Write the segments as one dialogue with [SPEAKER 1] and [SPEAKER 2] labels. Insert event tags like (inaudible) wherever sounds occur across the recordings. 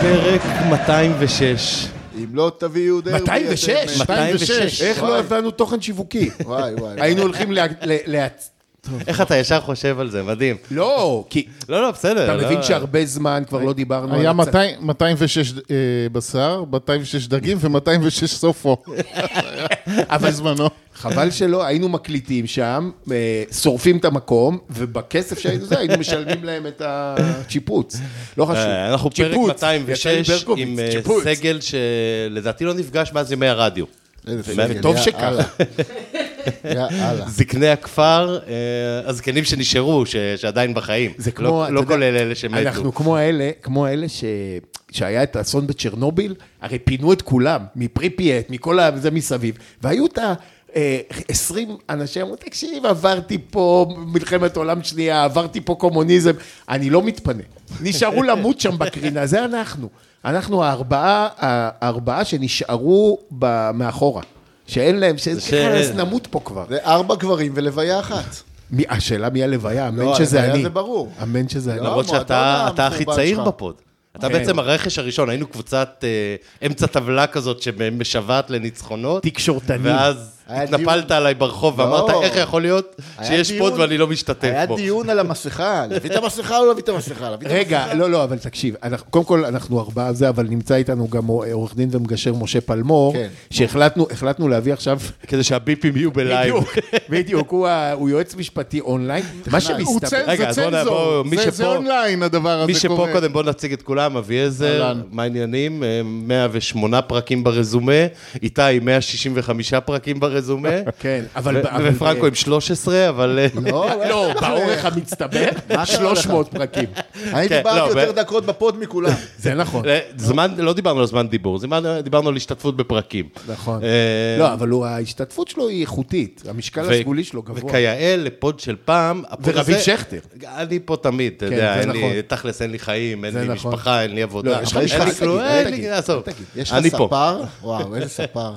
[SPEAKER 1] פרק 206.
[SPEAKER 2] אם לא תביאו דרבי...
[SPEAKER 3] 206?
[SPEAKER 2] אתם-
[SPEAKER 1] 206.
[SPEAKER 3] איך
[SPEAKER 2] איך
[SPEAKER 3] לא
[SPEAKER 2] לא
[SPEAKER 3] הבאנו תוכן שיווקי?
[SPEAKER 2] וואי, וואי.
[SPEAKER 3] היינו הולכים ל... ל- ל-
[SPEAKER 1] איך אתה ישר חושב על זה? מדהים.
[SPEAKER 3] לא, כי
[SPEAKER 1] לא, לא, בסדר.
[SPEAKER 3] אתה
[SPEAKER 1] לא-
[SPEAKER 3] מבין שהרבה זמן כבר לא דיברנו
[SPEAKER 4] היה
[SPEAKER 3] על... (laughs) הצ-
[SPEAKER 4] 200 206 אה, בשר, 206 דגים ו-206 סופו. אבל זמנו.
[SPEAKER 3] חבל שלא, היינו מקליטים שם, אה, שורפים את המקום, ובכסף שהיינו זה, היינו משלמים להם את השיפוץ. לא חשוב.
[SPEAKER 1] אה, אנחנו פרק
[SPEAKER 3] שיפוץ, יצא
[SPEAKER 1] 206
[SPEAKER 3] ברקוביץ,
[SPEAKER 1] עם אה,
[SPEAKER 3] שיפוץ.
[SPEAKER 1] סגל שלדעתי לא נפגש מאז ימי הרדיו.
[SPEAKER 3] וטוב שככה.
[SPEAKER 2] יאללה.
[SPEAKER 1] זקני הכפר, אה, הזקנים שנשארו, ש- שעדיין בחיים.
[SPEAKER 3] זה כמו,
[SPEAKER 1] לא-
[SPEAKER 3] אתה
[SPEAKER 1] לא
[SPEAKER 3] יודע,
[SPEAKER 1] כולל אלה שמתו.
[SPEAKER 3] אנחנו כמו אלה, כמו אלה ש... שהיה את האסון בצ'רנוביל, הרי פינו את כולם, מפריפייט, מכל ה- זה מסביב, והיו את ה... אה, 20 אנשים אמרו, תקשיב, עברתי פה מלחמת עולם שנייה, עברתי פה קומוניזם, אני לא מתפנה. נשארו למות שם בקרינה, זה אנחנו. אנחנו הארבעה, הארבעה שנשארו ב- מאחורה, שאין להם,
[SPEAKER 1] ש-
[SPEAKER 3] שאין, נמות פה כבר.
[SPEAKER 2] זה ארבע גברים ולוויה אחת.
[SPEAKER 3] מי- השאלה מי הלוויה,
[SPEAKER 1] לא,
[SPEAKER 3] אמן שזה
[SPEAKER 2] הלוויה
[SPEAKER 3] אני.
[SPEAKER 2] זה ברור.
[SPEAKER 3] אמן שזה אני.
[SPEAKER 1] למרות
[SPEAKER 2] המועדון
[SPEAKER 3] לא,
[SPEAKER 1] שאתה אתה הכי
[SPEAKER 2] המחורבן
[SPEAKER 1] צעיר
[SPEAKER 2] שלך.
[SPEAKER 1] בפוד. אתה
[SPEAKER 3] כן.
[SPEAKER 1] בעצם הרכש הראשון, היינו קבוצת אה, אמצע טבלה כזאת שמשוועת לניצחונות.
[SPEAKER 3] תקשורתנים.
[SPEAKER 1] ואז
[SPEAKER 2] היה
[SPEAKER 1] התנפלת
[SPEAKER 2] דיון.
[SPEAKER 1] עליי ברחוב
[SPEAKER 2] לא.
[SPEAKER 1] ואמרת, איך יכול להיות
[SPEAKER 2] היה
[SPEAKER 1] שיש
[SPEAKER 2] דיון-
[SPEAKER 1] פוד ואני לא משתתף
[SPEAKER 2] היה
[SPEAKER 1] בו?
[SPEAKER 2] דיון על המסכה, להביא את המסכה או לא להביא את המסכה? להביא את
[SPEAKER 3] רגע, לא, לא, אבל תקשיב, אנחנו, קודם כל אנחנו ארבעה זה, אבל נמצא איתנו גם אה, עורך דין ומגשר משה פלמור,
[SPEAKER 2] כן.
[SPEAKER 3] שהחלטנו החלטנו להביא עכשיו...
[SPEAKER 1] כדי שהביפים יהיו בלייב. (laughs)
[SPEAKER 3] בדיוק, בדיוק, הוא ה- הוא יועץ משפטי אונליין, מה
[SPEAKER 4] הוא צ-
[SPEAKER 3] שמסתבר...
[SPEAKER 1] רגע, אז
[SPEAKER 4] זה
[SPEAKER 1] בוא נעבור,
[SPEAKER 4] צנזור,
[SPEAKER 1] מי
[SPEAKER 4] זה- זה
[SPEAKER 1] שפה-
[SPEAKER 4] אונליין הדבר הזה
[SPEAKER 1] מי שפה קודם, בואו נציג את כולם, אביעזר,
[SPEAKER 4] אהלן.
[SPEAKER 1] מה העניינים? אה, 108 פרקים ברזומה, איתי 165 פרקים ברזומה,
[SPEAKER 3] (laughs) כן, אבל...
[SPEAKER 1] ו-
[SPEAKER 3] אבל-
[SPEAKER 1] ופרנקו עם 13, אבל... אה,
[SPEAKER 2] לא,
[SPEAKER 3] לא, באורך המצטבר, 300 פרקים.
[SPEAKER 2] המסכה. אני
[SPEAKER 1] כן, לא,
[SPEAKER 2] דיברתי יותר
[SPEAKER 1] ב-
[SPEAKER 2] דקות בפוד מכולם.
[SPEAKER 3] זה נכון,
[SPEAKER 1] (laughs) אה, זמן, לא דיברנו על זמן דיבור, זמן- אה, דיברנו על השתתפות בפרקים.
[SPEAKER 3] נכון.
[SPEAKER 1] אה,
[SPEAKER 3] לא, אבל הוא- ההשתתפות שלו היא איכותית, המשקל
[SPEAKER 1] ו-
[SPEAKER 3] הסגולי שלו גבוה.
[SPEAKER 1] וכיאה לפוד של פעם, הפוד
[SPEAKER 3] ורביב
[SPEAKER 1] הזה-
[SPEAKER 3] שכטר.
[SPEAKER 1] אני פה תמיד, אתה
[SPEAKER 3] כן,
[SPEAKER 1] יודע,
[SPEAKER 3] זה
[SPEAKER 1] אין לי,
[SPEAKER 3] נכון.
[SPEAKER 1] תכלס אין לי חיים, אין
[SPEAKER 3] זה
[SPEAKER 1] לי
[SPEAKER 3] נכון.
[SPEAKER 1] משפחה, אין לי עבודה.
[SPEAKER 3] לא, יש לך
[SPEAKER 1] אין לי
[SPEAKER 3] משפחה,
[SPEAKER 1] כלום,
[SPEAKER 3] תגיד,
[SPEAKER 1] אין
[SPEAKER 3] אל
[SPEAKER 1] לי,
[SPEAKER 3] תגיד,
[SPEAKER 1] עזוב.
[SPEAKER 2] תגיד, יש
[SPEAKER 1] אני
[SPEAKER 2] לך
[SPEAKER 1] פה.
[SPEAKER 2] ספר? וואו, איזה ספר.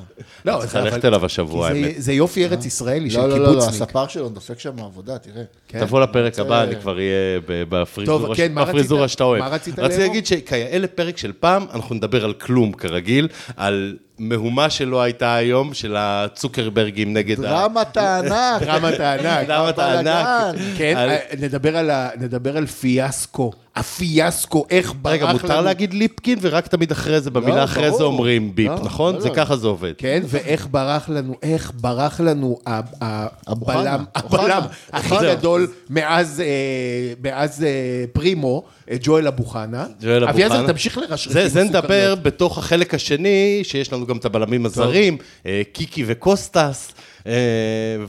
[SPEAKER 3] לא,
[SPEAKER 1] צריך
[SPEAKER 3] זה- אבל-
[SPEAKER 1] ללכת אליו השבוע,
[SPEAKER 3] כי זה-
[SPEAKER 1] האמת.
[SPEAKER 3] זה יופי ארץ ישראלי של
[SPEAKER 2] לא, לא, לא, לא,
[SPEAKER 3] קיבוצניק.
[SPEAKER 2] הספר שלו דופק שם עבודה, תראה.
[SPEAKER 3] כן.
[SPEAKER 1] תבוא לפרק הבא, אני כבר אהיה ב- בפריזורה
[SPEAKER 3] טוב,
[SPEAKER 1] ש-
[SPEAKER 3] כן, מה רצית-
[SPEAKER 1] בפריזורה שאתה אוהב.
[SPEAKER 3] מה רצית
[SPEAKER 1] רציתי
[SPEAKER 3] לאמור?
[SPEAKER 1] להגיד שכיאה לפרק של פעם, אנחנו נדבר על כלום, כרגיל, על מהומה שלא הייתה היום, של הצוקרברגים נגד ה...
[SPEAKER 2] דרמת הענק.
[SPEAKER 3] דרמת הענק.
[SPEAKER 1] דרמת הענק.
[SPEAKER 3] כן,
[SPEAKER 1] על-
[SPEAKER 3] אה, נדבר על ה- נדבר על פיאסקו. הפיאסקו, איך ברח לנו.
[SPEAKER 1] רגע, מותר להגיד ליפקין, ורק תמיד אחרי זה, במילה
[SPEAKER 2] לא,
[SPEAKER 1] אחרי זה
[SPEAKER 2] ברור.
[SPEAKER 1] אומרים ביפ,
[SPEAKER 3] לא,
[SPEAKER 1] נכון?
[SPEAKER 3] לא,
[SPEAKER 1] זה
[SPEAKER 3] לא.
[SPEAKER 1] ככה זה עובד.
[SPEAKER 3] כן, ואיך ברח לנו, איך ברח לנו ה- ה-
[SPEAKER 2] אוחנה,
[SPEAKER 3] הבלם,
[SPEAKER 2] אוחנה,
[SPEAKER 3] הבלם הכי
[SPEAKER 2] אוחנה.
[SPEAKER 3] גדול מאז, אה, מאז אה, פרימו, אה, ג'ואל אבוחנה.
[SPEAKER 1] ג'ואל אבוחנה.
[SPEAKER 3] אביעזר, תמשיך לרשרשים
[SPEAKER 1] זה, זה
[SPEAKER 3] מסוכנות.
[SPEAKER 1] נדבר בתוך החלק השני, שיש לנו גם את הבלמים הזרים, אה, קיקי וקוסטס, אה,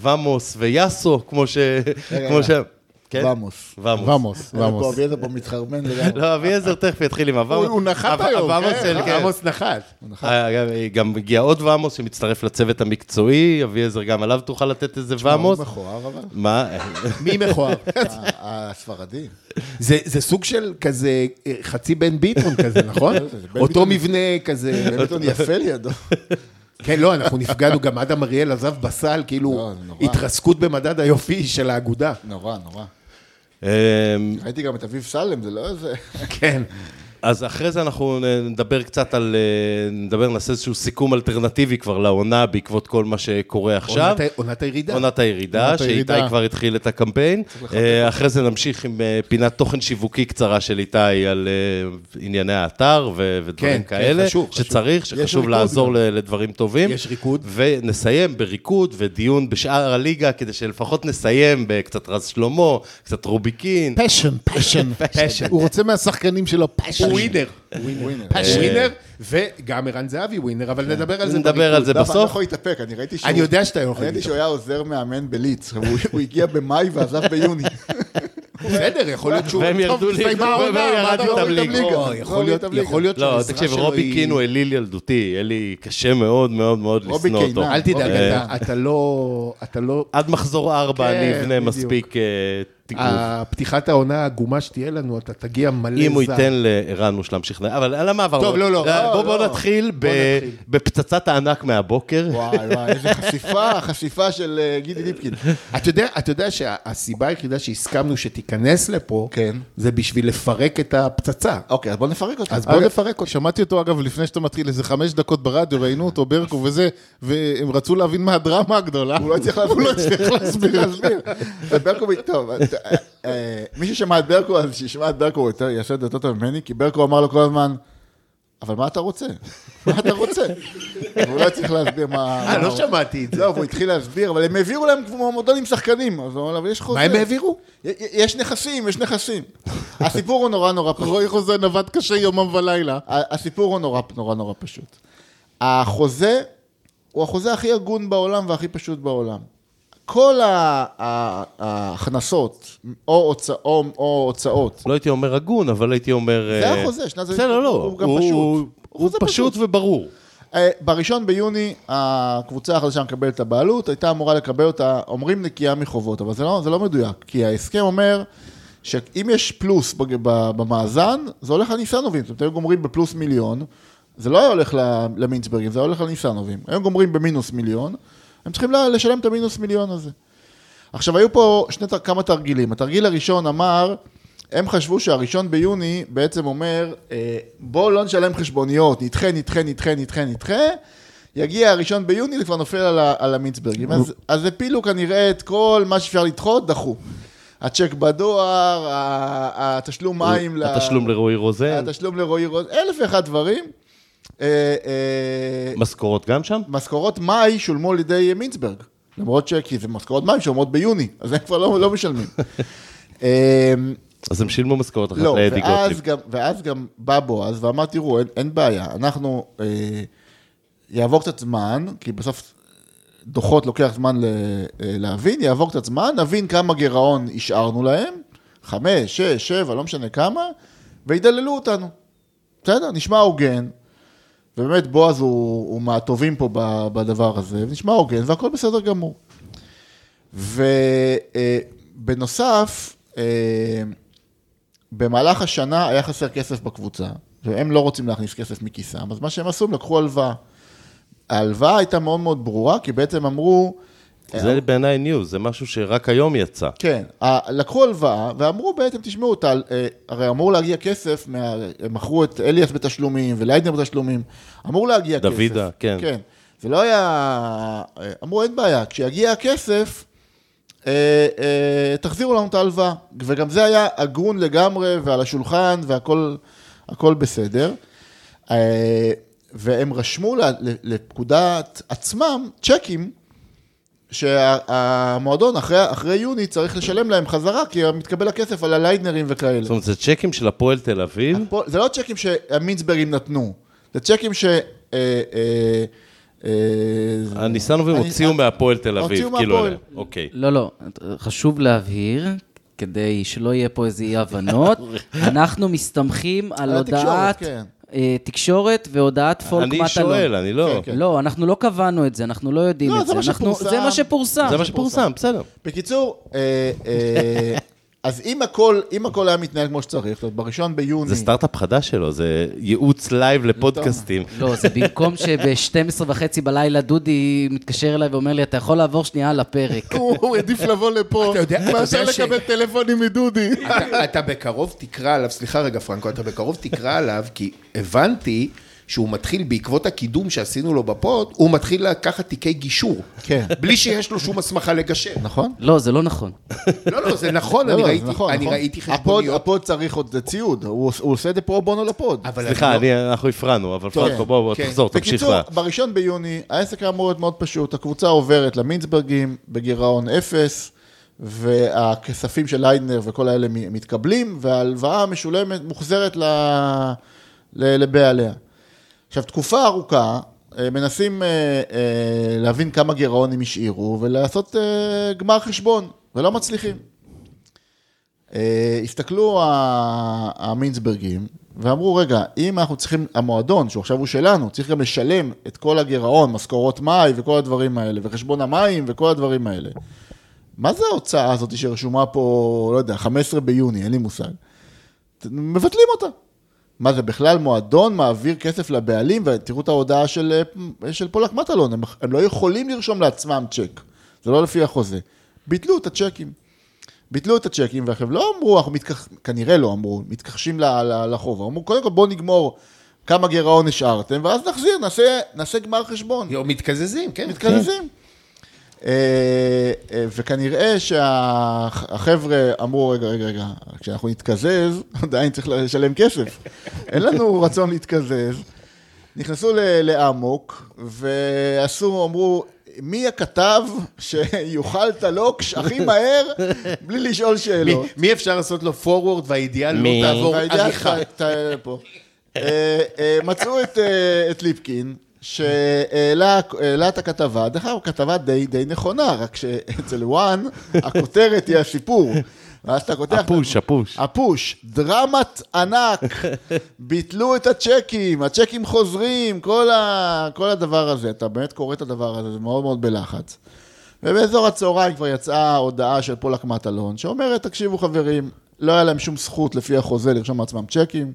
[SPEAKER 1] ומוס ויאסו, כמו ש... כמו ש...
[SPEAKER 2] רגע.
[SPEAKER 1] כן?
[SPEAKER 2] ומוס.
[SPEAKER 1] ומוס.
[SPEAKER 4] ועמוס,
[SPEAKER 2] אה, פה
[SPEAKER 4] ועמוס.
[SPEAKER 2] אביעזר פה מתחרמן לגמרי.
[SPEAKER 1] לא, אביעזר תכף יתחיל עם הוואמוס.
[SPEAKER 4] הוא נחת
[SPEAKER 1] הו-
[SPEAKER 4] היום,
[SPEAKER 1] הוואמוס
[SPEAKER 4] כן,
[SPEAKER 1] של- כן.
[SPEAKER 3] אה, עמוס נחת.
[SPEAKER 1] אה, גם- גם הגיע עוד ואמוס שמצטרף לצוות המקצועי, אביעזר גם עליו תוכל לתת איזה ואמוס.
[SPEAKER 2] הוא
[SPEAKER 4] נכון.
[SPEAKER 2] מכוער אבל.
[SPEAKER 1] מה? (laughs)
[SPEAKER 3] מי מכוער?
[SPEAKER 2] (laughs) ה- הספרדי.
[SPEAKER 3] זה זה סוג של כזה אה, חצי בן ביטון כזה, נכון?
[SPEAKER 2] בן
[SPEAKER 3] אותו מבנה כזה.
[SPEAKER 2] ביטון יפה לידו.
[SPEAKER 3] כן, לא, אנחנו נפגענו, גם אדם אריאל עזב בסל, כאילו,
[SPEAKER 2] לא, זה נורא.
[SPEAKER 3] התרסקות במדד היופי של האגודה.
[SPEAKER 2] נורא, נורא.
[SPEAKER 1] אמ,
[SPEAKER 2] ראיתי גם את אביב סלם, זה לא
[SPEAKER 3] (laughs)
[SPEAKER 2] איזה...
[SPEAKER 3] כן.
[SPEAKER 1] אז אחרי זה אנחנו נדבר קצת על... אה, נדבר, נעשה איזשהו סיכום אלטרנטיבי כבר לעונה בעקבות כל מה שקורה עכשיו.
[SPEAKER 3] עונת ה- עונת הירידה.
[SPEAKER 1] עונת הירידה,
[SPEAKER 4] עונת
[SPEAKER 1] שאיתי
[SPEAKER 4] הירידה.
[SPEAKER 1] כבר התחיל את הקמפיין. אה, אחרי זה נמשיך עם אה, פינת תוכן שיווקי קצרה של איתי על אה, ענייני האתר ו- ודברים
[SPEAKER 3] כן, כן,
[SPEAKER 1] כאלה.
[SPEAKER 3] חשוב, חשוב.
[SPEAKER 1] שצריך, שחשוב
[SPEAKER 2] ריקוד
[SPEAKER 1] לעזור ל- לדברים טובים.
[SPEAKER 3] יש ריקוד.
[SPEAKER 1] ונסיים בריקוד ודיון בשאר הליגה, כדי שלפחות נסיים בקצת רז שלמה, קצת רוביקין.
[SPEAKER 4] פשן, פשן.
[SPEAKER 1] (laughs)
[SPEAKER 4] הוא רוצה מהשחקנים שלו פשן.
[SPEAKER 3] הוא ווינר.
[SPEAKER 2] ווינר.
[SPEAKER 4] אה,
[SPEAKER 3] הוא ווינר, וגם ערן זהבי ווינר, אבל נדבר על זה
[SPEAKER 1] נדבר על זה
[SPEAKER 2] דווקא אני לא
[SPEAKER 1] בסוף.
[SPEAKER 2] יכול להתאפק, אני ראיתי שהוא...
[SPEAKER 3] אני יודע שאתה לא יכול
[SPEAKER 2] ראיתי שהוא
[SPEAKER 3] להתאפק.
[SPEAKER 2] היה עוזר מאמן בליץ, והוא- הוא הגיע במאי ועזב ביוני.
[SPEAKER 3] (laughs) בסדר, יכול להיות שהוא...
[SPEAKER 1] והם ירדו
[SPEAKER 3] טוב,
[SPEAKER 1] לי-
[SPEAKER 3] הסתיימה
[SPEAKER 1] והם
[SPEAKER 3] העונה,
[SPEAKER 1] ירדו
[SPEAKER 3] מה אתה
[SPEAKER 1] איתם
[SPEAKER 3] אומר איתם
[SPEAKER 1] ליגה.
[SPEAKER 3] ליגה?
[SPEAKER 2] לא,
[SPEAKER 3] יכול להיות-
[SPEAKER 2] איתם ליגה.
[SPEAKER 3] יכול להיות
[SPEAKER 1] לא,
[SPEAKER 3] שהעזרה
[SPEAKER 1] תקשיב,
[SPEAKER 3] שלו
[SPEAKER 1] רובי
[SPEAKER 3] היא-
[SPEAKER 1] קין הוא אליל ילדותי, יהיה לי קשה מאוד מאוד מאוד
[SPEAKER 2] רובי
[SPEAKER 1] לשנוא אותו.
[SPEAKER 2] קינן.
[SPEAKER 3] אל תדאג,
[SPEAKER 1] אוקיי.
[SPEAKER 3] אתה- אתה לא... אתה לא...
[SPEAKER 1] עד מחזור ארבע אני
[SPEAKER 3] כן,
[SPEAKER 1] אבנה
[SPEAKER 3] בדיוק.
[SPEAKER 1] מספיק אה, תיגוב.
[SPEAKER 3] הפתיחת העונה העגומה שתהיה לנו, אתה תגיע מלא זעם.
[SPEAKER 1] אם הוא ייתן לערן מושלם שכנע, אבל על המעבר.
[SPEAKER 3] טוב, לא, לא, לא,
[SPEAKER 1] בואו בוא
[SPEAKER 3] לא.
[SPEAKER 1] נתחיל ב- בפצצת הענק מהבוקר.
[SPEAKER 4] וואי, וואי, איזה חשיפה, חשיפה של אה, גידי ליפקין.
[SPEAKER 3] אתה יודע, אתה יודע שהסיבה היחידה שהסכמנו שתיכנס לפה,
[SPEAKER 4] כן.
[SPEAKER 3] זה בשביל לפרק את הפצצה.
[SPEAKER 4] אוקיי, אז בוא נפרק אותה.
[SPEAKER 3] אז בוא
[SPEAKER 2] אגב,
[SPEAKER 3] נפרק אותה.
[SPEAKER 2] שמעתי אותו, אגב, לפני שאתה מתחיל, איזה חמש דקות ברדיו, ראינו אותו, ברקו וזה, והם רצו להבין מה הדרמה הגדולה.
[SPEAKER 4] הוא לא הצליח להבין. הוא לא הצליח להסביר. להסביר. ברקו, טוב, אה, אה, מי ששמע את ברקו, אז שישמע את ברקו, הוא יותר- יעשה את זה יותר טוב ממני, כי ברקו אמר לו כל הזמן, אבל מה אתה רוצה? (laughs) מה אתה רוצה? והוא לא הצליח להסביר מה...
[SPEAKER 1] (laughs)
[SPEAKER 3] אה,
[SPEAKER 4] מה
[SPEAKER 3] לא
[SPEAKER 4] הוא-
[SPEAKER 3] שמעתי את זה.
[SPEAKER 4] לא, והוא התחיל להסביר, אבל הם העבירו להם כמו מועמדון עם שחקנים, אז הוא אמר לה, אבל יש חוזה.
[SPEAKER 3] מה הם העבירו?
[SPEAKER 4] י- י- יש נכסים, יש נכסים. הסיפור הוא נורא נורא פשוט.
[SPEAKER 2] רועי חוזה נווט קשה יומם ולילה.
[SPEAKER 4] ה- הסיפור הוא נורא נורא נורא פשוט. החוזה הוא החוזה הכי הגון בעולם והכי פשוט בעולם. כל ה- ה- ההכנסות, או הוצא- או- או הוצאות,
[SPEAKER 1] לא הייתי אומר הגון, אבל הייתי אומר...
[SPEAKER 4] זה
[SPEAKER 1] אה,
[SPEAKER 4] החוזה, שנת זמנים.
[SPEAKER 1] בסדר, לא,
[SPEAKER 4] הוא גם
[SPEAKER 1] הוא
[SPEAKER 4] פשוט. הוא
[SPEAKER 1] הוא
[SPEAKER 4] חוזה
[SPEAKER 1] פשוט וברור.
[SPEAKER 4] אה, בראשון ביוני הקבוצה החדשה מקבלת את הבעלות, הייתה אמורה לקבל אותה, אומרים נקייה מחובות, אבל זה לא, זה לא מדויק, כי ההסכם אומר שאם יש פלוס בג- ב- במאזן, זה הולך לניסנובים, זאת אומרת, היו גומרים בפלוס מיליון, זה לא היה הולך ל- למינצברגים, זה היה הולך לניסנובים, היו גומרים במינוס מיליון, הם צריכים ל- לשלם את המינוס מיליון הזה. עכשיו, היו פה שני, ת- כמה תרגילים. התרגיל הראשון אמר, הם חשבו שהראשון ביוני בעצם אומר, אה, בואו לא נשלם חשבוניות, נדחה, נדחה, נדחה, נדחה, נדחה. יגיע הראשון ביוני, זה כבר נופל על, ה- על המינצברגים. אז, אז הפילו כנראה את כל מה שאפשר לדחות, דחו. הצ'ק בדואר, ה- התשלום מים, ל-
[SPEAKER 1] התשלום לרועי רוזן,
[SPEAKER 4] התשלום לרועי רוז, אלף ואחד דברים. אה, אה,
[SPEAKER 1] משכורות גם שם?
[SPEAKER 4] משכורות מאי שולמו על ידי מינצברג, למרות ש... כי זה משכורות מאי שולמות ביוני, אז הם כבר לא, לא משלמים. אמ,
[SPEAKER 1] אז הם שילמו משכורות אחת
[SPEAKER 4] לא,
[SPEAKER 1] לאדי
[SPEAKER 4] ואז
[SPEAKER 1] גוטליב.
[SPEAKER 4] גם, ואז גם בא בועז ואמר, תראו, אין, אין בעיה, אנחנו, אה, יעבור קצת זמן, כי בסוף דוחות לוקח זמן ל, אה, להבין, יעבור קצת זמן, נבין כמה גירעון השארנו להם, חמש, שש, שבע, לא משנה כמה, וידללו אותנו. בסדר, נשמע הוגן, ובאמת בועז הוא, הוא מהטובים פה ב- בדבר הזה, ונשמע הוגן והכל בסדר גמור. אה, ובנוסף, אה, במהלך השנה היה חסר כסף בקבוצה, והם לא רוצים להכניס כסף מכיסם, אז מה שהם עשו, הם לקחו הלוואה. ההלוואה הייתה מאוד מאוד ברורה, כי בעצם אמרו,
[SPEAKER 1] זה בעיניי ניוז, זה משהו שרק היום יצא.
[SPEAKER 4] כן, ה- לקחו הלוואה ואמרו בעצם, תשמעו, תל, אה, הרי אמור להגיע כסף, מה, הם מכרו את אליאס בתשלומים וליידנר בתשלומים, אמור להגיע כסף.
[SPEAKER 1] דוידה, כן.
[SPEAKER 4] כן, זה לא היה... אה, אמרו, אין בעיה, כשיגיע הכסף, אה, אה, תחזירו לנו את ההלוואה. וגם זה היה הגון לגמרי ועל השולחן והכל הכל בסדר. אה, והם רשמו ל- ל- לפקודת עצמם צ'קים שהמועדון אחרי, אחרי יוני צריך לשלם להם חזרה, כי מתקבל הכסף על הליידנרים וכאלה.
[SPEAKER 1] זאת אומרת, זה צ'קים של הפועל תל אביב,
[SPEAKER 4] פה, זה לא צ'קים שהמינצברגים נתנו, זה צ'קים ש... אה, אה, אה,
[SPEAKER 1] הניסנובים
[SPEAKER 4] אני-
[SPEAKER 1] הוציאו מהפועל תל אביב,
[SPEAKER 4] הוציאו
[SPEAKER 1] כאילו,
[SPEAKER 4] מהפועל.
[SPEAKER 1] אלה. אוקיי.
[SPEAKER 5] לא, לא, חשוב להבהיר, כדי שלא יהיה פה
[SPEAKER 4] (laughs)
[SPEAKER 5] איזה אי-הבנות, אנחנו מסתמכים
[SPEAKER 4] אוקיי.
[SPEAKER 5] על
[SPEAKER 4] על התקשורת,
[SPEAKER 5] הודעת
[SPEAKER 4] כן.
[SPEAKER 5] אה, תקשורת והודעת פולק מטלון.
[SPEAKER 1] אני שואל, אני לא...
[SPEAKER 4] כן,
[SPEAKER 5] לא, אנחנו לא קבענו את זה, אנחנו לא יודעים
[SPEAKER 4] לא,
[SPEAKER 5] את
[SPEAKER 4] זה
[SPEAKER 5] זה.
[SPEAKER 4] מה
[SPEAKER 5] אנחנו-
[SPEAKER 4] שפורסם.
[SPEAKER 5] זה מה שפורסם.
[SPEAKER 1] זה מה שפורסם, בסדר.
[SPEAKER 4] בקיצור, אה, אה, אז אם הכל, אם הכל היה מתנהל כמו שצריך, זאת אומרת, בראשון ביוני...
[SPEAKER 1] זה סטארט-אפ חדש שלו, זה ייעוץ לייב לפודקאסטים.
[SPEAKER 5] לא, זה במקום שב-12 וחצי בלילה דודי מתקשר אליי ואומר לי, אתה יכול לעבור שנייה על הפרק.
[SPEAKER 2] הוא עדיף לבוא לפה,
[SPEAKER 3] אתה יודע- אתה יודע
[SPEAKER 2] מאשר
[SPEAKER 3] ש-
[SPEAKER 2] לקבל טלפונים מדודי.
[SPEAKER 3] אתה- אתה בקרוב תקרא עליו, סליחה רגע פרנקו, אתה בקרוב תקרא עליו, כי הבנתי שהוא מתחיל, בעקבות הקידום שעשינו לו בפוד, הוא מתחיל לקחת תיקי גישור.
[SPEAKER 4] כן.
[SPEAKER 3] בלי שיש לו שום הסמכה לגשר.
[SPEAKER 4] נכון?
[SPEAKER 5] לא, זה לא נכון.
[SPEAKER 3] לא, לא, זה נכון,
[SPEAKER 4] לא,
[SPEAKER 3] אני
[SPEAKER 4] לא, זה
[SPEAKER 3] ראיתי-
[SPEAKER 4] נכון,
[SPEAKER 3] אני
[SPEAKER 4] נכון.
[SPEAKER 3] ראיתי
[SPEAKER 4] הפוד-
[SPEAKER 3] חשבוניות.
[SPEAKER 4] הפוד צריך עוד ציוד, הוא הוא עושה את זה פרו בונו לפוד.
[SPEAKER 3] אבל אני
[SPEAKER 1] סליחה,
[SPEAKER 3] לא-
[SPEAKER 1] אני- אנחנו הפרענו, אבל פרנקו, בוא, בוא,
[SPEAKER 3] כן.
[SPEAKER 1] תחזור, תמשיך
[SPEAKER 4] בקיצור,
[SPEAKER 1] לה.
[SPEAKER 4] בראשון ביוני העסק היה אמור להיות מאוד פשוט, הקבוצה עוברת למינצברגים בגירעון אפס, והכספים של ליידנר וכל האלה מ- מתקבלים, וההלוואה המשולמת מוחזרת ל... ל... לבעליה. עכשיו, תקופה ארוכה, אה, מנסים אה, אה, להבין כמה גירעון הם השאירו ולעשות אה, גמר חשבון, ולא מצליחים. אה, הסתכלו ה- המינצברגים ואמרו, רגע, אם אנחנו צריכים, המועדון, שהוא עכשיו הוא שלנו, צריך גם לשלם את כל הגירעון, משכורות מאי וכל הדברים האלה, וחשבון המים וכל הדברים האלה.
[SPEAKER 2] מה זה ההוצאה הזאת שרשומה פה, לא יודע, 15 ביוני, אין לי מושג. ת- מבטלים אותה. מה זה בכלל מועדון מעביר כסף לבעלים, ותראו את ההודעה של, אה, של פולק מטלון, הם, הם לא יכולים לרשום לעצמם צ'ק, זה לא לפי החוזה. ביטלו את הצ'קים. ביטלו את הצ'קים, ועכשיו לא אמרו, אנחנו מתכח... כנראה לא אמרו, מתכחשים ל- ל- לחוב. אמרו, קודם כל בואו נגמור כמה גירעון השארתם, ואז נחזיר, נעשה, נעשה גמר חשבון.
[SPEAKER 3] יו, מתקזזים, כן.
[SPEAKER 2] מתקזזים. אה, אה, וכנראה שהחבר'ה אמרו, רגע, רגע, רגע, כשאנחנו נתקזז, (laughs) עדיין צריך לשלם כסף. אין לנו רצון להתקזז. נכנסו ל- לאמוק, ועשו, אמרו, מי הכתב שיאכל את הלוקש הכי מהר, בלי לשאול שאלות?
[SPEAKER 3] מי- מי אפשר לעשות לו forward והאידיאל לא
[SPEAKER 1] מי?
[SPEAKER 3] תעבור
[SPEAKER 2] והאידיאל
[SPEAKER 3] עריכה?
[SPEAKER 2] ת- ת- פה. אה, אה, מצאו את, אה, את ליפקין, שהעלה העלה את הכתבה, דרך אגב, כתבה די, די נכונה, רק שאצל וואן, הכותרת היא הסיפור. ואז אתה פותח...
[SPEAKER 1] הפוש, הפוש.
[SPEAKER 2] הפוש, דרמת ענק, ביטלו את הצ'קים, הצ'קים חוזרים, כל, ה, כל הדבר הזה, אתה באמת קורא את הדבר הזה, זה מאוד מאוד בלחץ. ובאזור הצהריים כבר יצאה הודעה של פולק מטלון, שאומרת, תקשיבו חברים, לא היה להם שום זכות לפי החוזה לרשום לעצמם צ'קים,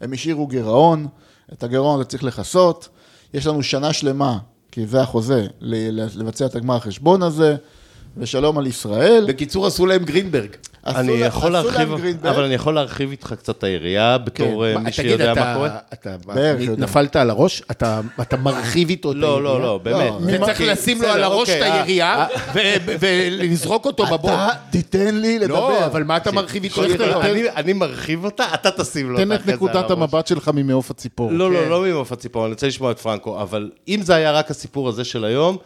[SPEAKER 2] הם השאירו גירעון, את הגירעון הזה צריך לכסות, יש לנו שנה שלמה, כי זה החוזה, ל- לבצע את הגמר החשבון הזה, ושלום על ישראל.
[SPEAKER 3] בקיצור, עשו להם גרינברג.
[SPEAKER 2] עשו
[SPEAKER 1] אני
[SPEAKER 2] לה-
[SPEAKER 1] יכול
[SPEAKER 2] עשו להם
[SPEAKER 1] להרחיב,
[SPEAKER 2] גרינברג.
[SPEAKER 1] אבל אני יכול להרחיב איתך קצת את היריעה בתור אה,
[SPEAKER 3] כן, מה,
[SPEAKER 1] מי
[SPEAKER 3] תגיד,
[SPEAKER 1] שיודע
[SPEAKER 3] אתה-
[SPEAKER 1] מה קורה.
[SPEAKER 3] אתה
[SPEAKER 2] בערך יודע.
[SPEAKER 3] נפלת על הראש? אתה אתה מרחיב איתו את
[SPEAKER 1] לא, לא, לא, באמת.
[SPEAKER 2] לא,
[SPEAKER 3] אתה צריך
[SPEAKER 1] כי-
[SPEAKER 3] לשים לו
[SPEAKER 1] בסדר,
[SPEAKER 3] על הראש את
[SPEAKER 1] אוקיי, אה,
[SPEAKER 3] היריעה ו- ולזרוק אותו בבור.
[SPEAKER 2] אתה "אה, תיתן לי לדבר.
[SPEAKER 3] לא, אבל מה אתה מרחיב איתו?
[SPEAKER 1] כל-
[SPEAKER 3] איך אתה-
[SPEAKER 1] אני- אני מרחיב אותה, אתה תשים לו
[SPEAKER 4] תן
[SPEAKER 1] אותה
[SPEAKER 4] את
[SPEAKER 1] כזה על
[SPEAKER 4] נקודת
[SPEAKER 1] הראש.
[SPEAKER 4] המבט שלך ממעוף הציפור.
[SPEAKER 1] לא,
[SPEAKER 2] כן.
[SPEAKER 1] לא, לא ממעוף הציפור, אני רוצה לשמוע את פרנקו, אבל אם זה היה רק הסיפור הזה של היום,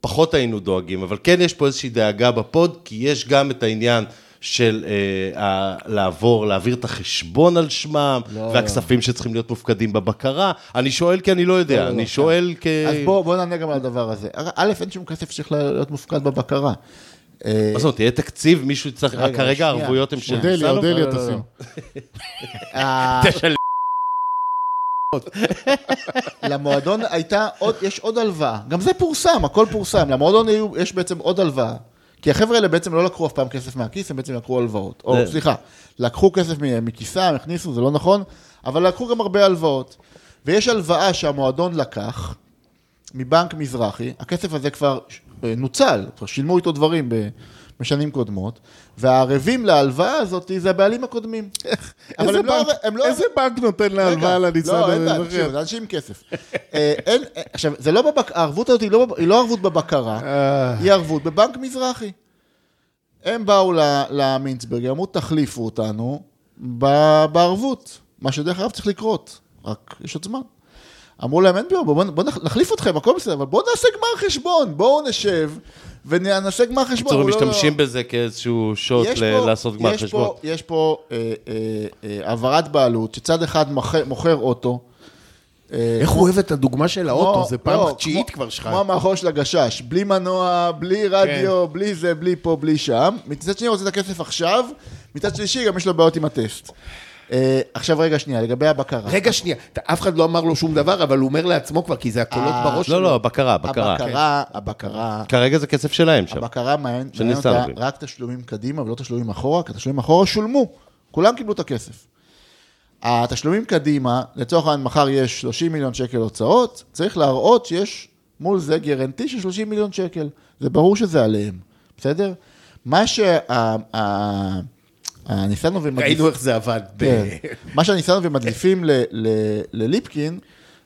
[SPEAKER 1] פחות היינו דואגים, אבל כן יש פה איזושהי דאגה בפוד, כי יש גם את העניין של אה, ה- לעבור, להעביר את החשבון על שמם,
[SPEAKER 2] לא,
[SPEAKER 1] והכספים שצריכים להיות מופקדים בבקרה. אני שואל כי אני לא יודע, אני שואל כ...
[SPEAKER 2] כן. אז בוא, בוא נענה גם על הדבר הזה. "אה, א', אין שום כסף שצריך להיות
[SPEAKER 1] (laughs)
[SPEAKER 2] מופקד בבקרה. אה,
[SPEAKER 1] מה זאת אומרת, יהיה תקציב, מישהו צריך...
[SPEAKER 2] רגע,
[SPEAKER 1] כרגע
[SPEAKER 2] שנייה.
[SPEAKER 1] הערבויות הן של...
[SPEAKER 4] אודליה,
[SPEAKER 1] ניסנוב?
[SPEAKER 4] אודליה
[SPEAKER 2] לא, לא,
[SPEAKER 4] תשים.
[SPEAKER 2] ה- למועדון הייתה עוד, יש עוד הלוואה. גם זה פורסם, הכל פורסם. למועדון היו, יש בעצם עוד הלוואה. כי החבר'ה האלה בעצם לא לקחו אף פעם כסף מהכיס, הם בעצם לקחו הלוואות. או,
[SPEAKER 1] זה-
[SPEAKER 2] סליחה, לקחו כסף מ- מכיסם, הכניסו, זה לא נכון, אבל לקחו גם הרבה הלוואות. ויש הלוואה שהמועדון לקח מבנק מזרחי, הכסף הזה כבר אה, נוצל, כבר שילמו איתו דברים ב- בשנים קודמות, והערבים להלוואה הזאת זה הבעלים הקודמים. אבל
[SPEAKER 4] (laughs) איזה
[SPEAKER 2] הם לא-
[SPEAKER 4] בנק-
[SPEAKER 2] הם לא...
[SPEAKER 4] איזה בנק נותן
[SPEAKER 2] רגע,
[SPEAKER 4] להלוואה לניצן?
[SPEAKER 2] לא, אין
[SPEAKER 4] הזה?
[SPEAKER 2] בעיה, תקשיב, זה אנשים עם כסף. אה, אין, אה, עכשיו, זה לא בבק... הערבות הזאת היא לא, בב- היא לא ערבות בבקרה, היא ערבות בבנק מזרחי. הם באו ל- למינצברג, אמרו, תחליפו אותנו ב- בערבות, מה שדרך אגב צריך לקרות, רק יש עוד זמן. אמרו להם, אין בעיה, בואו בוא נח- נחליף אתכם, הכל בסדר, אבל בואו נעשה גמר חשבון, בואו נשב ונעשה גמר חשבון.
[SPEAKER 1] בקיצור, הם
[SPEAKER 2] אמרו, "לא, לא, לא."
[SPEAKER 1] משתמשים בזה כאיזשהו שוט
[SPEAKER 2] יש
[SPEAKER 1] ל-
[SPEAKER 2] פה-
[SPEAKER 1] לעשות גמר
[SPEAKER 2] יש
[SPEAKER 1] חשבון.
[SPEAKER 2] פה, יש פה אה, אה, אה, העברת בעלות, שצד אחד מוכר, מוכר אוטו. אה,
[SPEAKER 3] איך הוא אוהב את הדוגמה של האוטו?
[SPEAKER 2] כמו-
[SPEAKER 3] זה פעם
[SPEAKER 2] לא,
[SPEAKER 3] תשיעית
[SPEAKER 2] כמו-
[SPEAKER 3] כבר שלך.
[SPEAKER 2] כמו המערכון של הגשש, בלי מנוע, בלי רדיו,
[SPEAKER 3] כן.
[SPEAKER 2] בלי זה, בלי פה, בלי שם. מצד שני הוא רוצה את הכסף עכשיו, מצד שלישי גם יש לו בעיות עם הטסט. אה, עכשיו רגע שנייה, לגבי הבקרה.
[SPEAKER 3] רגע, שנייה. אתה- אף אחד לא אמר לו שום דבר, אבל הוא אומר לעצמו כבר, כי זה הקולות
[SPEAKER 2] אה,
[SPEAKER 3] בראש
[SPEAKER 1] לא,
[SPEAKER 3] שלו.
[SPEAKER 1] לא, בקרה, בקרה.
[SPEAKER 2] הבקרה, הבקרה,
[SPEAKER 1] כרגע זה כסף שלהם שם.
[SPEAKER 2] הבקרה מעניין
[SPEAKER 1] של
[SPEAKER 2] מעניין אותה
[SPEAKER 1] ניסנובים.
[SPEAKER 2] רק תשלומים קדימה ולא תשלומים אחורה, כי התשלומים אחורה שולמו, כולם קיבלו את הכסף. התשלומים קדימה, לצורך העניין מחר יש 30 מיליון שקל הוצאות, צריך להראות שיש מול זה גרנטי של 30 מיליון שקל. זה ברור שזה עליהם, בסדר? מה שהניסנובים
[SPEAKER 3] ראינו איך זה עבד. ב-
[SPEAKER 2] כן. מה שהניסנובים מדליפים ל- ל- לליפקין,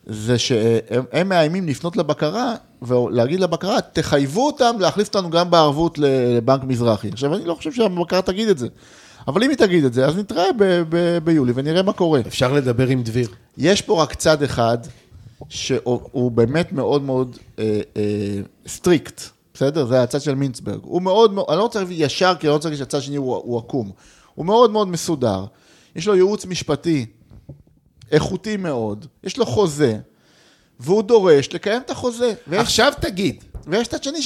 [SPEAKER 2] זה שהם הם מאיימים לפנות לבקרה ולהגיד לבקרה, תחייבו אותם להחליף אותנו גם בערבות ל- לבנק מזרחי. עכשיו, אני לא חושב שהבקרה תגיד את זה. אבל אם היא תגיד את זה, אז נתראה ב- ב- ביולי ונראה מה קורה.
[SPEAKER 3] (laughs) אפשר לדבר עם דביר.
[SPEAKER 2] יש פה רק צד אחד, שהוא הוא באמת מאוד מאוד אה, אה, סטריקט, בסדר? זה הצד של מינצברג. הוא מאוד מאוד, אני לא רוצה להגיד ישר, כי אני לא רוצה להגיד שהצד השני הוא, הוא עקום. הוא מאוד מאוד מסודר. יש לו ייעוץ משפטי איכותי מאוד, יש לו חוזה, והוא דורש לקיים את החוזה. ויש,
[SPEAKER 3] עכשיו תגיד.
[SPEAKER 2] ויש צד שני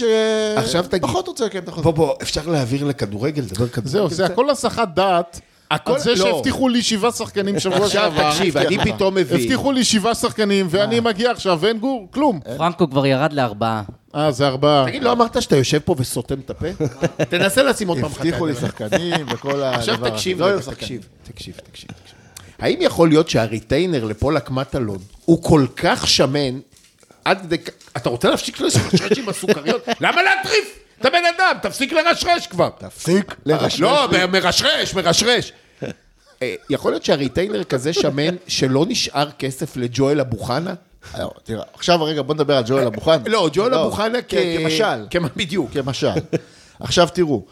[SPEAKER 3] עכשיו תגיד.
[SPEAKER 2] שפחות רוצה לקיים את החוזה.
[SPEAKER 3] בוא, בוא, אפשר להעביר לכדורגל, לדבר כדורגל.
[SPEAKER 4] זהו, זה הכל הסחת דעת
[SPEAKER 3] הכל-
[SPEAKER 4] על זה
[SPEAKER 3] לא.
[SPEAKER 4] שהבטיחו לי שבעה שחקנים שבוע
[SPEAKER 3] עכשיו
[SPEAKER 4] שעבר.
[SPEAKER 3] תקשיב, אני
[SPEAKER 2] הבטיח לך.
[SPEAKER 3] פתאום מבין. אה.
[SPEAKER 4] הבטיחו לי שבעה שחקנים, ואני מגיע עכשיו, ואין גור, כלום.
[SPEAKER 5] פרנקו כבר ירד לארבעה.
[SPEAKER 4] אה, זה ארבעה.
[SPEAKER 3] תגיד, לא אמרת שאתה יושב פה וסותם
[SPEAKER 2] (laughs)
[SPEAKER 3] את הפה? תנסה לשים עוד פעם לא חטאי.
[SPEAKER 2] הבטיחו לי שחקנים וכל הדבר הזה.
[SPEAKER 3] (laughs) עכשיו תקשיב,
[SPEAKER 2] לא
[SPEAKER 3] רגע,
[SPEAKER 2] היו שחקנים.
[SPEAKER 3] תקשיב, תקשיב, תקשיב. תקשיב. האם יכול להיות שהריטיינר לפולק מטלון הוא כל כך שמן, עד כדי... כ- אתה רוצה להפסיק לרשרש עם הסוכריות?
[SPEAKER 2] (laughs)
[SPEAKER 3] למה להטריף? אתה בן אדם, תפסיק לרשרש כבר.
[SPEAKER 2] תפסיק לרשת.
[SPEAKER 3] לא, מ- מרשרש, מרשרש. אה, יכול להיות שהריטיינר כזה שמן, שלא נשאר כסף לג'ואל אבוחנה?
[SPEAKER 2] לא, תראה, עכשיו רגע, בוא נדבר על ג'ואל אבוחנה.
[SPEAKER 3] לא, ג'ואל אבוחנה כ...
[SPEAKER 2] כן, כמשל.
[SPEAKER 3] כמה- בדיוק.
[SPEAKER 2] כמשל. עכשיו תראו,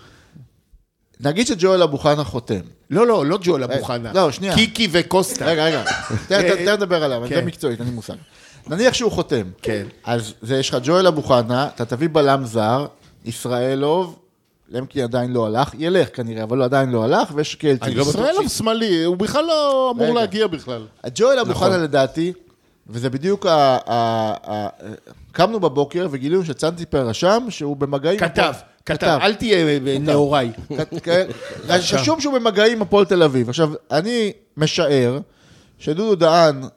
[SPEAKER 2] נגיד שג'ואל אבוחנה חותם.
[SPEAKER 3] לא, לא, לא ג'ואל אבוחנה.
[SPEAKER 2] לא, שנייה.
[SPEAKER 3] קיקי וקוסטה.
[SPEAKER 2] רגע,
[SPEAKER 3] (laughs)
[SPEAKER 2] רגע,
[SPEAKER 3] אה,
[SPEAKER 2] תכף נדבר עליו, זה מקצועית, אין לי מושג. נניח שהוא חותם.
[SPEAKER 3] כן.
[SPEAKER 2] אז זה, יש לך ג'ואל אבוחנה, אתה תביא בלם זר, ישראלוב, למקי עדיין לא הלך, ילך כנראה, אבל הוא עדיין לא הלך, ויש קלטי.
[SPEAKER 3] לא
[SPEAKER 4] ישראל הוא שמאלי, הוא בכלל לא אמור
[SPEAKER 2] רגע.
[SPEAKER 3] אה,
[SPEAKER 4] להגיע בכלל.
[SPEAKER 2] ג'ואל
[SPEAKER 3] נכון.
[SPEAKER 2] אבוחנה לדעתי, וזה בדיוק ה... ה- ה- קמנו בבוקר וגילינו שצנציפר רשם שהוא במגעים... עם
[SPEAKER 3] כתב,
[SPEAKER 2] הפועל-
[SPEAKER 3] כתב, אל תהיה נאוריי.
[SPEAKER 2] כ-
[SPEAKER 3] (laughs)
[SPEAKER 2] כ- כן? רשום שהוא במגעים עם הפועל תל אביב. עכשיו, אני משער שדודו דהן אה,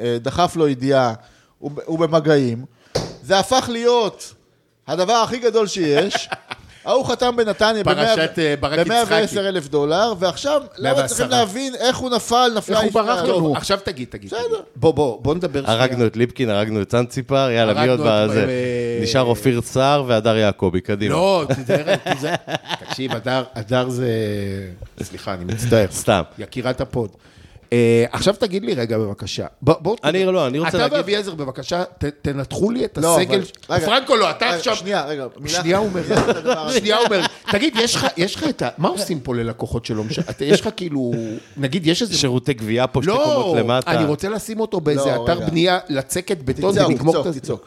[SPEAKER 2] אה, דחף לו ידיעה, הוא ב- הוא במגעים, זה הפך להיות הדבר הכי גדול
[SPEAKER 3] (laughs)
[SPEAKER 2] שיש. ההוא חתם בנתניה
[SPEAKER 3] פרשת, אה, ברק
[SPEAKER 2] ב-110
[SPEAKER 3] יצחקי.
[SPEAKER 2] אלף דולר, ועכשיו למה
[SPEAKER 3] 110?
[SPEAKER 2] צריכים להבין איך הוא נפל, נפלה...
[SPEAKER 4] איך הוא ברח
[SPEAKER 2] ישראל?
[SPEAKER 4] לנו?
[SPEAKER 3] טוב, לא, עכשיו תגיד, תגיד.
[SPEAKER 2] בסדר.
[SPEAKER 3] תגיד. בוא, בוא, בוא נדבר
[SPEAKER 1] הרגנו את ליפקין, הרגנו את צאנציפר, יאללה, מי
[SPEAKER 3] הרגנו
[SPEAKER 1] עוד
[SPEAKER 3] את-
[SPEAKER 1] בזה?
[SPEAKER 3] אה,
[SPEAKER 1] נשאר אופיר סער והדר יעקבי, קדימה.
[SPEAKER 3] לא, תיזהר, תיזהר. תקשיב, הדר- הדר זה... אה. סליחה, אני מצטער.
[SPEAKER 1] סתם.
[SPEAKER 3] יקירת הפוד. אה, עכשיו תגיד לי רגע, בבקשה. בוא, בוא...
[SPEAKER 1] אני לא, אני רוצה
[SPEAKER 3] אתה
[SPEAKER 1] להגיד-
[SPEAKER 3] ואביעזר, בבקשה, ת- תנתחו לי את
[SPEAKER 2] לא,
[SPEAKER 3] הסגל.
[SPEAKER 2] אבל- רגע.
[SPEAKER 3] פרנקו, לא, אתה
[SPEAKER 2] רגע,
[SPEAKER 3] עכשיו...
[SPEAKER 2] אה, שנייה, רגע. מילה-
[SPEAKER 3] שנייה הוא אומר,
[SPEAKER 2] הדבר הזה.
[SPEAKER 3] שנייה הוא אומר, תגיד, יש לך- יש לך את ה... מה עושים פה ללקוחות שלא משנה? יש לך כאילו... נגיד, יש איזה...
[SPEAKER 1] שירותי גבייה פה, שתי
[SPEAKER 3] לא,
[SPEAKER 1] קומות למטה.
[SPEAKER 3] אני רוצה לשים אותו באיזה
[SPEAKER 2] לא,
[SPEAKER 3] אתר
[SPEAKER 2] רגע.
[SPEAKER 3] בנייה, לצקת בטון
[SPEAKER 2] תצעק,
[SPEAKER 3] ולגמור את
[SPEAKER 2] תצעק,
[SPEAKER 3] זה.
[SPEAKER 2] תצעק.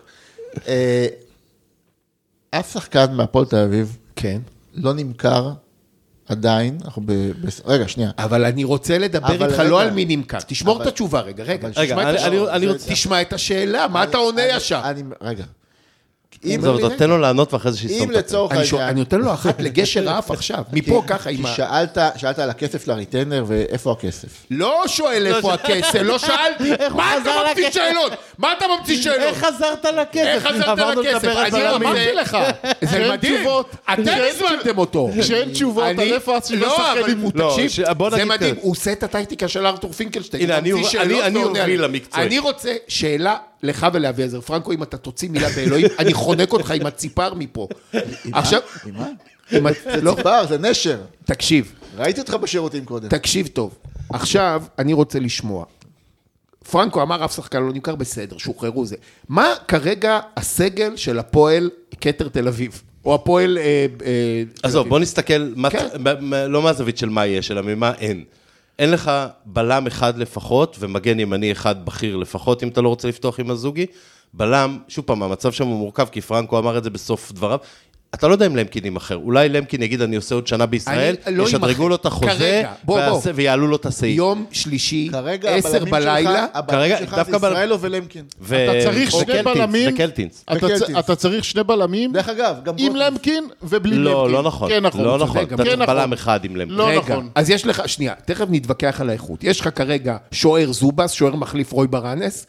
[SPEAKER 2] אה, אף שחקן מהפועל תל אביב
[SPEAKER 3] כן.
[SPEAKER 2] לא נמכר עדיין, אנחנו ב... ב- רגע, שנייה.
[SPEAKER 3] אבל אני רוצה לדבר
[SPEAKER 2] אבל
[SPEAKER 3] איתך
[SPEAKER 2] רגע.
[SPEAKER 3] לא על מי נמכר. תשמור
[SPEAKER 2] אבל-
[SPEAKER 3] את התשובה רגע, רגע.
[SPEAKER 1] רגע,
[SPEAKER 3] תשמע את
[SPEAKER 1] אני-
[SPEAKER 3] השאלה.
[SPEAKER 1] אני- אני רוצה-
[SPEAKER 3] תשמע את השאלה, מה אתה עונה
[SPEAKER 2] אני-
[SPEAKER 3] ישר?
[SPEAKER 2] אני, רגע. אם,
[SPEAKER 1] עזוב,
[SPEAKER 2] אם
[SPEAKER 1] אתה תן לו לענות ואחרי זה שיסתום את הפה.
[SPEAKER 2] לצורך
[SPEAKER 3] אני שואל-
[SPEAKER 2] העניין...
[SPEAKER 3] אני נותן לו אחת לגשר האף עכשיו, מפה ככה עם
[SPEAKER 2] כי
[SPEAKER 3] ה...
[SPEAKER 2] כן. שאלת, שאלת על הכסף של הריטנר ואיפה הכסף.
[SPEAKER 3] לא שואל איפה הכסף, לא שאלתי. מה אתה
[SPEAKER 1] חזר
[SPEAKER 3] ממציא
[SPEAKER 1] לכסף?
[SPEAKER 3] שאלות? מה אתה ממציא שאלות?
[SPEAKER 1] חזרת לכסף?
[SPEAKER 3] איך חזרת לכסף? אני לא אמרתי לך. זה
[SPEAKER 4] כשאין
[SPEAKER 3] מדהים.
[SPEAKER 4] תשובות-
[SPEAKER 3] אתם
[SPEAKER 4] כשאין
[SPEAKER 3] הזמנתם אותו.
[SPEAKER 4] כשאין תשובות, על
[SPEAKER 3] אני-
[SPEAKER 4] איפה הצבעה
[SPEAKER 3] לא,
[SPEAKER 4] שחקנים
[SPEAKER 3] אבל-
[SPEAKER 4] הוא-
[SPEAKER 1] לא,
[SPEAKER 3] תקשיב,
[SPEAKER 1] ש- בוא
[SPEAKER 3] זה
[SPEAKER 1] נגיד
[SPEAKER 3] מדהים,
[SPEAKER 1] כזה.
[SPEAKER 3] הוא עושה את הטקטיקה של ארתור פינקלשטיין.
[SPEAKER 1] הנה,
[SPEAKER 3] הוא
[SPEAKER 1] אני-
[SPEAKER 3] ממציא
[SPEAKER 1] אני-
[SPEAKER 3] שאלות
[SPEAKER 1] אני
[SPEAKER 3] ועונה עליהן.
[SPEAKER 1] הוביל למקצועי.
[SPEAKER 3] אני רוצה שאלה לך ולאביעזר. פרנקו, אם אתה תוציא מילה באלוהים, אני חונק אותך עם הציפר מפה. עכשיו... עם ה- לא,
[SPEAKER 2] בר, זה נשר.
[SPEAKER 3] תקשיב,
[SPEAKER 2] ראיתי אותך בשירותים קודם.
[SPEAKER 3] תקשיב טוב. עכשיו, אני רוצה לשמוע. פרנקו אמר, אף שחקן לא נמכר, בסדר, שוחררו זה. מה כרגע הסגל של הפועל כתר תל אביב? או הפועל... אה, אה,
[SPEAKER 1] עזוב, בוא נסתכל, מה-
[SPEAKER 3] כן.
[SPEAKER 1] מה- מה- לא מהזווית של מה יש, אלא ממה אין. אין לך בלם אחד לפחות, ומגן ימני אחד בכיר לפחות, אם אתה לא רוצה לפתוח עם הזוגי. בלם, שוב פעם, המצב שם הוא מורכב, כי פרנקו אמר את זה בסוף דבריו. אתה לא יודע אם למקין יימכר, אולי למקין יגיד, אני עושה עוד שנה בישראל,
[SPEAKER 3] אני- לא יימכר.
[SPEAKER 1] ישדרגו לו את החוזה,
[SPEAKER 3] כרגע, בוא, בוא.
[SPEAKER 1] ויעשה- ויעלו לו את הסעיף.
[SPEAKER 3] יום שלישי,
[SPEAKER 2] כרגע
[SPEAKER 3] עשר
[SPEAKER 2] הבלמים
[SPEAKER 3] בלילה.
[SPEAKER 2] שלך, הבלמים
[SPEAKER 1] כרגע,
[SPEAKER 2] שלך
[SPEAKER 1] דווקא
[SPEAKER 2] זה
[SPEAKER 1] בל-
[SPEAKER 2] ישראלו ולמקין.
[SPEAKER 1] ו-
[SPEAKER 4] אתה צריך שני
[SPEAKER 1] וקלטינס,
[SPEAKER 4] בלמים.
[SPEAKER 1] וקלטינס.
[SPEAKER 4] אתה
[SPEAKER 2] וקלטינס.
[SPEAKER 4] צ- אתה צריך שני בלמים,
[SPEAKER 2] דרך אגב, גם
[SPEAKER 4] עם
[SPEAKER 2] גוטליב.
[SPEAKER 4] למקין ובלי למקין.
[SPEAKER 1] לא, לא נכון.
[SPEAKER 4] כן נכון.
[SPEAKER 1] לא
[SPEAKER 4] צודק,
[SPEAKER 1] נכון.
[SPEAKER 4] גם
[SPEAKER 1] אתה צריך
[SPEAKER 4] כן
[SPEAKER 1] בלם
[SPEAKER 4] נכון.
[SPEAKER 1] אחד עם למקין.
[SPEAKER 4] לא
[SPEAKER 3] רגע,
[SPEAKER 4] נכון.
[SPEAKER 3] אז יש לך, שנייה, תכף נתווכח על האיכות. יש לך כרגע שוער זובס, שוער מחליף רוי ברנס.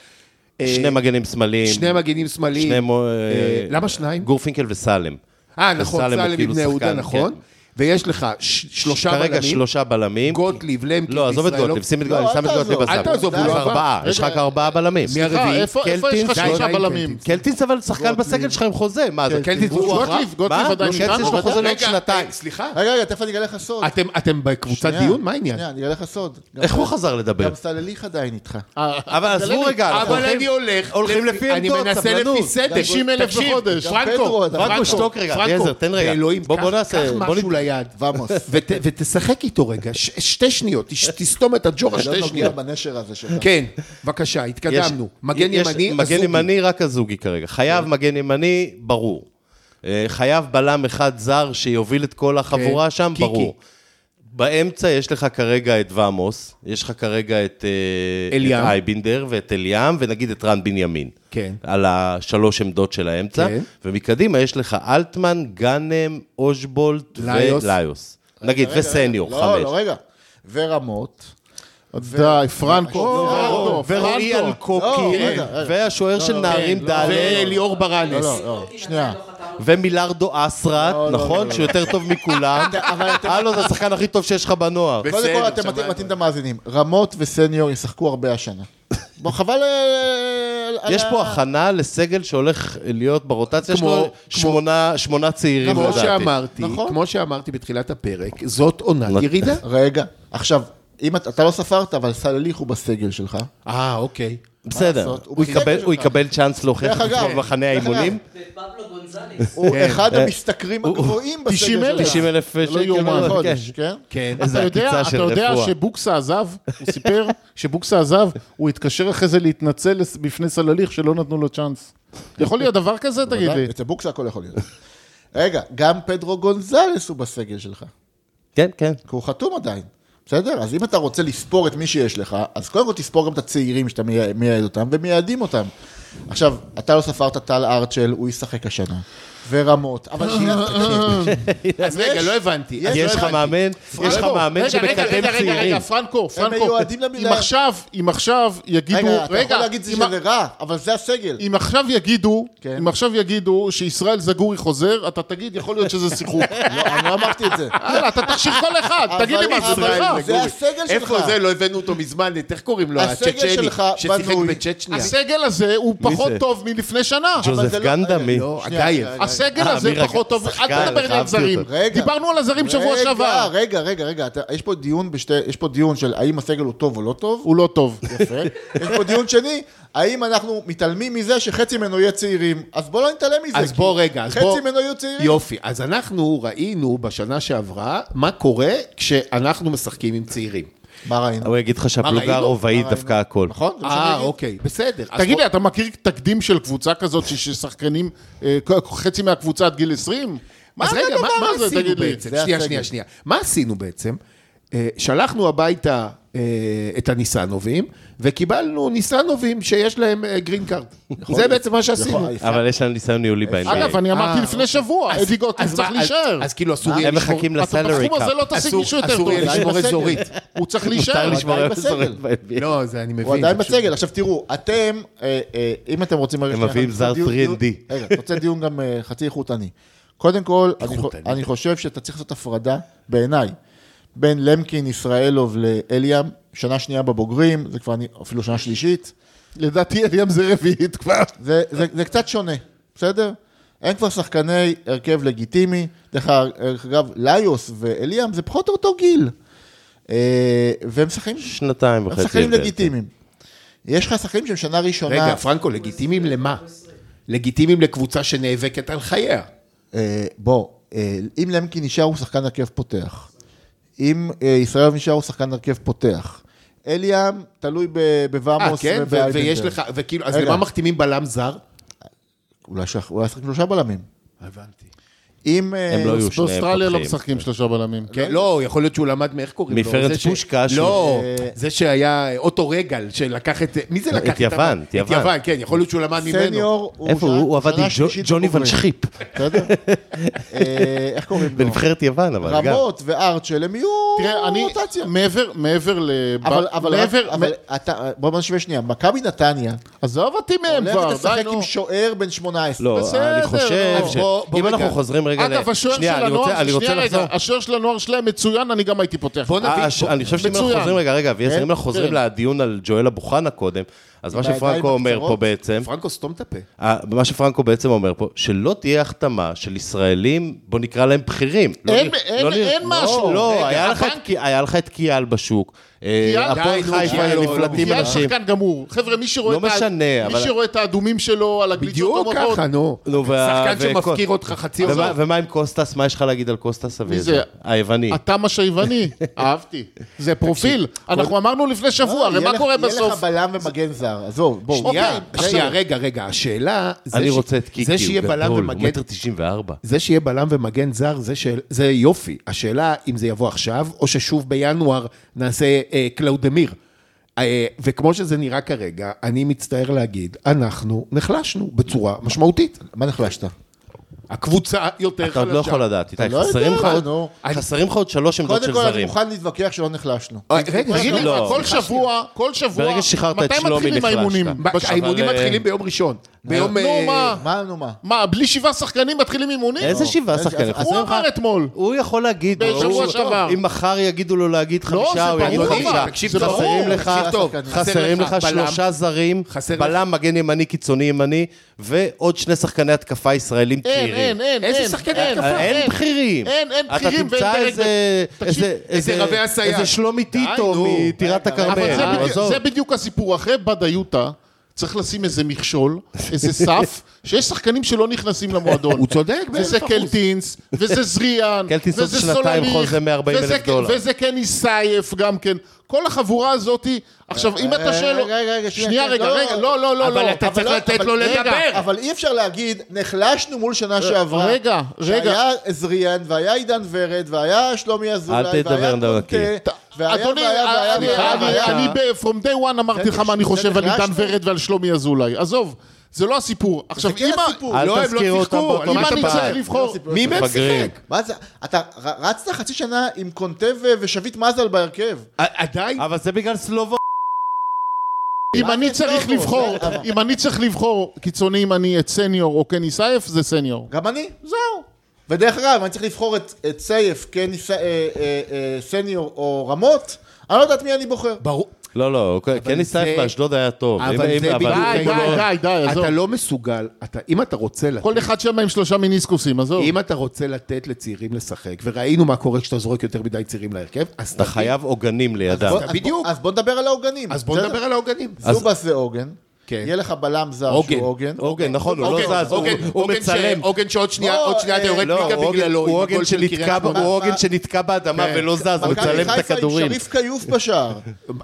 [SPEAKER 3] אה,
[SPEAKER 1] שני מגנים שמאליים.
[SPEAKER 3] שני מגינים שמאליים.
[SPEAKER 1] אה, שני מו-
[SPEAKER 3] אה,
[SPEAKER 1] אה,
[SPEAKER 3] למה שניים?
[SPEAKER 1] גורפינקל וסלם.
[SPEAKER 3] אה, נכון,
[SPEAKER 1] וסלם הוא
[SPEAKER 3] סלם
[SPEAKER 1] כאילו
[SPEAKER 3] מבני יהודה,
[SPEAKER 1] שחקן,
[SPEAKER 3] נכון.
[SPEAKER 1] כן.
[SPEAKER 3] ויש לך ש- שלושה בלמים.
[SPEAKER 1] כרגע שלושה בלמים.
[SPEAKER 3] גוטליב, למקין,
[SPEAKER 1] לא, עזוב את
[SPEAKER 3] ישראלוב.
[SPEAKER 1] גוטליב, שים את
[SPEAKER 2] לא,
[SPEAKER 1] גוטליב,
[SPEAKER 2] אל
[SPEAKER 1] אני שם את
[SPEAKER 2] תעזוב.
[SPEAKER 1] גוטליב בצד.
[SPEAKER 3] אל תעזוב, הוא
[SPEAKER 1] יש
[SPEAKER 3] לא
[SPEAKER 1] לך
[SPEAKER 3] עבר.
[SPEAKER 1] ארבעה, יש לך ארבעה בלמים.
[SPEAKER 3] מי
[SPEAKER 4] סליחה,
[SPEAKER 3] הרביעי?
[SPEAKER 4] איפה איפה יש לך
[SPEAKER 3] קלטינס,
[SPEAKER 4] שלושה
[SPEAKER 3] גיא
[SPEAKER 4] בלמים?
[SPEAKER 1] קלטינס אבל שחקן בסגל שלך עם חוזה, מה זה?
[SPEAKER 3] קלטינס כן, הוא
[SPEAKER 1] הוא
[SPEAKER 3] הוארך?
[SPEAKER 1] הוארך?
[SPEAKER 4] גוטליב, גוטליב
[SPEAKER 1] מה?
[SPEAKER 4] עדיין
[SPEAKER 1] לא, קלטינס
[SPEAKER 4] איתנו,
[SPEAKER 1] יש לו חוזה לעוד
[SPEAKER 3] רגע,
[SPEAKER 1] שנתיים.
[SPEAKER 3] אה, סליחה,
[SPEAKER 2] רגע, רגע, תכף אני אגלה לך סוד.
[SPEAKER 3] אתם- אתם בקבוצת
[SPEAKER 2] שנייה,
[SPEAKER 3] דיון? מה העניין?
[SPEAKER 2] שנייה, אני אגלה לך סוד. גם-
[SPEAKER 1] איך הוא חזר לדבר?
[SPEAKER 2] גם סלליך עדיין איתך.
[SPEAKER 4] אה,
[SPEAKER 1] אבל עזבו
[SPEAKER 4] לא
[SPEAKER 1] רגע, אנחנו
[SPEAKER 3] אבל
[SPEAKER 1] הולכים-
[SPEAKER 3] אני הולך,
[SPEAKER 1] הולכים לפי עמדות,
[SPEAKER 3] אני מנסה
[SPEAKER 1] סבלנות.
[SPEAKER 3] לפי סדר,
[SPEAKER 4] 90,000
[SPEAKER 3] תקשיב,
[SPEAKER 4] בחודש.
[SPEAKER 2] גם
[SPEAKER 3] פרנקו,
[SPEAKER 2] פדרו, אתה-
[SPEAKER 1] פרנקו, שתוק רגע, אליעזר, תן רגע.
[SPEAKER 3] באלוהים,
[SPEAKER 1] בוא- בוא
[SPEAKER 3] קח-
[SPEAKER 1] נעשה-
[SPEAKER 3] קח
[SPEAKER 1] בוא
[SPEAKER 3] משהו
[SPEAKER 1] נת-
[SPEAKER 3] ליד,
[SPEAKER 1] (laughs)
[SPEAKER 2] ועמוס.
[SPEAKER 3] ות- ותשחק איתו רגע, ש- שתי שניות, (laughs) תש- תסתום את הג'ורה
[SPEAKER 2] לא
[SPEAKER 3] שתי
[SPEAKER 2] נוגע
[SPEAKER 3] שניות.
[SPEAKER 2] בנשר הזה שלך.
[SPEAKER 3] כן, בבקשה,
[SPEAKER 1] יש-
[SPEAKER 3] התקדמנו. מגן
[SPEAKER 1] יש-
[SPEAKER 3] ימני,
[SPEAKER 1] מגן
[SPEAKER 3] אזוגי.
[SPEAKER 1] ימני, רק הזוגי כרגע. חייב מגן ימני, ברור. אה, חייב בלם אחד זר שיוביל את כל החבורה
[SPEAKER 3] כן.
[SPEAKER 1] שם,
[SPEAKER 3] קיקי.
[SPEAKER 1] ברור. באמצע יש לך כרגע את ועמוס, יש לך כרגע את אה, את
[SPEAKER 3] אליאם.
[SPEAKER 1] אייבינדר ואת אליאם, ונגיד את רן בנימין.
[SPEAKER 3] כן.
[SPEAKER 1] על השלוש עמדות של האמצע.
[SPEAKER 3] כן.
[SPEAKER 1] ומקדימה יש לך אלטמן, גאנם, אושבולט
[SPEAKER 3] ליוס.
[SPEAKER 1] וליוס. נגיד,
[SPEAKER 2] רגע, רגע,
[SPEAKER 1] וסניור,
[SPEAKER 2] לא, לא,
[SPEAKER 1] חמש.
[SPEAKER 2] רגע. ורמות.
[SPEAKER 4] די, פרנקו,
[SPEAKER 1] פרנקו,
[SPEAKER 4] פרנקו,
[SPEAKER 1] ורועי
[SPEAKER 4] פרנקו.
[SPEAKER 2] לא,
[SPEAKER 1] אלקוקי,
[SPEAKER 2] רגע, רגע.
[SPEAKER 1] והשוער של נערים ד',
[SPEAKER 3] וליאור ברנס.
[SPEAKER 1] אה,
[SPEAKER 2] שנייה.
[SPEAKER 1] ומילארדו אסרט, נכון? שהוא יותר טוב מכולם. הלו, זה השחקן הכי טוב שיש לך בנוער.
[SPEAKER 2] קודם כל,
[SPEAKER 3] בסדר,
[SPEAKER 2] אתם
[SPEAKER 3] סבבה.
[SPEAKER 2] מטעים- מטעים את המאזינים. רמות וסניור ישחקו הרבה השנה. בוא, חבל אה, על...
[SPEAKER 1] יש
[SPEAKER 2] ה-
[SPEAKER 1] פה הכנה לסגל שהולך להיות ברוטציה
[SPEAKER 3] כמו-
[SPEAKER 1] שלו שמונה- שמונה צעירים,
[SPEAKER 3] כמו
[SPEAKER 1] לדעתי.
[SPEAKER 3] שאמרתי,
[SPEAKER 2] נכון.
[SPEAKER 3] כמו שאמרתי בתחילת הפרק, זאת
[SPEAKER 1] נכון.
[SPEAKER 3] עונת ירידה.
[SPEAKER 2] רגע, עכשיו, אם אתה- אתה לא ספרת, אבל סלליך הוא בסגל שלך.
[SPEAKER 3] אה, אוקיי.
[SPEAKER 1] בסדר,
[SPEAKER 2] לעשות? הוא
[SPEAKER 1] הוא
[SPEAKER 2] בסגל
[SPEAKER 1] יקבל-
[SPEAKER 2] שלך.
[SPEAKER 1] הוא יקבל צ'אנס להוכיח את
[SPEAKER 2] דרך אגב,
[SPEAKER 1] עצמו במחנה
[SPEAKER 2] דרך אגב.
[SPEAKER 1] האימונים.
[SPEAKER 5] ופבלו גונזלס.
[SPEAKER 2] הוא
[SPEAKER 1] כן.
[SPEAKER 2] אחד
[SPEAKER 1] אה,
[SPEAKER 2] המשתכרים הגבוהים בסגל שלך.
[SPEAKER 4] 90,000.
[SPEAKER 1] 90 אלף שקל.
[SPEAKER 4] לא יאומן.
[SPEAKER 1] כן.
[SPEAKER 2] חודש, כן?
[SPEAKER 3] כן.
[SPEAKER 1] איזה
[SPEAKER 4] אתה יודע,
[SPEAKER 1] עקיצה
[SPEAKER 4] אתה
[SPEAKER 1] של
[SPEAKER 4] יודע
[SPEAKER 1] רפואה.
[SPEAKER 4] שבוקסה עזב, הוא סיפר שבוקסה עזב, הוא התקשר אחרי זה להתנצל לס- בפני סלליך שלא נתנו לו צ'אנס. יכול להיות דבר כזה, תגיד לי?
[SPEAKER 2] בוודאי, אצל בוקסה הכל יכול להיות. רגע, גם פדרו גונזלס הוא בסגל שלך,
[SPEAKER 1] כן, כן.
[SPEAKER 2] כי הוא חתום עדיין. בסדר? אז אם אתה רוצה לספור את מי שיש לך, אז קודם כל תספור גם את הצעירים שאתה מייע- מייעד אותם ומייעדים אותם. עכשיו, אתה לא ספרת טל ארצ'ל, הוא ישחק השנה. ורמות, אבל שנייה, תקשיב.
[SPEAKER 3] (laughs) אז רגע, לא הבנתי. אז לא
[SPEAKER 1] יש לך
[SPEAKER 3] הבנתי.
[SPEAKER 1] מאמן, יש לך
[SPEAKER 4] פרנקו,
[SPEAKER 1] מאמן
[SPEAKER 4] רגע, רגע,
[SPEAKER 1] שמקדם
[SPEAKER 4] רגע, רגע,
[SPEAKER 1] צעירים.
[SPEAKER 4] רגע, פרנקו, פרנקו,
[SPEAKER 2] מיועדים למ-
[SPEAKER 4] אם עכשיו, אם עכשיו יגידו,
[SPEAKER 2] רגע, אתה יכול
[SPEAKER 4] רגע,
[SPEAKER 2] להגיד
[SPEAKER 4] אם-
[SPEAKER 2] שזה רע, אבל זה הסגל.
[SPEAKER 4] אם עכשיו יגידו,
[SPEAKER 2] כן.
[SPEAKER 4] אם עכשיו יגידו שישראל זגורי חוזר, אתה תגיד, יכול להיות שזה שיחוק.
[SPEAKER 2] (laughs) לא, אני לא אמרתי את זה.
[SPEAKER 4] יאללה, אתה תכשיר כל אחד,
[SPEAKER 2] אבל
[SPEAKER 4] תגיד לי מה, זה
[SPEAKER 2] ישראל
[SPEAKER 4] בריכה.
[SPEAKER 2] זה הסגל שלך.
[SPEAKER 3] איפה זה? לא הבאנו אותו מזמן, את- איך קוראים לו?
[SPEAKER 2] הסגל
[SPEAKER 3] הצ'צ'ני,
[SPEAKER 2] שלך
[SPEAKER 3] ששיחק
[SPEAKER 2] בנוי.
[SPEAKER 3] בצ'צ'ניה.
[SPEAKER 4] הסגל הזה הוא פחות
[SPEAKER 1] זה?
[SPEAKER 4] טוב מלפני שנה.
[SPEAKER 1] ג'וזף
[SPEAKER 2] זה לא-
[SPEAKER 1] גנדמי.
[SPEAKER 3] לא,
[SPEAKER 2] שנייה,
[SPEAKER 3] אגייב.
[SPEAKER 2] רגע,
[SPEAKER 4] הסגל
[SPEAKER 1] אה,
[SPEAKER 4] הזה
[SPEAKER 1] מירה,
[SPEAKER 4] פחות טוב,
[SPEAKER 1] שחקן,
[SPEAKER 4] אל תדבר
[SPEAKER 1] אהבתי
[SPEAKER 4] על
[SPEAKER 1] אותו.
[SPEAKER 4] זרים.
[SPEAKER 2] רגע.
[SPEAKER 4] דיברנו על הזרים שבוע
[SPEAKER 2] רגע,
[SPEAKER 4] שעבר.
[SPEAKER 2] רגע, רגע, רגע, אתה- יש פה דיון בשתי, יש פה דיון של האם הסגל הוא טוב או לא טוב.
[SPEAKER 4] הוא לא טוב.
[SPEAKER 2] יפה. יש פה דיון שני, האם אנחנו מתעלמים מזה שחצי ממנו יהיה צעירים? אז בוא לא נתעלם מזה.
[SPEAKER 3] אז
[SPEAKER 2] כי
[SPEAKER 3] בוא רגע, אז בוא...
[SPEAKER 2] חצי ממנו יהיו צעירים.
[SPEAKER 3] יופי, אז אנחנו ראינו בשנה שעברה מה קורה כשאנחנו משחקים עם צעירים.
[SPEAKER 2] מה ראינו?
[SPEAKER 1] הוא יגיד לך שהפלוגה
[SPEAKER 3] ראינו?
[SPEAKER 1] הרובעית
[SPEAKER 2] מה
[SPEAKER 1] דווקא
[SPEAKER 2] ראינו?
[SPEAKER 1] הכל.
[SPEAKER 2] נכון? זה מה שאני
[SPEAKER 3] אה,
[SPEAKER 2] אגיד.
[SPEAKER 3] אוקיי, בסדר. אז
[SPEAKER 4] תגיד
[SPEAKER 3] בוא-
[SPEAKER 4] לי, אתה מכיר תקדים של קבוצה כזאת ש- ששחקנים, אה, חצי מהקבוצה עד גיל 20? מה
[SPEAKER 3] אז
[SPEAKER 4] זה
[SPEAKER 3] רגע, מה, מה
[SPEAKER 4] הדבר הזה,
[SPEAKER 3] עשינו
[SPEAKER 4] תגיד לי?
[SPEAKER 3] בעצם?
[SPEAKER 2] זה
[SPEAKER 3] שנייה,
[SPEAKER 2] הסגל.
[SPEAKER 3] שנייה, שנייה. מה עשינו בעצם? אה, שלחנו הביתה אה, את הניסנובים, וקיבלנו ניסנובים שיש להם אה, גרין קארד. זה בעצם מה שעשינו.
[SPEAKER 2] יכול.
[SPEAKER 1] אבל יש לנו ניסיון ניהולי בעניין.
[SPEAKER 4] אגב, אני אמרתי
[SPEAKER 3] אה,
[SPEAKER 4] לפני שבוע,
[SPEAKER 3] אז-
[SPEAKER 4] אדי גוטליב
[SPEAKER 3] אז
[SPEAKER 4] צריך
[SPEAKER 3] מה, אז-
[SPEAKER 4] להישאר.
[SPEAKER 3] אז כאילו אסור יהיה
[SPEAKER 1] הם
[SPEAKER 3] לשמור...
[SPEAKER 1] מחכים
[SPEAKER 4] אתה
[SPEAKER 1] לסלרי
[SPEAKER 4] בתחום הזה
[SPEAKER 1] קאפ.
[SPEAKER 4] לא תשיג
[SPEAKER 3] אסור-
[SPEAKER 4] מישהו יותר
[SPEAKER 3] אסור
[SPEAKER 4] טוב.
[SPEAKER 3] יהיה לשמור
[SPEAKER 4] בסגל.
[SPEAKER 3] אזורית.
[SPEAKER 4] הוא צריך
[SPEAKER 1] מותר
[SPEAKER 4] להישאר.
[SPEAKER 1] לשמור
[SPEAKER 2] עדיין
[SPEAKER 1] על
[SPEAKER 2] בסגל.
[SPEAKER 1] אזורים ב-NBA.
[SPEAKER 3] לא, זה אני מבין.
[SPEAKER 2] הוא עדיין
[SPEAKER 3] זה פשוט-
[SPEAKER 2] בסגל. עכשיו תראו, אתם, אה, אה, אם אתם רוצים... רגע, שנייה,
[SPEAKER 1] מביאים
[SPEAKER 2] אנחנו
[SPEAKER 1] זר
[SPEAKER 2] דיון-
[SPEAKER 1] 3D.
[SPEAKER 2] דיון- רגע, אתה רוצה דיון גם אה, חצי איכותני. קודם כל, אני חו- אני חושב שאתה צריך לעשות הפרדה, בעיניי, בין למקין, ישראלוב לאליאם, שנה שנייה בבוגרים, זה כבר אני- אפילו שנה שלישית.
[SPEAKER 4] לדעתי אליאם זה רביעית כבר.
[SPEAKER 2] זה, זה, זה קצת שונה, בסדר? הם כבר שחקני הרכב לגיטימי. דרך ה- דרך אגב, ליוס ואליאם זה פחות אותו גיל. אה, והם משחקים,
[SPEAKER 1] שנתיים
[SPEAKER 2] הם
[SPEAKER 1] וחצי.
[SPEAKER 2] שחקנים
[SPEAKER 1] הבדל.
[SPEAKER 2] לגיטימיים. יש לך שחקנים שהם שנה ראשונה...
[SPEAKER 3] רגע, פרנקו, לגיטימיים למה? לגיטימיים לקבוצה שנאבקת על חייה.
[SPEAKER 2] אה, בוא, אה, אם למקין נשאר הוא שחקן הרכב פותח. אם אה, ישראל נשאר הוא שחקן הרכב פותח. אליאם תלוי ב-
[SPEAKER 3] אה,
[SPEAKER 2] בוואמוס
[SPEAKER 3] כן? ו-
[SPEAKER 2] ובאייבנדר.
[SPEAKER 3] ויש לך, וכאילו, אז
[SPEAKER 2] רגע.
[SPEAKER 3] למה מחתימים בלם זר?
[SPEAKER 2] אולי שח- אולי ישחק שלושה בלמים.
[SPEAKER 3] הבנתי.
[SPEAKER 2] אם... אה,
[SPEAKER 1] הם לא יהיו שני
[SPEAKER 4] באוסטרליה לא
[SPEAKER 1] פותחים.
[SPEAKER 4] משחקים שלושה בלמים.
[SPEAKER 3] כן, לא, יכול להיות שהוא למד מאיך קוראים לו.
[SPEAKER 1] מפרץ
[SPEAKER 3] זה ש-
[SPEAKER 1] פושקש.
[SPEAKER 3] לא,
[SPEAKER 2] אה,
[SPEAKER 3] זה שהיה אוטו רגל, שלקח את... מי זה
[SPEAKER 1] לא,
[SPEAKER 3] לקח
[SPEAKER 1] את יוון,
[SPEAKER 3] את
[SPEAKER 1] את יוון.
[SPEAKER 3] יוון, כן, יכול להיות שהוא למד ממנו.
[SPEAKER 2] סניור הוא...
[SPEAKER 1] איפה
[SPEAKER 2] שנה-
[SPEAKER 1] הוא? הוא עבד
[SPEAKER 2] שנה לא.
[SPEAKER 1] עם ג'ו-
[SPEAKER 2] שלישית
[SPEAKER 1] ג'וני ון
[SPEAKER 2] בבוגרים.
[SPEAKER 1] שחיפ.
[SPEAKER 2] בסדר? אה, איך קוראים לו?
[SPEAKER 1] בנבחרת יוון, אבל גם.
[SPEAKER 2] רמות וארצ'ל הם יהיו
[SPEAKER 4] תראה, אני,
[SPEAKER 2] רוטציה.
[SPEAKER 4] מעבר, מעבר ל...
[SPEAKER 2] אבל, אבל,
[SPEAKER 4] מעבר,
[SPEAKER 2] אבל אתה, בוא נשווה שנייה, מכבי נתניה
[SPEAKER 4] עזוב אותי מהם כבר,
[SPEAKER 2] הולכת
[SPEAKER 4] די
[SPEAKER 2] לשחק
[SPEAKER 4] נו.
[SPEAKER 2] עם שוער בן 18.
[SPEAKER 1] לא,
[SPEAKER 4] בסדר,
[SPEAKER 1] אני חושב
[SPEAKER 4] לא.
[SPEAKER 1] ש...
[SPEAKER 3] בוא- בוא
[SPEAKER 1] אם
[SPEAKER 3] רגע.
[SPEAKER 1] אנחנו חוזרים רגע ל...
[SPEAKER 4] אגב, השוער של
[SPEAKER 1] שנייה, אני רוצה-
[SPEAKER 4] הנוער,
[SPEAKER 1] אני רוצה
[SPEAKER 4] שנייה רגע,
[SPEAKER 1] לחזור.
[SPEAKER 4] השוער של הנוער שלהם מצוין, אני גם הייתי פותח.
[SPEAKER 3] בוא נביא-
[SPEAKER 1] אה, ש- אני חושב שאם אנחנו
[SPEAKER 4] מצוין.
[SPEAKER 1] חוזרים רגע, רגע, אביעזר,
[SPEAKER 4] כן,
[SPEAKER 1] אם אנחנו חוזרים
[SPEAKER 4] כן.
[SPEAKER 1] לדיון על ג'ואל אבוחנה קודם, אז מה
[SPEAKER 2] עם הידיים
[SPEAKER 1] שפרנקו אומר פה
[SPEAKER 2] הקצרות.
[SPEAKER 1] בעצם,
[SPEAKER 3] פרנקו, סתום את הפה.
[SPEAKER 1] אה, מה שפרנקו בעצם אומר פה, שלא תהיה החתמה של ישראלים, בוא נקרא להם בכירים. לא
[SPEAKER 4] אין-
[SPEAKER 1] נ-
[SPEAKER 4] אין-
[SPEAKER 1] לא נ-
[SPEAKER 4] אין
[SPEAKER 1] לא,
[SPEAKER 4] משהו.
[SPEAKER 1] לא,
[SPEAKER 4] רגע,
[SPEAKER 1] היה לך את
[SPEAKER 4] הבנק-
[SPEAKER 1] קי- היה לך את קיאל בשוק. אה,
[SPEAKER 4] קיאל?
[SPEAKER 1] הפועל
[SPEAKER 3] די, נו,
[SPEAKER 1] חיפה
[SPEAKER 3] קיאל לא-
[SPEAKER 1] נפלטים
[SPEAKER 4] קיאל
[SPEAKER 1] אנשים.
[SPEAKER 4] שחקן גמור. חבר'ה, מי שרואה
[SPEAKER 1] לא
[SPEAKER 4] את ה-
[SPEAKER 1] משנה,
[SPEAKER 4] מי
[SPEAKER 1] אבל-
[SPEAKER 4] שרואה את האדומים שלו על הגליצות
[SPEAKER 3] בדיוק
[SPEAKER 4] המובהות.
[SPEAKER 3] ככה, נו.
[SPEAKER 1] נו, וה-
[SPEAKER 3] שחקן
[SPEAKER 1] וכל-
[SPEAKER 3] שמפקיר אותך חצי
[SPEAKER 1] ומה-
[SPEAKER 3] עונה.
[SPEAKER 1] ומה עם קוסטס? מה יש לך להגיד על קוסטס
[SPEAKER 4] זה?
[SPEAKER 1] אביעזר? היווני. (laughs)
[SPEAKER 4] התמ"ש היווני, אהבתי. זה פרופיל. אנחנו אמרנו
[SPEAKER 1] לא,
[SPEAKER 4] לפני שבוע, הרי
[SPEAKER 2] אה, יהיה
[SPEAKER 4] מה
[SPEAKER 2] לך-
[SPEAKER 4] קורה
[SPEAKER 2] יהיה
[SPEAKER 4] בסוף?
[SPEAKER 2] לך בלם ומגן זר, עזוב, בואו.
[SPEAKER 3] שנייה,
[SPEAKER 2] אוקיי,
[SPEAKER 3] שנייה,
[SPEAKER 2] בסדר.
[SPEAKER 3] רגע, רגע, השאלה... זה
[SPEAKER 1] אני
[SPEAKER 3] ש-
[SPEAKER 1] רוצה את קיקי,
[SPEAKER 3] זה שיהיה
[SPEAKER 1] הוא
[SPEAKER 3] בלם
[SPEAKER 1] גדול, הוא
[SPEAKER 3] ומגן
[SPEAKER 1] מטר תשעים וארבע.
[SPEAKER 3] זה שיהיה בלם ומגן זר, זה, של... זה יופי. השאלה אם זה יבוא עכשיו, או ששוב בינואר נעשה אה, קלאודמיר. אה, וכמו שזה נראה כרגע, אני מצטער להגיד, אנחנו נחלשנו בצורה משמעותית.
[SPEAKER 2] מה נחלשת?
[SPEAKER 3] הקבוצה יותר חלשה.
[SPEAKER 1] אתה עוד לא יכול לדעת, איתי,
[SPEAKER 2] אתה לא
[SPEAKER 1] חסרים
[SPEAKER 2] יודע,
[SPEAKER 1] לך עוד-
[SPEAKER 2] נו.
[SPEAKER 1] חסרים לך עוד שלוש עמדות
[SPEAKER 2] קודם
[SPEAKER 1] של
[SPEAKER 2] כל, אני
[SPEAKER 1] זרים.
[SPEAKER 2] מוכן להתווכח שלא נחלשנו.
[SPEAKER 3] אה, רגע,
[SPEAKER 4] תגיד לי,
[SPEAKER 3] רגע,
[SPEAKER 1] לא.
[SPEAKER 4] מה, כל שבוע, כל שבוע,
[SPEAKER 1] ברגע ששחררת את
[SPEAKER 4] מתי
[SPEAKER 1] שלומי,
[SPEAKER 4] מתחילים
[SPEAKER 1] נחלשת.
[SPEAKER 4] האימונים?
[SPEAKER 3] ב-
[SPEAKER 1] אבל,
[SPEAKER 3] האימונים
[SPEAKER 1] אה,
[SPEAKER 3] מתחילים ביום ראשון. ביום...
[SPEAKER 4] נו,
[SPEAKER 3] אה,
[SPEAKER 4] מה?
[SPEAKER 2] מה, נו מה?
[SPEAKER 4] מה, בלי שבעה שחקנים מתחילים אימונים?
[SPEAKER 1] איזה שבעה
[SPEAKER 2] איזה-
[SPEAKER 1] שחקנים?
[SPEAKER 2] אז- אז
[SPEAKER 1] חסרים
[SPEAKER 4] הוא
[SPEAKER 1] לך-
[SPEAKER 4] אמר אתמול.
[SPEAKER 1] הוא יכול להגיד,
[SPEAKER 4] בשבוע
[SPEAKER 1] הוא-
[SPEAKER 4] שעבר.
[SPEAKER 1] אם מחר יגידו לו להגיד חמישה,
[SPEAKER 4] זה
[SPEAKER 1] הוא יגיד
[SPEAKER 4] ברור,
[SPEAKER 1] חמישה.
[SPEAKER 4] אבל
[SPEAKER 3] תקשיב
[SPEAKER 4] זה
[SPEAKER 3] טוב,
[SPEAKER 1] חסרים
[SPEAKER 4] ברור,
[SPEAKER 1] לך,
[SPEAKER 3] תקשיב טוב,
[SPEAKER 1] חסרים לך
[SPEAKER 3] בלם.
[SPEAKER 1] שלושה זרים,
[SPEAKER 3] חסר לך-
[SPEAKER 1] בלם, מגן ימני, קיצוני ימני, ועוד שני שחקני התקפה ישראלים
[SPEAKER 4] אין,
[SPEAKER 1] צעירים.
[SPEAKER 4] אין, אין.
[SPEAKER 3] איזה
[SPEAKER 4] אין,
[SPEAKER 3] שחקני
[SPEAKER 4] אין,
[SPEAKER 3] התקפה?
[SPEAKER 1] אה, אין בכירים.
[SPEAKER 4] אין, אין בכירים
[SPEAKER 1] אתה תמצא
[SPEAKER 4] ואין דרג
[SPEAKER 1] איזה,
[SPEAKER 4] ב- תקשיב,
[SPEAKER 1] איזה,
[SPEAKER 3] איזה רבי הסייג.
[SPEAKER 1] איזה שלומי טיטו
[SPEAKER 3] נו.
[SPEAKER 1] מטירת הכרמל.
[SPEAKER 4] אבל זה
[SPEAKER 1] נו,
[SPEAKER 4] בדיוק-
[SPEAKER 1] עזוב.
[SPEAKER 4] זה בדיוק הסיפור. אחרי בדיוטה, צריך לשים איזה מכשול, איזה סף, שיש שחקנים שלא נכנסים למועדון.
[SPEAKER 3] הוא צודק,
[SPEAKER 4] וזה קלטינס, וזה זריאן,
[SPEAKER 1] קלטינס עוד
[SPEAKER 4] וזה
[SPEAKER 1] שנתיים
[SPEAKER 4] סולליך,
[SPEAKER 1] חוזה 140,000
[SPEAKER 4] וזה- כן-
[SPEAKER 1] דולר.
[SPEAKER 4] וזה קני סייף גם כן. כל החבורה הזאת, עכשיו, אם אתה שואל...
[SPEAKER 2] רגע, רגע, רגע, שנייה,
[SPEAKER 4] שנייה,
[SPEAKER 2] כן,
[SPEAKER 4] רגע,
[SPEAKER 2] לא,
[SPEAKER 4] רגע, לא, לא, לא,
[SPEAKER 3] אבל
[SPEAKER 4] לא.
[SPEAKER 3] אתה צריך
[SPEAKER 4] לא,
[SPEAKER 3] לתת
[SPEAKER 4] אבל-
[SPEAKER 3] לו
[SPEAKER 4] רגע,
[SPEAKER 3] לדבר.
[SPEAKER 2] אבל אי אפשר להגיד, נחלשנו מול
[SPEAKER 1] אה,
[SPEAKER 2] שנה שעברה.
[SPEAKER 4] רגע, רגע.
[SPEAKER 2] שהיה זריאן, והיה עידן ורד, והיה שלומי
[SPEAKER 1] אל
[SPEAKER 2] אזולאי,
[SPEAKER 1] תדבר, אה,
[SPEAKER 2] והיה
[SPEAKER 1] נדבר,
[SPEAKER 2] קונטה,
[SPEAKER 1] כן.
[SPEAKER 2] והיה, והיה,
[SPEAKER 4] אדוני,
[SPEAKER 2] והיה,
[SPEAKER 4] אני-
[SPEAKER 2] והיה,
[SPEAKER 4] אני-
[SPEAKER 2] והיה.
[SPEAKER 4] אני ב- from day one אמרתי לך מה אני חושב על עידן
[SPEAKER 2] נחלשנו.
[SPEAKER 4] ורד ועל שלומי אזולאי. עזוב, זה לא הסיפור. עכשיו,
[SPEAKER 2] כן
[SPEAKER 4] אם ה-
[SPEAKER 2] הסיפור.
[SPEAKER 1] אל
[SPEAKER 3] לא, הם לא
[SPEAKER 1] תזכיר אותם
[SPEAKER 3] שיחקו,
[SPEAKER 1] באותו
[SPEAKER 4] אם אני
[SPEAKER 1] משפט.
[SPEAKER 4] צריך לבחור...
[SPEAKER 3] מי מהם
[SPEAKER 1] מפגרים.
[SPEAKER 3] שיחק?
[SPEAKER 2] מה זה, אתה ר- רצת חצי שנה עם קונטה ו- ושביט מזל בהרכב.
[SPEAKER 3] ע- עדיין?
[SPEAKER 1] אבל זה בגלל סלובו.
[SPEAKER 4] אם אני
[SPEAKER 2] מה זה
[SPEAKER 4] צריך
[SPEAKER 2] טוב?
[SPEAKER 4] לבחור,
[SPEAKER 2] אבל-
[SPEAKER 4] אם אני צריך לבחור קיצוני ימני את סניור או קני סייף, זה סניור.
[SPEAKER 2] גם אני, זהו. ודרך אגב, אני צריך לבחור את, את סייף כניס- אה, אה, אה, סניור או רמות, אני לא יודעת מי אני בוחר.
[SPEAKER 3] ברור.
[SPEAKER 1] לא, לא, קני
[SPEAKER 3] זה-
[SPEAKER 1] סייף באשדוד היה טוב. אם-
[SPEAKER 3] אבל
[SPEAKER 1] אם-
[SPEAKER 3] זה בדיוק...
[SPEAKER 4] די,
[SPEAKER 3] העניין.
[SPEAKER 4] די, די, די, עזוב.
[SPEAKER 3] אתה לא מסוגל, אתה- אם אתה רוצה לתת...
[SPEAKER 4] כל אחד שם עם שלושה מיניסקוסים, עזוב.
[SPEAKER 3] אם אתה רוצה לתת לצעירים לשחק, וראינו מה קורה כשאתה זורק יותר מדי צעירים להרכב, אז
[SPEAKER 1] אתה
[SPEAKER 3] תביא-
[SPEAKER 1] חייב עוגנים לידם.
[SPEAKER 3] בוא- בדיוק.
[SPEAKER 2] אז בוא נדבר על העוגנים.
[SPEAKER 3] אז בוא
[SPEAKER 2] בסדר?
[SPEAKER 3] נדבר על העוגנים.
[SPEAKER 2] זובס זה עוגן.
[SPEAKER 3] כן.
[SPEAKER 2] יהיה לך בלם זר
[SPEAKER 3] עוגן.
[SPEAKER 2] שהוא עוגן.
[SPEAKER 1] עוגן, נכון, הוא
[SPEAKER 3] עוגן,
[SPEAKER 1] לא זז, הוא-
[SPEAKER 3] עוגן,
[SPEAKER 1] הוא
[SPEAKER 3] עוגן ש-
[SPEAKER 1] מצלם.
[SPEAKER 3] עוגן שעוד שנייה,
[SPEAKER 2] לא,
[SPEAKER 3] עוד שנייה אתה
[SPEAKER 2] אה,
[SPEAKER 3] יורד
[SPEAKER 1] לא,
[SPEAKER 3] ליגה
[SPEAKER 1] הוא עוגן-
[SPEAKER 3] בגללו. עם
[SPEAKER 1] הוא
[SPEAKER 3] הגול
[SPEAKER 1] עוגן
[SPEAKER 3] של
[SPEAKER 1] שנתקע
[SPEAKER 3] קריית
[SPEAKER 1] ב-
[SPEAKER 3] שמונה.
[SPEAKER 1] הוא עוגן שנתקע באדמה
[SPEAKER 3] כן.
[SPEAKER 1] ולא זז, הוא
[SPEAKER 2] מכבי
[SPEAKER 1] מצלם את
[SPEAKER 2] חיפה עם
[SPEAKER 1] הכדורים.
[SPEAKER 2] שריף כיוף
[SPEAKER 3] (laughs)
[SPEAKER 2] בשער.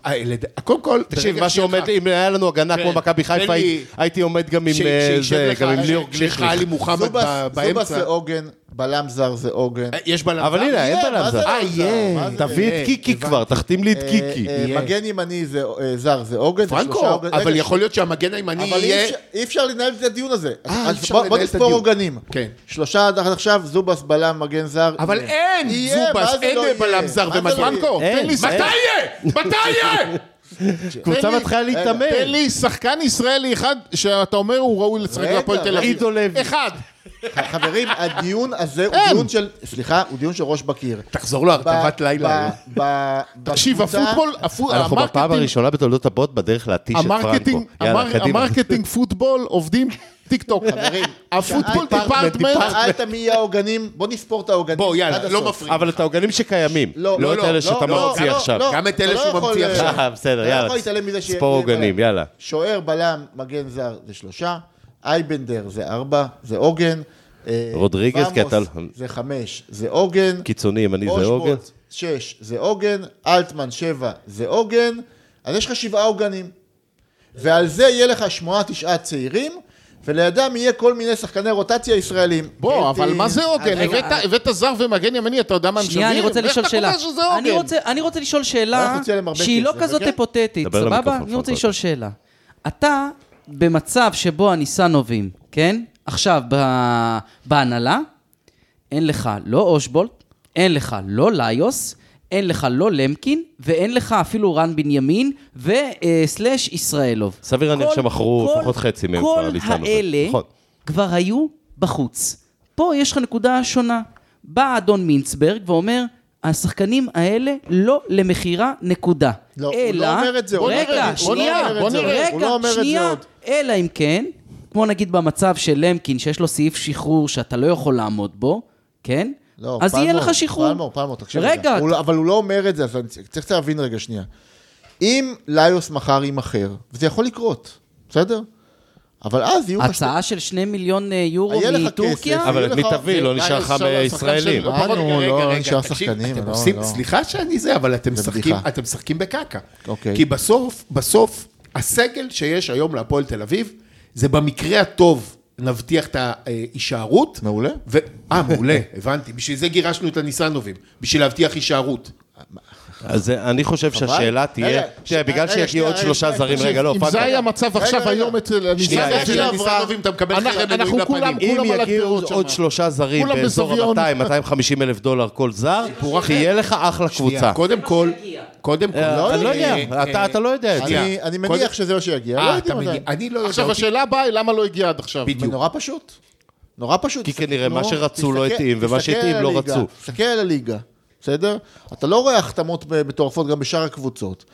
[SPEAKER 3] אה, לד- קודם כל,
[SPEAKER 1] תקשיב, מה שעומד, אם היה לנו הגנה כמו מכבי חיפה,
[SPEAKER 3] לי-
[SPEAKER 1] הייתי- הייתי עומד גם עם אה, זה, גם עם ליאור גלישליך.
[SPEAKER 3] עלי מוחמד
[SPEAKER 2] זובס
[SPEAKER 3] ב-
[SPEAKER 2] זובס
[SPEAKER 3] באמצע.
[SPEAKER 2] זה עוגן, בלם זר זה עוגן.
[SPEAKER 3] אה, יש בלם.
[SPEAKER 1] אבל הנה, אין
[SPEAKER 2] יהיה,
[SPEAKER 1] בלם
[SPEAKER 2] מה זה
[SPEAKER 1] זר.
[SPEAKER 2] בלם
[SPEAKER 1] אה,
[SPEAKER 2] זר?
[SPEAKER 1] יהיה.
[SPEAKER 2] מה זה?
[SPEAKER 1] תביא
[SPEAKER 3] אה,
[SPEAKER 1] את קיקי
[SPEAKER 3] הבנתי.
[SPEAKER 1] כבר, תחתים לי את
[SPEAKER 2] אה,
[SPEAKER 1] קיקי.
[SPEAKER 2] אה, מגן ימני זה, אה, זר זה עוגן.
[SPEAKER 3] פרנקו,
[SPEAKER 2] ושלושה עוגן- רגע,
[SPEAKER 3] אבל יכול להיות שהמגן הימני
[SPEAKER 2] אבל אי
[SPEAKER 3] יהיה...
[SPEAKER 2] אפשר- אי אפשר לנהל את הדיון הזה.
[SPEAKER 3] אה,
[SPEAKER 2] אז
[SPEAKER 3] אי אפשר
[SPEAKER 2] בוא- בוא
[SPEAKER 3] לנהל את
[SPEAKER 2] נספור
[SPEAKER 3] הדיון.
[SPEAKER 2] עוגנים.
[SPEAKER 3] כן.
[SPEAKER 2] שלושה עד עכשיו, זובס, בלם, מגן זר.
[SPEAKER 3] אבל
[SPEAKER 2] יהיה.
[SPEAKER 3] אין
[SPEAKER 2] יהיה,
[SPEAKER 3] זובס,
[SPEAKER 2] מה זה
[SPEAKER 3] אין
[SPEAKER 2] לא יהיה?
[SPEAKER 3] בלם זר
[SPEAKER 2] מה זה
[SPEAKER 3] ומגן.
[SPEAKER 2] לא יהיה?
[SPEAKER 4] פרנקו,
[SPEAKER 1] אין, אין.
[SPEAKER 4] תן לי
[SPEAKER 3] מתי
[SPEAKER 4] שחקן-
[SPEAKER 3] יהיה? מתי יהיה?
[SPEAKER 1] קבוצה מתחילה להתאמן.
[SPEAKER 4] תן לי שחקן ישראלי אחד שאתה אומר הוא ראוי לשחק
[SPEAKER 2] רגע,
[SPEAKER 4] בהפועל תל אביב.
[SPEAKER 1] עידו לוי.
[SPEAKER 4] אחד.
[SPEAKER 2] חברים, הדיון הזה הוא דיון של, סליחה, הוא דיון של ראש בקיר.
[SPEAKER 3] תחזור לו הרטבת לילה.
[SPEAKER 2] ב- ב-
[SPEAKER 3] (laughs)
[SPEAKER 4] תקשיב,
[SPEAKER 2] בקבוצה-
[SPEAKER 4] הפוטבול, הפו-
[SPEAKER 1] אנחנו בפעם
[SPEAKER 4] המרקטינג,
[SPEAKER 1] הראשונה בתולדות הבוט בדרך להתיש את פרנקו.
[SPEAKER 4] המרקטינג,
[SPEAKER 1] יאללה,
[SPEAKER 4] המר-
[SPEAKER 1] קדימה.
[SPEAKER 4] המרקטינג פוטבול עובדים טיק טוק.
[SPEAKER 2] חברים,
[SPEAKER 4] הפוטבול
[SPEAKER 2] שאלת-
[SPEAKER 4] דיפרטמנט.
[SPEAKER 2] שאלת מי יהיה העוגנים, בוא נספור את העוגנים.
[SPEAKER 3] בוא, יאללה,
[SPEAKER 2] עד
[SPEAKER 3] לא
[SPEAKER 2] הסוף.
[SPEAKER 3] מפריע.
[SPEAKER 1] אבל את העוגנים שקיימים, לא את אלה שאתה
[SPEAKER 2] לא,
[SPEAKER 1] ממציא
[SPEAKER 2] לא,
[SPEAKER 1] עכשיו.
[SPEAKER 2] לא,
[SPEAKER 3] גם את
[SPEAKER 2] אתה
[SPEAKER 3] אלה
[SPEAKER 2] לא
[SPEAKER 3] שהוא
[SPEAKER 2] יכול,
[SPEAKER 3] ממציא
[SPEAKER 2] אה,
[SPEAKER 3] עכשיו.
[SPEAKER 1] אה, בסדר,
[SPEAKER 2] אתה לא
[SPEAKER 1] יאללה.
[SPEAKER 2] יכול להתעלם מזה שיהיה-
[SPEAKER 1] ספור עוגנים,
[SPEAKER 2] בלם.
[SPEAKER 1] יאללה.
[SPEAKER 2] שוער, בלם, מגן זר זה שלושה, אייבנדר זה ארבע, זה עוגן. אה,
[SPEAKER 1] רודריגז, כי אתה-
[SPEAKER 2] ועמוס זה חמש, זה עוגן.
[SPEAKER 1] קיצוני ימני
[SPEAKER 2] לא
[SPEAKER 1] זה עוגן.
[SPEAKER 2] אושבולט, שש, זה עוגן, אלטמן, שבע, זה עוגן, אז יש לך שבעה עוגנים. ועל זה יהיה לך שמונה, תשעה צעירים, ולידם יהיה כל מיני שחקני רוטציה ישראלים.
[SPEAKER 4] בוא, אבל מה זה עוגן?
[SPEAKER 5] רגע,
[SPEAKER 4] הבאת-
[SPEAKER 5] אבל-
[SPEAKER 4] הבאת זר ומגן ימני, אתה יודע מה הם
[SPEAKER 5] שנייה, אני
[SPEAKER 4] שווים?
[SPEAKER 5] רוצה
[SPEAKER 4] איך
[SPEAKER 5] לשאול
[SPEAKER 4] אתה
[SPEAKER 5] שאלה.
[SPEAKER 4] קובע שזה עוגן?
[SPEAKER 5] אני רוצה- אני רוצה לשאול שאלה
[SPEAKER 2] אנחנו נוציא עליהם הרבה
[SPEAKER 5] שהיא לא
[SPEAKER 2] כסף,
[SPEAKER 5] כזאת
[SPEAKER 2] אוקיי?
[SPEAKER 5] היפותטית,
[SPEAKER 1] דבר
[SPEAKER 5] סבבה?
[SPEAKER 1] למיקרופון,
[SPEAKER 5] אני רוצה
[SPEAKER 1] פרנקו.
[SPEAKER 5] לשאול שאלה. אתה במצב שבו הניסנובים, כן? עכשיו ב- בהנהלה, אין לך לא אושבולט, אין לך לא ליוס, אין לך לא למקין, ואין לך אפילו רן בנימין, וסלאש ישראלוב.
[SPEAKER 1] סביר להניח
[SPEAKER 5] כל-
[SPEAKER 1] שמכרו
[SPEAKER 5] כל-
[SPEAKER 1] לפחות חצי מהם כבר
[SPEAKER 5] כל
[SPEAKER 1] לניסנובים.
[SPEAKER 5] האלה
[SPEAKER 1] נכון.
[SPEAKER 5] כבר היו בחוץ. פה יש לך נקודה שונה. בא אדון מינצברג ואומר, השחקנים האלה לא למכירה, נקודה.
[SPEAKER 2] לא, הוא
[SPEAKER 5] אלא,
[SPEAKER 2] לא אומר את זה, הוא לא
[SPEAKER 5] רגע,
[SPEAKER 2] אומר את זה, הוא לא
[SPEAKER 5] שנייה,
[SPEAKER 2] אומר את זה, הוא לא אומר
[SPEAKER 5] רגע,
[SPEAKER 2] את זה
[SPEAKER 5] שנייה,
[SPEAKER 2] עוד.
[SPEAKER 5] אלא אם כן, כמו נגיד במצב של למקין, שיש לו סעיף שחרור שאתה לא יכול לעמוד בו, כן?
[SPEAKER 2] לא,
[SPEAKER 5] אז יהיה
[SPEAKER 2] פלמור,
[SPEAKER 5] לך שחרור.
[SPEAKER 2] פלמור, פלמור, תקשיב
[SPEAKER 5] רגע,
[SPEAKER 2] רגע. הוא, לא- אבל הוא לא אומר את זה, אז אני צריך להבין רגע שנייה. אם ליוס מחר יימכר, וזה יכול לקרות, בסדר? אבל אז יהיו לך שתי-
[SPEAKER 5] הצעה של שני מיליון אה, יורו
[SPEAKER 2] היה לך
[SPEAKER 5] מטורקיה?
[SPEAKER 2] כסף.
[SPEAKER 1] אבל את מי
[SPEAKER 2] לך-
[SPEAKER 1] תביא, לא נשאר לך מישראלים.
[SPEAKER 2] מה, נו, לא, נשאר שחקנים,
[SPEAKER 3] אתם
[SPEAKER 2] לא,
[SPEAKER 3] עושים,
[SPEAKER 2] לא.
[SPEAKER 3] סליחה שאני זה, אבל אתם משחקים,
[SPEAKER 2] בדיחה.
[SPEAKER 3] אתם משחקים בקקה.
[SPEAKER 2] אוקיי.
[SPEAKER 3] כי בסוף, בסוף, הסגל שיש היום להפועל תל אביב, זה במקרה הטוב נבטיח את
[SPEAKER 4] אה,
[SPEAKER 3] ההישארות.
[SPEAKER 2] מעולה.
[SPEAKER 3] ו- אה, מעולה, הבנתי. בשביל זה גירשנו את הניסנובים, בשביל להבטיח הישארות.
[SPEAKER 1] אז זה- אני חושב שהשאלה תהיה,
[SPEAKER 2] רגע,
[SPEAKER 1] תראה,
[SPEAKER 2] ש-
[SPEAKER 1] בגלל
[SPEAKER 2] רגע,
[SPEAKER 1] שיגיעו
[SPEAKER 2] שנייה,
[SPEAKER 1] עוד
[SPEAKER 2] רגע,
[SPEAKER 1] שלושה
[SPEAKER 2] שנייה,
[SPEAKER 1] זרים,
[SPEAKER 2] תקשיב,
[SPEAKER 1] רגע, לא,
[SPEAKER 4] אם
[SPEAKER 1] פאק,
[SPEAKER 4] זה היה מצב עכשיו
[SPEAKER 2] רגע,
[SPEAKER 4] היום
[SPEAKER 2] רגע.
[SPEAKER 4] אצל הניסן
[SPEAKER 1] שנייה,
[SPEAKER 2] רגע,
[SPEAKER 4] אצל
[SPEAKER 2] שנייה,
[SPEAKER 4] אברהם,
[SPEAKER 2] אתה מקבל
[SPEAKER 4] אנחנו-
[SPEAKER 2] חרם
[SPEAKER 4] אנחנו
[SPEAKER 2] אלוהים
[SPEAKER 4] כולם,
[SPEAKER 2] בפנים.
[SPEAKER 1] אם
[SPEAKER 4] כולם על
[SPEAKER 1] יגיעו
[SPEAKER 4] הדעות
[SPEAKER 1] עוד
[SPEAKER 4] שם.
[SPEAKER 1] שלושה זרים
[SPEAKER 4] כולם
[SPEAKER 1] באזור
[SPEAKER 4] בזוויון.
[SPEAKER 1] ה-200-250 אלף דולר כל זר, תהיה לך אחלה קבוצה.
[SPEAKER 3] קודם כל, קודם כל,
[SPEAKER 1] אה, אני לא יודע,
[SPEAKER 3] אה,
[SPEAKER 1] אתה- אתה לא יודע את זה.
[SPEAKER 2] אני- אני מניח שזה מה שיגיע, לא
[SPEAKER 3] אה, אתה
[SPEAKER 2] יודעים
[SPEAKER 3] מגיע,
[SPEAKER 2] עדיין.
[SPEAKER 3] אני לא יודע,
[SPEAKER 4] עכשיו,
[SPEAKER 3] אותי-
[SPEAKER 4] השאלה הבאה היא למה לא הגיע עד עכשיו.
[SPEAKER 2] אבל
[SPEAKER 3] בדיוק.
[SPEAKER 2] נורא פשוט. נורא פשוט.
[SPEAKER 1] כי
[SPEAKER 2] תסתכל-
[SPEAKER 1] כנראה מה
[SPEAKER 2] נו,
[SPEAKER 1] שרצו לא
[SPEAKER 2] תסתכל-
[SPEAKER 1] התאים, ומה
[SPEAKER 2] תסתכל
[SPEAKER 1] שהתאים
[SPEAKER 2] על
[SPEAKER 1] לא
[SPEAKER 2] הליגה,
[SPEAKER 1] רצו.
[SPEAKER 2] תסתכל על הליגה, בסדר? אתה לא רואה החתמות ב- מטורפות גם בשאר הקבוצות.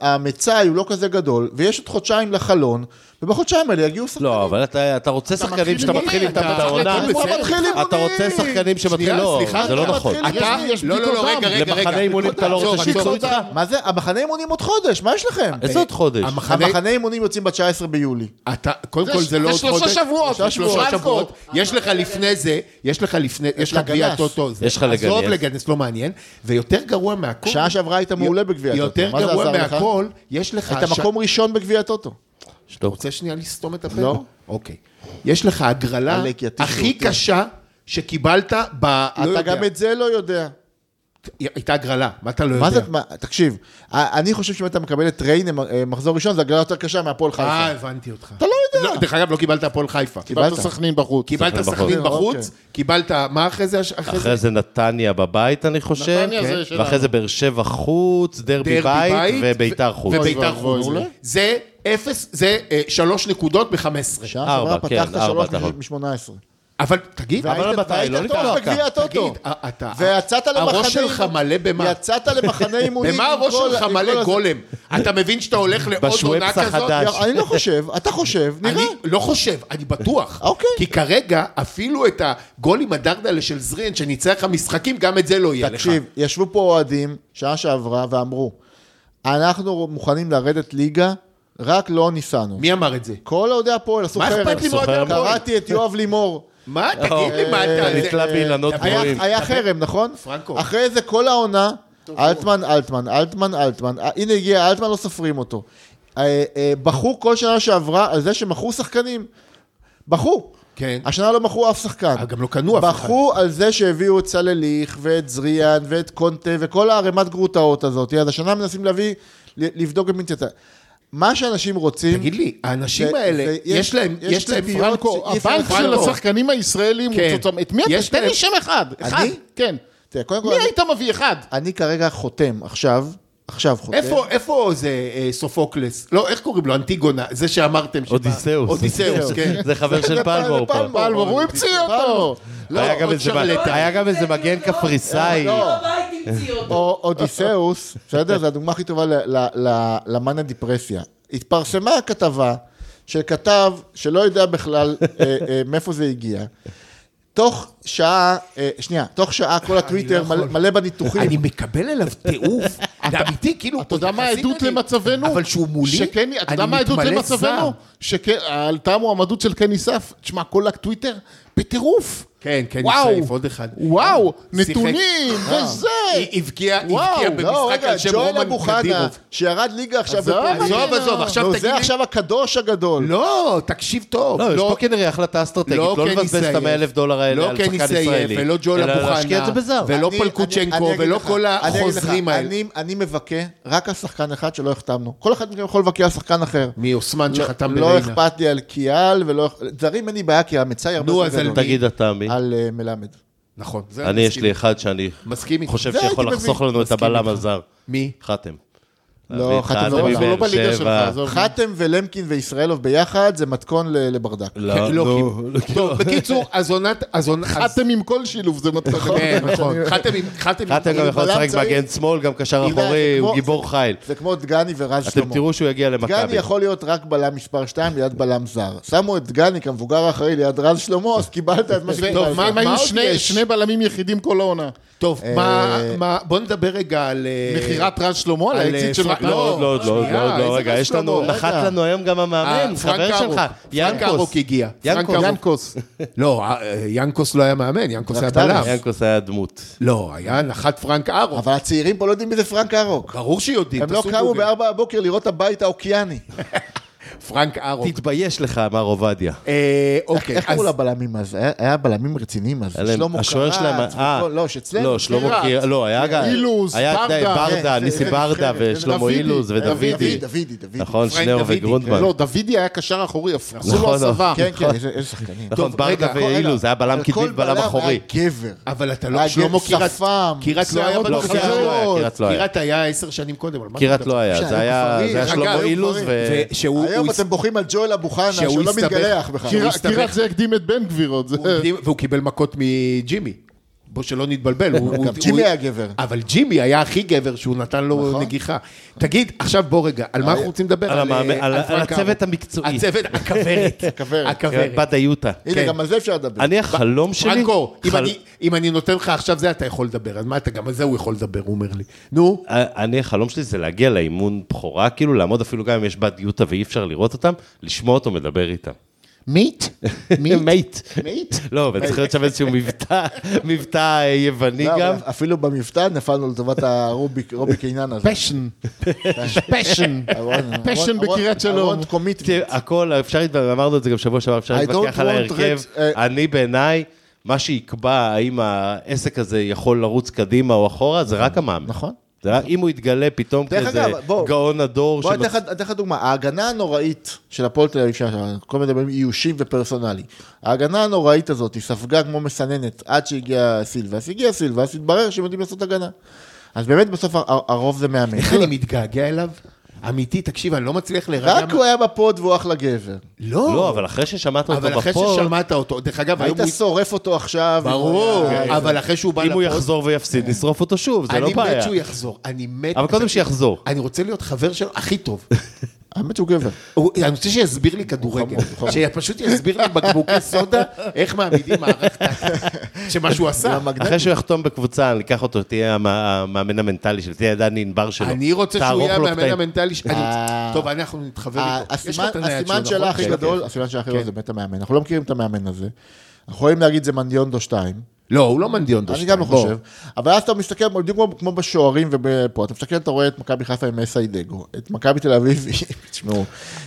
[SPEAKER 2] והמצאי הוא לא כזה גדול, ויש עוד חודשיים לחלון, ובחודשיים האלה יגיעו שחקנים.
[SPEAKER 1] לא, אבל אתה אתה רוצה שחקנים שאתה מתחיל איתם את העונה.
[SPEAKER 4] אתה מתחיל
[SPEAKER 2] אימונים.
[SPEAKER 1] אתה רוצה שחקנים שמתחיל, לא,
[SPEAKER 3] סליחה,
[SPEAKER 1] זה לא
[SPEAKER 3] אתה
[SPEAKER 1] נכון.
[SPEAKER 2] מתחיל-
[SPEAKER 3] אתה,
[SPEAKER 2] יש- יש
[SPEAKER 3] לא, לא, לא,
[SPEAKER 2] בדיקות
[SPEAKER 3] רגע,
[SPEAKER 2] דם.
[SPEAKER 3] רגע, רגע.
[SPEAKER 1] למחנה אימונים אתה לא רוצה
[SPEAKER 3] עצור,
[SPEAKER 1] שיצאו
[SPEAKER 3] עצור.
[SPEAKER 1] איתך?
[SPEAKER 2] מה זה? המחנה אימונים עוד חודש, מה יש לכם?
[SPEAKER 1] איזה עוד חודש?
[SPEAKER 3] המחנה-
[SPEAKER 2] המחנה אימונים יוצאים ב-19 ביולי.
[SPEAKER 3] אתה, קודם כל זה לא עוד
[SPEAKER 4] זה שלושה שבועות,
[SPEAKER 3] שלושה
[SPEAKER 4] שלושה
[SPEAKER 3] שבועות. יש לך לפני זה, יש לך לפני, יש לך
[SPEAKER 2] לגנס.
[SPEAKER 3] גביע הטוטו. זה-
[SPEAKER 1] יש לך לגנס.
[SPEAKER 3] עזוב לגנס, לא מעניין. ויותר גרוע מהכל.
[SPEAKER 2] שעה שעברה היית מעולה בגביע הטוטו.
[SPEAKER 3] יותר
[SPEAKER 2] מה זה
[SPEAKER 3] גרוע
[SPEAKER 2] עזר לך?
[SPEAKER 3] מהכל, יש לך...
[SPEAKER 2] אתה
[SPEAKER 3] ש-
[SPEAKER 2] מקום ראשון בגביע הטוטו.
[SPEAKER 3] אתה רוצה שנייה לסתום את הפה?
[SPEAKER 2] לא.
[SPEAKER 3] אוקיי. יש לך הגרלה
[SPEAKER 2] עלק יתיש
[SPEAKER 3] הכי
[SPEAKER 2] אותי.
[SPEAKER 3] קשה שקיבלת ב... לא
[SPEAKER 2] אתה
[SPEAKER 3] יודע.
[SPEAKER 2] גם את זה לא יודע.
[SPEAKER 3] הייתה הגרלה, מה אתה לא
[SPEAKER 2] מה זה,
[SPEAKER 3] יודע?
[SPEAKER 2] מה- תקשיב, אה, אני חושב שאם אתה מקבל את ריינה אה, מחזור ראשון, זו הגרלה יותר קשה מהפועל
[SPEAKER 3] אה,
[SPEAKER 2] חיפה.
[SPEAKER 3] הבנתי אותך.
[SPEAKER 2] אתה לא יודע.
[SPEAKER 3] לא, דרך אגב, לא קיבלת הפועל חיפה.
[SPEAKER 2] קיבלת. אוקיי.
[SPEAKER 4] קיבלת סכנין בחוץ.
[SPEAKER 3] קיבלת
[SPEAKER 1] סכנין
[SPEAKER 3] סכנין
[SPEAKER 2] בחוץ.
[SPEAKER 3] בחוץ, קיבלת... מה אחרי זה? אחרי זה?
[SPEAKER 1] אחרי זה נתניה בבית, אני חושב,
[SPEAKER 4] נתניה זה
[SPEAKER 1] כן.
[SPEAKER 4] שלנו.
[SPEAKER 1] ואחרי זה באר שבע חוץ, דרבי
[SPEAKER 3] דרבי
[SPEAKER 1] בית
[SPEAKER 3] בית
[SPEAKER 1] וביתר חוץ.
[SPEAKER 3] וביתר
[SPEAKER 4] אוי ואבוי,
[SPEAKER 3] חוץ.
[SPEAKER 4] מעולה.
[SPEAKER 3] זה אפס, זה אה, שלוש נקודות ב-15.
[SPEAKER 2] שעה
[SPEAKER 1] ארבע,
[SPEAKER 2] שעברה
[SPEAKER 1] כן,
[SPEAKER 2] פתחת
[SPEAKER 1] ארבע,
[SPEAKER 2] שלוש
[SPEAKER 1] אתה יכול.
[SPEAKER 2] מ-18.
[SPEAKER 3] אבל תגיד,
[SPEAKER 1] אבל
[SPEAKER 2] והיית-
[SPEAKER 1] הבטאי לא
[SPEAKER 2] והיית
[SPEAKER 1] ניתן
[SPEAKER 2] טוב
[SPEAKER 1] לקחת.
[SPEAKER 2] בגביע הטוטו.
[SPEAKER 3] תגיד, אה, אתה...
[SPEAKER 2] ויצאת למחנה...
[SPEAKER 3] הראש שלך
[SPEAKER 2] אימונים-
[SPEAKER 3] מלא במה?
[SPEAKER 2] יצאת
[SPEAKER 3] (laughs)
[SPEAKER 2] למחנה אימונים.
[SPEAKER 3] במה
[SPEAKER 2] עם
[SPEAKER 3] הראש
[SPEAKER 2] כל-
[SPEAKER 3] שלך
[SPEAKER 2] עם כל
[SPEAKER 3] מלא
[SPEAKER 2] הזה.
[SPEAKER 3] גולם? אתה מבין שאתה הולך לעוד עונה
[SPEAKER 1] בשוואפס
[SPEAKER 3] כזאת?
[SPEAKER 1] החדש.
[SPEAKER 2] לא, אני לא חושב, אתה חושב, נראה.
[SPEAKER 3] אני לא חושב, אני בטוח.
[SPEAKER 2] אוקיי.
[SPEAKER 3] כי כרגע, אפילו את הגול עם הדרדלה של זרין, שניצח לך משחקים, גם את זה לא יהיה לך.
[SPEAKER 2] תקשיב, ישבו פה אוהדים שעה שעברה ואמרו, אנחנו מוכנים לרדת ליגה, רק לא ניסענו.
[SPEAKER 3] מי אמר את זה?
[SPEAKER 2] כל אוהדי הפועל עשו
[SPEAKER 3] מה
[SPEAKER 2] חרם.
[SPEAKER 3] אכפת לי מאוהדי
[SPEAKER 1] סוחר
[SPEAKER 3] הפועל?
[SPEAKER 2] קראתי אה, את יואב לימור.
[SPEAKER 3] מה? תגיד לי מה אתה...
[SPEAKER 1] אתה אה, נתלה באילנות
[SPEAKER 2] היה-
[SPEAKER 1] גבוהים.
[SPEAKER 2] היה חרם, נכון?
[SPEAKER 3] פרנקו.
[SPEAKER 2] אחרי זה כל העונה, אלטמן, אלטמן, אלטמן, אלטמן. אה, הנה הגיע אלטמן, לא סופרים אותו. אה, אה, בכו כל שנה שעברה על זה שמכרו שחקנים. בכו.
[SPEAKER 3] כן.
[SPEAKER 2] השנה לא מכרו אף שחקן.
[SPEAKER 3] אה, גם לא קנו אף אחד.
[SPEAKER 2] בכו על זה שהביאו את סלליך ואת זריאן ואת קונטה וכל הערימת גרוטאות הזאת. אז השנה מנסים להביא, ל- לבדוק את מינצטה. מה שאנשים רוצים...
[SPEAKER 3] תגיד לי, האנשים
[SPEAKER 2] זה-
[SPEAKER 3] האלה,
[SPEAKER 2] זה-
[SPEAKER 3] יש להם, יש להם
[SPEAKER 2] ציפיות,
[SPEAKER 3] פרנקו,
[SPEAKER 2] אי אפשר
[SPEAKER 3] הבנק
[SPEAKER 2] לפרנקו.
[SPEAKER 4] של
[SPEAKER 3] של השחק...
[SPEAKER 4] השחקנים הישראלים,
[SPEAKER 3] כן.
[SPEAKER 4] הוא צוצם- את מי
[SPEAKER 3] יש
[SPEAKER 4] אתה? תן
[SPEAKER 3] להם-
[SPEAKER 4] לי שם אחד. אחד. כן.
[SPEAKER 2] תראה, קודם כל,
[SPEAKER 4] מי
[SPEAKER 2] אני-
[SPEAKER 4] היית מביא? אחד.
[SPEAKER 2] אני כרגע חותם עכשיו, עכשיו חותם.
[SPEAKER 3] איפה, איפה זה אה, סופוקלס? לא, איך קוראים לו? אנטיגונה, זה שאמרתם. שבא-
[SPEAKER 1] אודיסאוס.
[SPEAKER 3] אודיסאוס, כן.
[SPEAKER 1] זה חבר של פלמור פה.
[SPEAKER 4] פלמור,
[SPEAKER 3] נכון.
[SPEAKER 4] הוא המציא אותו.
[SPEAKER 3] לא,
[SPEAKER 1] היה גם
[SPEAKER 3] עוד
[SPEAKER 1] איזה-
[SPEAKER 3] שרלטן.
[SPEAKER 1] היה גם איזה מגן קפריסאי.
[SPEAKER 2] לא.
[SPEAKER 5] בבית המציאו אותו.
[SPEAKER 2] או אודיסאוס, בסדר? זו הדוגמה הכי טובה ל- ל- ל- למאניה דיפרסיה. התפרסמה הכתבה של כתב שלא יודע בכלל אה, אה, מאיפה זה הגיע. תוך שעה, אה, שנייה, תוך שעה כל הטוויטר
[SPEAKER 3] לא יכול.
[SPEAKER 2] מלא- מלא בניתוחים.
[SPEAKER 3] אני מקבל עליו (laughs) טירוף. זה אמיתי, כאילו...
[SPEAKER 4] אתה יודע מה
[SPEAKER 3] יחסית
[SPEAKER 4] העדות
[SPEAKER 3] אני-
[SPEAKER 4] למצבנו?
[SPEAKER 3] אבל שהוא מולי,
[SPEAKER 4] שכן, אתה יודע
[SPEAKER 3] אני
[SPEAKER 4] מה העדות
[SPEAKER 3] מתמלא
[SPEAKER 4] למצבנו?
[SPEAKER 3] זעם.
[SPEAKER 4] שעלתה המועמדות של קני סף, תשמע, כל הטוויטר בטירוף.
[SPEAKER 3] כן, כן,
[SPEAKER 4] וואו.
[SPEAKER 3] סייף, עוד אחד.
[SPEAKER 4] וואו,
[SPEAKER 3] שיחק. אה.
[SPEAKER 4] נתונים, וזה.
[SPEAKER 3] היא הבקיעה
[SPEAKER 4] וואו,
[SPEAKER 3] הבקיעה
[SPEAKER 2] לא,
[SPEAKER 3] במשחק
[SPEAKER 2] רגע,
[SPEAKER 3] על שם
[SPEAKER 2] ג'ואל
[SPEAKER 3] רומן
[SPEAKER 2] אבו חנה,
[SPEAKER 3] קדירוב.
[SPEAKER 2] שירד ליגה עכשיו.
[SPEAKER 4] עזוב,
[SPEAKER 2] בפרמייר.
[SPEAKER 3] עזוב, עזוב, עכשיו
[SPEAKER 2] נו,
[SPEAKER 3] תגיד
[SPEAKER 2] זה
[SPEAKER 3] לי-
[SPEAKER 2] עכשיו הקדוש הגדול.
[SPEAKER 3] לא, תקשיב טוב.
[SPEAKER 1] לא, יש פה כנראה החלטה אסטרטגית, לא
[SPEAKER 3] קני
[SPEAKER 1] לבזבז את
[SPEAKER 3] סייף,
[SPEAKER 1] המאה אלף דולר האלה
[SPEAKER 3] לא
[SPEAKER 1] על
[SPEAKER 3] קני
[SPEAKER 1] שחקן
[SPEAKER 3] סייף,
[SPEAKER 1] ישראלי.
[SPEAKER 3] ולא ג'ול
[SPEAKER 1] אלא
[SPEAKER 3] אבו
[SPEAKER 1] להשקיע את זה
[SPEAKER 3] חנה,
[SPEAKER 1] בזר.
[SPEAKER 3] ולא
[SPEAKER 2] אני- אני-
[SPEAKER 3] פלקוצ'נקו,
[SPEAKER 2] אני אגיד
[SPEAKER 3] ולא
[SPEAKER 2] לך,
[SPEAKER 3] כל
[SPEAKER 2] אני אגיד לך,
[SPEAKER 3] החוזרים האלה.
[SPEAKER 2] אני- אני מבכה רק על שחקן אחד שלא החתמנו. כל אחד מכם יכול לבקר שחקן אחר.
[SPEAKER 3] מאוסמן שחתם
[SPEAKER 2] לא
[SPEAKER 3] בליינה.
[SPEAKER 2] אכפת לי על קיאל ולא... אכ- זרים אין לי בעיה, כי המצאי הרבה
[SPEAKER 3] נו,
[SPEAKER 2] יותר
[SPEAKER 3] אז על
[SPEAKER 2] גדול.
[SPEAKER 1] תגיד אתה מי.
[SPEAKER 2] על אה, מלמד.
[SPEAKER 3] נכון. זה
[SPEAKER 1] אני, יש
[SPEAKER 3] מסכים.
[SPEAKER 1] לי אחד שאני
[SPEAKER 3] מסכים איתך.
[SPEAKER 1] חושב
[SPEAKER 2] זה הייתי
[SPEAKER 1] שיכול
[SPEAKER 2] מבין.
[SPEAKER 1] לחסוך לנו את הבלם הזר.
[SPEAKER 3] מי?
[SPEAKER 1] חתם.
[SPEAKER 2] לא,
[SPEAKER 1] להביא את
[SPEAKER 2] חתם לא,
[SPEAKER 4] אנחנו לא
[SPEAKER 1] מבאר
[SPEAKER 4] בליגה שלך,
[SPEAKER 1] שבע.
[SPEAKER 4] עזוב.
[SPEAKER 2] חתם ולמקין וישראלוב ביחד זה מתכון ל- לברדק.
[SPEAKER 1] לא,
[SPEAKER 3] לא,
[SPEAKER 1] נו,
[SPEAKER 3] כי- טוב,
[SPEAKER 1] (laughs)
[SPEAKER 3] בקיצור, אז עונת... אז עונת... אז-
[SPEAKER 4] חתם עם כל שילוב, זה מתחיל.
[SPEAKER 3] כן, נכון. חתם עם... חתם עם...
[SPEAKER 1] חתם גם יכול
[SPEAKER 2] בלם
[SPEAKER 1] לשחק
[SPEAKER 2] צעיר.
[SPEAKER 1] מגן שמאל, גם קשר
[SPEAKER 2] אתה יודע,
[SPEAKER 1] אחורי,
[SPEAKER 2] זה
[SPEAKER 1] הוא
[SPEAKER 2] כמו-
[SPEAKER 1] גיבור חיל.
[SPEAKER 2] זה כמו דגני ורז שלמה.
[SPEAKER 1] אתם תראו שהוא יגיע
[SPEAKER 2] דגני
[SPEAKER 1] למכבי.
[SPEAKER 2] יכול להיות רק בלם מספר 2 ליד בלם זר. שמו את דגני כמבוגר האחראי ליד רז שלמה, אז קיבלת את מה שקיבלת.
[SPEAKER 3] מה-
[SPEAKER 4] הם היו
[SPEAKER 3] עוד
[SPEAKER 4] שני-
[SPEAKER 3] יש?
[SPEAKER 4] שני בלמים יחידים כל העונה. אה,
[SPEAKER 3] טוב, מה... מה- בוא נדבר רגע על... אה,
[SPEAKER 4] מכירת רז שלמה על
[SPEAKER 3] על,
[SPEAKER 4] האקזיט של
[SPEAKER 3] אה,
[SPEAKER 4] מכבי.
[SPEAKER 3] לא,
[SPEAKER 1] עוד לא, עוד לא, עוד לא, עוד
[SPEAKER 4] שנייה,
[SPEAKER 1] לא, רגע,
[SPEAKER 4] איזה
[SPEAKER 1] יש לנו,
[SPEAKER 4] שלמה,
[SPEAKER 1] נחת
[SPEAKER 2] רגע.
[SPEAKER 1] לנו היום גם המאמן,
[SPEAKER 3] אה, פרנק
[SPEAKER 1] חבר שלך,
[SPEAKER 3] ארוק. פרנק
[SPEAKER 1] ינקוס.
[SPEAKER 3] ארוק הגיע.
[SPEAKER 1] ינקוס.
[SPEAKER 4] פרנק ינקוס.
[SPEAKER 3] לא, אה, אה, ינקוס לא היה מאמן, ינקוס היה
[SPEAKER 2] אה,
[SPEAKER 3] בלם.
[SPEAKER 1] ינקוס היה דמות.
[SPEAKER 3] לא, היה נחת פרנק ארוך.
[SPEAKER 2] אבל הצעירים פה לא יודעים מי זה פרנק ארוק.
[SPEAKER 3] ברור שיודעים.
[SPEAKER 2] הם לא
[SPEAKER 3] תעשו
[SPEAKER 2] קמו
[SPEAKER 3] גוגל.
[SPEAKER 2] בארבע בבוקר לראות הבית האוקיאני.
[SPEAKER 3] פרנק
[SPEAKER 2] אוקיי.
[SPEAKER 3] ארוק.
[SPEAKER 1] תתבייש לך, אמר עובדיה.
[SPEAKER 3] אה,
[SPEAKER 2] איך-
[SPEAKER 3] אוקיי,
[SPEAKER 2] איך קראו לבלמים אז? היה- היה בלמים רציניים אז,
[SPEAKER 1] היה להם-
[SPEAKER 2] שלמה
[SPEAKER 1] השוער שלהם,
[SPEAKER 2] קרץ,
[SPEAKER 1] אה,
[SPEAKER 2] וכל- לא, שאצלנו,
[SPEAKER 1] לא, שלמה קרץ, לא, היה גם,
[SPEAKER 4] אילוז,
[SPEAKER 1] היה
[SPEAKER 4] ברדה.
[SPEAKER 1] די, ברדה,
[SPEAKER 2] כן, זה-
[SPEAKER 1] ניסי
[SPEAKER 2] זה
[SPEAKER 1] ברדה
[SPEAKER 2] נבחרת.
[SPEAKER 1] ושלמה
[SPEAKER 4] דוידי,
[SPEAKER 1] אילוז ודוידי,
[SPEAKER 2] דוידי, דוידי, דוידי.
[SPEAKER 1] נכון,
[SPEAKER 3] פרנק
[SPEAKER 1] שניאור
[SPEAKER 3] דוידי,
[SPEAKER 1] וגרונדמן,
[SPEAKER 4] לא, דוידי היה קשר אחורי, עשו
[SPEAKER 3] לא
[SPEAKER 1] נכון,
[SPEAKER 4] לו הסבה.
[SPEAKER 2] כן, כן, איזה- איזה שחקנים.
[SPEAKER 1] נכון, ברדה ואילוז, זה היה בלם
[SPEAKER 2] אבל כל
[SPEAKER 1] קדמי ובלם אחורי.
[SPEAKER 2] היה גבר.
[SPEAKER 3] אבל אתה
[SPEAKER 2] היה
[SPEAKER 3] לא... שלמה
[SPEAKER 2] גבר
[SPEAKER 3] קירת...
[SPEAKER 2] שפם,
[SPEAKER 3] קירת לא היה
[SPEAKER 2] שיער
[SPEAKER 1] לא,
[SPEAKER 3] בקבוצה
[SPEAKER 1] קירת לא היה,
[SPEAKER 3] הזאת.
[SPEAKER 1] קירת לא היה.
[SPEAKER 3] קירת היה עשר שנים קודם. על מה אתה
[SPEAKER 1] קירת
[SPEAKER 3] מדבר?
[SPEAKER 1] לא היה,
[SPEAKER 2] שהיה
[SPEAKER 1] זה היה
[SPEAKER 2] גופרי,
[SPEAKER 1] זה היה
[SPEAKER 2] חגג,
[SPEAKER 1] שלמה
[SPEAKER 2] היו
[SPEAKER 1] אילוז
[SPEAKER 2] גופרי.
[SPEAKER 1] ו...
[SPEAKER 3] ושהוא... הוא
[SPEAKER 2] היום
[SPEAKER 3] הס-
[SPEAKER 2] אתם בוכים על ג'ואל אבו חנה,
[SPEAKER 3] שהוא
[SPEAKER 2] שלא
[SPEAKER 3] הסתבך.
[SPEAKER 2] מתגלח בכלל.
[SPEAKER 4] קירה-
[SPEAKER 3] הסתבך.
[SPEAKER 4] קירת זה הקדים את בן גביר עוד. זה-
[SPEAKER 3] הוא הקדים- והוא קיבל מכות מג'ימי. בוא שלא נתבלבל. הוא- כן.
[SPEAKER 2] (laughs)
[SPEAKER 3] הוא-
[SPEAKER 2] גם ג'ימי
[SPEAKER 3] הוא-
[SPEAKER 2] היה גבר. נכון.
[SPEAKER 3] אבל ג'ימי היה הכי גבר שהוא נתן לו נגיחה. תגיד, עכשיו בוא רגע, על מה אנחנו רוצים לדבר?
[SPEAKER 1] על המאמן-
[SPEAKER 3] אה,
[SPEAKER 1] על- על
[SPEAKER 3] פרנק
[SPEAKER 1] הצוות
[SPEAKER 3] ארוך.
[SPEAKER 1] המקצועי.
[SPEAKER 3] הצוות, הכוורת.
[SPEAKER 2] (laughs) הכוורת.
[SPEAKER 3] הכוורת.
[SPEAKER 1] בת איוטה.
[SPEAKER 2] הנה,
[SPEAKER 3] כן.
[SPEAKER 2] גם על זה אפשר לדבר.
[SPEAKER 1] אני החלום שלי...
[SPEAKER 3] פרנקו, אם
[SPEAKER 1] חל-
[SPEAKER 3] אני- אם אני נותן לך עכשיו זה, אתה יכול לדבר. אז מה אתה, גם על זה הוא יכול לדבר, הוא אומר לי. נו,
[SPEAKER 1] אני, החלום שלי זה להגיע לאימון בכורה, כאילו לעמוד אפילו גם אם יש בת יוטה ואי אפשר לראות אותם, לשמוע אותו מדבר איתם.
[SPEAKER 3] מיט?
[SPEAKER 1] (laughs) מייט. מייט? לא, אבל צריך להיות שם איזשהו
[SPEAKER 2] (laughs)
[SPEAKER 1] מבטא, מבטא אה, יווני
[SPEAKER 2] לא,
[SPEAKER 1] גם.
[SPEAKER 2] אבל אפילו במבטא נפלנו לטובת הרוביק רוביק קינן הזה.
[SPEAKER 4] פשן. פשן. פשן בקריית שלום.
[SPEAKER 2] I want commitment.
[SPEAKER 1] תראה, הכל, אפשר, להתווכח, אמרנו את זה גם שבוע שעבר, אפשר
[SPEAKER 2] I don't
[SPEAKER 1] להתווכח על
[SPEAKER 2] want
[SPEAKER 1] ההרכב.
[SPEAKER 2] red- אה,
[SPEAKER 1] אני בעיניי, מה שיקבע האם העסק הזה יכול לרוץ קדימה או אחורה, זה רק המאמן.
[SPEAKER 2] נכון.
[SPEAKER 1] זה רק- אם הוא יתגלה פתאום
[SPEAKER 2] דרך
[SPEAKER 1] כזה
[SPEAKER 2] אגב, בוא-
[SPEAKER 1] גאון הדור
[SPEAKER 2] בוא,
[SPEAKER 1] של...
[SPEAKER 2] אני אתן לך- אני אתן לך דוגמה. ההגנה הנוראית של הפועל תל אביב, שהיה כל מיני דברים איושים ופרסונלי. ההגנה הנוראית הזאת, היא ספגה כמו מסננת עד שהגיע סילבס. הגיע סילבס, התברר שהם יודעים לעשות הגנה. אז באמת בסוף הר- הרוב זה מאמן.
[SPEAKER 3] איך אני מתגעגע אליו? אמיתי, תקשיב, אני לא מצליח להירגע.
[SPEAKER 2] רק
[SPEAKER 3] מה-
[SPEAKER 2] הוא היה בפוד והוא אחלה גבר.
[SPEAKER 1] לא, אבל אחרי ששמעת אותו
[SPEAKER 3] אבל אחרי
[SPEAKER 1] בפוד,
[SPEAKER 3] ששמעת אותו, דרך אגב,
[SPEAKER 2] היית
[SPEAKER 3] היום הוא...
[SPEAKER 2] שורף אותו עכשיו. אה,
[SPEAKER 3] ברור,
[SPEAKER 2] אם הוא היה-
[SPEAKER 3] אבל אחרי שהוא בא
[SPEAKER 1] כן. אם
[SPEAKER 3] לפוד,
[SPEAKER 1] הוא יחזור ויפסיד, נשרוף אותו שוב, זה לא
[SPEAKER 3] אני מת
[SPEAKER 1] בעיה.
[SPEAKER 3] שהוא יחזור, אני מת...
[SPEAKER 1] אבל קודם שיחזור.
[SPEAKER 3] אני רוצה להיות חבר שלו הכי טוב.
[SPEAKER 2] (laughs) האמת שהוא גבר.
[SPEAKER 3] הוא- אני רוצה שיסביר לי כדורגל. שפשוט יסביר לי
[SPEAKER 2] (laughs)
[SPEAKER 3] בקבוקי סודה, איך מעמידים מערכת, שמה שהוא עשה.
[SPEAKER 1] אחרי שהוא יחתום בקבוצה, אני אקח אותו, תהיה המ- המאמן המנטלי שלו, תהיה דני ענבר שלו.
[SPEAKER 3] אני רוצה שהוא
[SPEAKER 1] תערוך
[SPEAKER 3] יהיה
[SPEAKER 1] לו
[SPEAKER 3] המאמן
[SPEAKER 1] קטעים.
[SPEAKER 3] המנטלי. ש- אני רוצה-
[SPEAKER 2] אה.
[SPEAKER 3] טוב, אנחנו נתחבר איתו. יש לך
[SPEAKER 2] הסימן
[SPEAKER 3] את הנייד
[SPEAKER 2] הסימן
[SPEAKER 3] שלו, נכון?
[SPEAKER 2] שלה הכי
[SPEAKER 3] כן,
[SPEAKER 2] גדול,
[SPEAKER 3] כן.
[SPEAKER 2] הסימן שלה הכי
[SPEAKER 3] כן.
[SPEAKER 2] גדול זה באמת המאמן. אנחנו לא מכירים את המאמן הזה. אנחנו יכולים להגיד זה מנדיונדו 2.
[SPEAKER 3] לא, הוא לא מנדיון
[SPEAKER 2] אני
[SPEAKER 3] דושטיין,
[SPEAKER 2] גם לא
[SPEAKER 3] בוא.
[SPEAKER 2] חושב. אבל אז אתה מסתכל, בדיוק כמו- כמו בשוערים ופה, אתה מסתכל, אתה רואה את מכבי חיפה עם אסיידגו, את מכבי תל אביב, (laughs) תשמעו,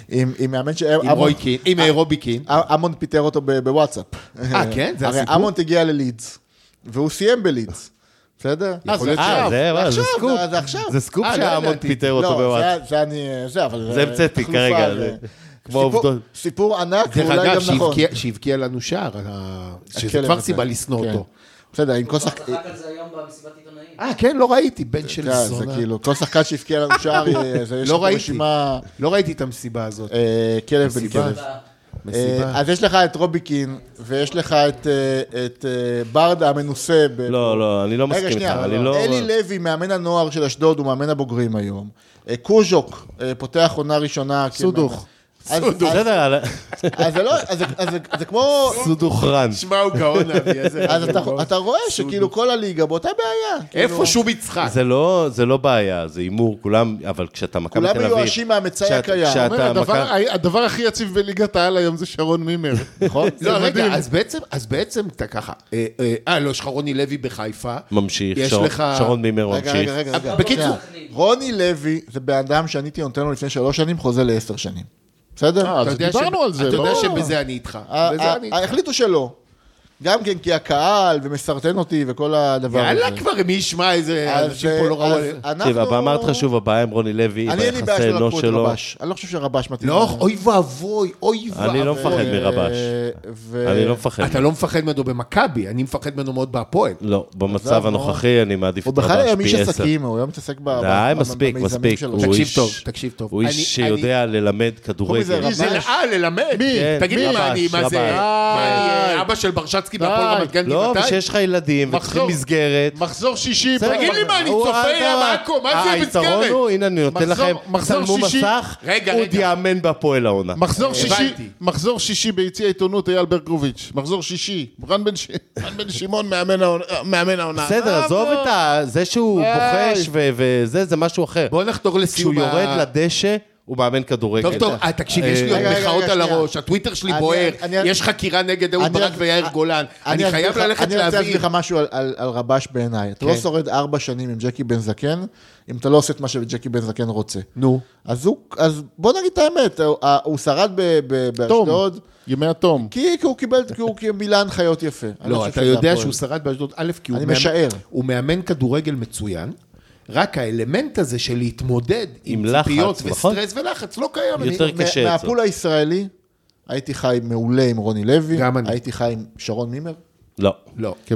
[SPEAKER 2] עם עם מאמן ש...
[SPEAKER 3] עם רוי קין, עם אה, רובי קין.
[SPEAKER 2] אמון פיטר אותו ב- בוואטסאפ.
[SPEAKER 3] אה, כן? זה
[SPEAKER 2] הרי
[SPEAKER 3] הסיפור?
[SPEAKER 2] אמונט הגיע ללידס, והוא סיים בלידס, בסדר?
[SPEAKER 1] יכול להיות אה, זה- וואלה, זה
[SPEAKER 2] עכשיו,
[SPEAKER 1] סקופ.
[SPEAKER 2] זה עכשיו.
[SPEAKER 1] זה סקופ
[SPEAKER 2] אה, לא
[SPEAKER 1] שהאמון
[SPEAKER 2] ידעתי.
[SPEAKER 1] פיטר אותו
[SPEAKER 2] לא,
[SPEAKER 1] בוואטסאפ.
[SPEAKER 2] זה- זה אני... זה, אבל...
[SPEAKER 1] זה המצאתי
[SPEAKER 2] תחלופה,
[SPEAKER 1] כרגע,
[SPEAKER 2] זה-
[SPEAKER 1] זה כמו
[SPEAKER 2] סיפור-
[SPEAKER 1] עובדות.
[SPEAKER 2] סיפור ענק,
[SPEAKER 3] דרך
[SPEAKER 2] ואולי
[SPEAKER 3] אגב,
[SPEAKER 2] גם נכון.
[SPEAKER 3] שהבקיע- שהבקיע לנו שער, ה- שזה
[SPEAKER 2] הכלב
[SPEAKER 3] כבר
[SPEAKER 2] הזה.
[SPEAKER 3] סיבה לשנוא
[SPEAKER 2] כן.
[SPEAKER 3] אותו.
[SPEAKER 2] בסדר, עם כל שחק-
[SPEAKER 5] צחק על זה היום במסיבת עיתונאים.
[SPEAKER 3] אה, כן, לא ראיתי, בן של
[SPEAKER 2] כן, זה
[SPEAKER 3] זונה.
[SPEAKER 2] כאילו, כל שחקן שהבקיע לנו שער,
[SPEAKER 3] (laughs)
[SPEAKER 2] אה, זה יש
[SPEAKER 3] לא
[SPEAKER 2] פה
[SPEAKER 3] ראיתי.
[SPEAKER 2] רשימה
[SPEAKER 3] לא ראיתי את המסיבה הזאת.
[SPEAKER 2] אה, כלב בן
[SPEAKER 3] מסיבה.
[SPEAKER 2] כלב.
[SPEAKER 3] מסיבה.
[SPEAKER 2] אה, אז יש לך את רוביקין, ויש לך את, אה, את אה, ברדה המנוסה. ב-
[SPEAKER 1] לא, לא, אני לא
[SPEAKER 2] רגע,
[SPEAKER 1] מסכים איתך,
[SPEAKER 2] שנייה,
[SPEAKER 1] אני לא...
[SPEAKER 2] אלי לוי, מאמן הנוער של אשדוד, הוא מאמן הבוגרים היום. אה, קוז'וק, אה, פותח עונה ראשונה.
[SPEAKER 4] סודוך.
[SPEAKER 2] כמאמן. אז- אז-
[SPEAKER 1] בסדר, אבל-
[SPEAKER 2] אז זה לא, אז זה- אז זה- זה כמו...
[SPEAKER 1] סודוכרן.
[SPEAKER 3] שמע, הוא גאון, אבי, (laughs) איזה...
[SPEAKER 2] אז אתה- אתה רואה שכאילו כל הליגה באותה בעיה. כאילו,
[SPEAKER 3] איפה שוב יצחק?
[SPEAKER 1] זה לא, זה לא בעיה, זה הימור, כולם, אבל כשאתה מכבי תל
[SPEAKER 2] כולם
[SPEAKER 1] אביב...
[SPEAKER 2] מיואשים מהמצאי
[SPEAKER 1] כשאת-
[SPEAKER 2] הקיים.
[SPEAKER 1] כשאתה
[SPEAKER 4] אומר, הדבר-
[SPEAKER 1] מכבי-
[SPEAKER 4] הדבר הכי יציב בליגת העל היום זה שרון מימר. נכון?
[SPEAKER 3] לא, רגע, אז בעצם, אז בעצם, אתה ככה, אה, אה, אה, לא, יש לך רוני לוי בחיפה.
[SPEAKER 1] ממשיך,
[SPEAKER 3] יש
[SPEAKER 1] שרון-
[SPEAKER 3] לך-
[SPEAKER 1] שרון מימר
[SPEAKER 2] רגע,
[SPEAKER 1] ממשיך.
[SPEAKER 2] רגע, רגע, רגע.
[SPEAKER 3] אה, בקיצור,
[SPEAKER 2] שנייה. רוני לוי זה בן אדם שאני הייתי נותן לו לפני שלוש שנים חוזה לעשר שנים. בסדר?
[SPEAKER 4] אז
[SPEAKER 3] אתה יודע
[SPEAKER 4] דיברנו
[SPEAKER 3] ש-
[SPEAKER 4] על זה,
[SPEAKER 3] אתה יודע
[SPEAKER 4] ברור. אה,
[SPEAKER 3] שבזה אני איתך.
[SPEAKER 2] ה-
[SPEAKER 3] לא? בזה
[SPEAKER 2] ה-
[SPEAKER 3] אני איתך.
[SPEAKER 2] החליטו שלא. גם כן כי הקהל ומסרטן אותי וכל
[SPEAKER 4] אה,
[SPEAKER 2] הדבר הזה.
[SPEAKER 3] יאללה כבר, מי ישמע אה, איזה
[SPEAKER 2] אז, אה,
[SPEAKER 3] אנשים פה לא ראו...
[SPEAKER 2] אז
[SPEAKER 3] על-
[SPEAKER 2] אנחנו...
[SPEAKER 1] תקשיב, הבמה מאוד חשוב, הבעיה עם רוני לוי,
[SPEAKER 2] אני אין לי בעיה
[SPEAKER 1] ביחסי
[SPEAKER 2] שלא לקחו
[SPEAKER 1] אנוש
[SPEAKER 2] את
[SPEAKER 1] שלו.
[SPEAKER 2] רבש. אני לא חושב שרבש מתאים.
[SPEAKER 3] לא,
[SPEAKER 2] לזה.
[SPEAKER 3] אוי ואבוי, אוי ואבוי.
[SPEAKER 1] אני לא מפחד
[SPEAKER 2] אה,
[SPEAKER 1] מרבש.
[SPEAKER 2] ו-
[SPEAKER 1] אני לא מפחד.
[SPEAKER 3] אתה לא מפחד ממנו במכבי, אני מפחד ממנו מאוד בהפועל.
[SPEAKER 1] לא, במצב הנוכחי אני מעדיף
[SPEAKER 2] הוא
[SPEAKER 1] את רבש
[SPEAKER 2] בכלל
[SPEAKER 1] פי
[SPEAKER 2] היה
[SPEAKER 1] עשר.
[SPEAKER 2] איש עסקים, הוא היה מתעסק ב- ב-
[SPEAKER 1] די,
[SPEAKER 2] ב-
[SPEAKER 1] מספיק,
[SPEAKER 2] במיזמים
[SPEAKER 1] מספיק.
[SPEAKER 2] שלו.
[SPEAKER 1] הוא
[SPEAKER 2] תקשיב,
[SPEAKER 3] תקשיב
[SPEAKER 1] איש-
[SPEAKER 3] טוב, תקשיב טוב.
[SPEAKER 1] הוא
[SPEAKER 3] אני-
[SPEAKER 1] איש שיודע כן, ללמד כדורגל.
[SPEAKER 2] רבש?
[SPEAKER 3] מי זה אה, ללמד? מי? תגיד
[SPEAKER 1] מי?
[SPEAKER 3] לי, מה אני, מה
[SPEAKER 1] רבש,
[SPEAKER 3] זה?
[SPEAKER 1] רבש.
[SPEAKER 3] מה, אה, אני אבא של ברשצקי בהפועל רמת גן
[SPEAKER 1] לא,
[SPEAKER 3] גבעתיים?
[SPEAKER 1] ושיש לך ילדים, וצריכים
[SPEAKER 4] מחזור.
[SPEAKER 1] מסגרת.
[SPEAKER 4] מחזור שישי.
[SPEAKER 1] בסדר,
[SPEAKER 4] תגיד לי,
[SPEAKER 1] אבל
[SPEAKER 3] מה, אני
[SPEAKER 1] הוא-
[SPEAKER 3] צופה
[SPEAKER 1] אתה-
[SPEAKER 3] ים עכו, מה זה
[SPEAKER 1] היתרון
[SPEAKER 3] מסגרת?
[SPEAKER 1] הוא, הנה, אני נותן
[SPEAKER 4] מחזור-
[SPEAKER 1] לכם,
[SPEAKER 4] מחזור
[SPEAKER 1] צלמו
[SPEAKER 4] שישי.
[SPEAKER 1] מסך,
[SPEAKER 3] רגע,
[SPEAKER 1] הוא
[SPEAKER 3] רגע.
[SPEAKER 1] יאמן בהפועל העונה.
[SPEAKER 4] מחזור שישי,
[SPEAKER 3] אה, הבנתי.
[SPEAKER 4] מחזור שישי ביציע העיתונות אייל ברקוביץ', מחזור שישי, רן בן ש- (laughs) רן בן שמעון מאמן העונה- מאמן העונה.
[SPEAKER 3] אה,
[SPEAKER 1] בסדר, עזוב את ה... זה שהוא
[SPEAKER 4] די.
[SPEAKER 1] בוחש ו- וזה, זה משהו אחר.
[SPEAKER 3] בוא נחתור
[SPEAKER 1] כשהוא
[SPEAKER 3] לסיום ה-
[SPEAKER 1] יורד לדשא, הוא מאמן כדורגל.
[SPEAKER 3] טוב, טוב, אה, תקשיב, יש לי
[SPEAKER 2] רגע,
[SPEAKER 3] עוד
[SPEAKER 2] רגע,
[SPEAKER 3] מחאות
[SPEAKER 2] רגע,
[SPEAKER 3] על
[SPEAKER 2] שנייה.
[SPEAKER 3] הראש, הטוויטר שלי
[SPEAKER 2] אני-
[SPEAKER 3] בוער,
[SPEAKER 2] אני-
[SPEAKER 3] יש חקירה נגד אהוד ברק
[SPEAKER 2] אסביר
[SPEAKER 3] ויאיר
[SPEAKER 2] לך-
[SPEAKER 3] גולן. אני
[SPEAKER 2] אסביר
[SPEAKER 3] חייב
[SPEAKER 2] לך-
[SPEAKER 3] ללכת
[SPEAKER 2] אני רוצה להסביר
[SPEAKER 3] להבין. כן.
[SPEAKER 2] לך משהו על- על על רבש בעיניי. אתה לא שורד ארבע שנים עם ג'קי בן זקן, אם אתה לא עושה את מה שג'קי בן זקן רוצה.
[SPEAKER 3] נו.
[SPEAKER 2] אז הוא, אז בוא נגיד את האמת, הוא- הוא שרד ב- ב- באשדוד,
[SPEAKER 4] ימי התום.
[SPEAKER 2] כי כי הוא קיבל, כי הוא כי הוא מילא הנחיות יפה. אני
[SPEAKER 3] לא,
[SPEAKER 2] חושב
[SPEAKER 3] אתה
[SPEAKER 2] שזה
[SPEAKER 3] יודע
[SPEAKER 2] הפועל.
[SPEAKER 3] שהוא שרד באשדוד, א', כי הוא
[SPEAKER 2] אני
[SPEAKER 3] מאמן-
[SPEAKER 2] משער.
[SPEAKER 3] הוא מאמן כדורגל מצוין, רק האלמנט הזה של להתמודד עם
[SPEAKER 1] עם לחץ,
[SPEAKER 3] ציפיות
[SPEAKER 1] נכון?
[SPEAKER 3] וסטרס ולחץ לא קיים. אני-
[SPEAKER 1] יותר
[SPEAKER 2] מה-
[SPEAKER 1] קשה אצלו.
[SPEAKER 2] מהפול הישראלי, הייתי חי מעולה עם רוני לוי,
[SPEAKER 3] גם אני.
[SPEAKER 2] הייתי חי עם שרון מימר,
[SPEAKER 1] לא.
[SPEAKER 3] לא.
[SPEAKER 4] בטח.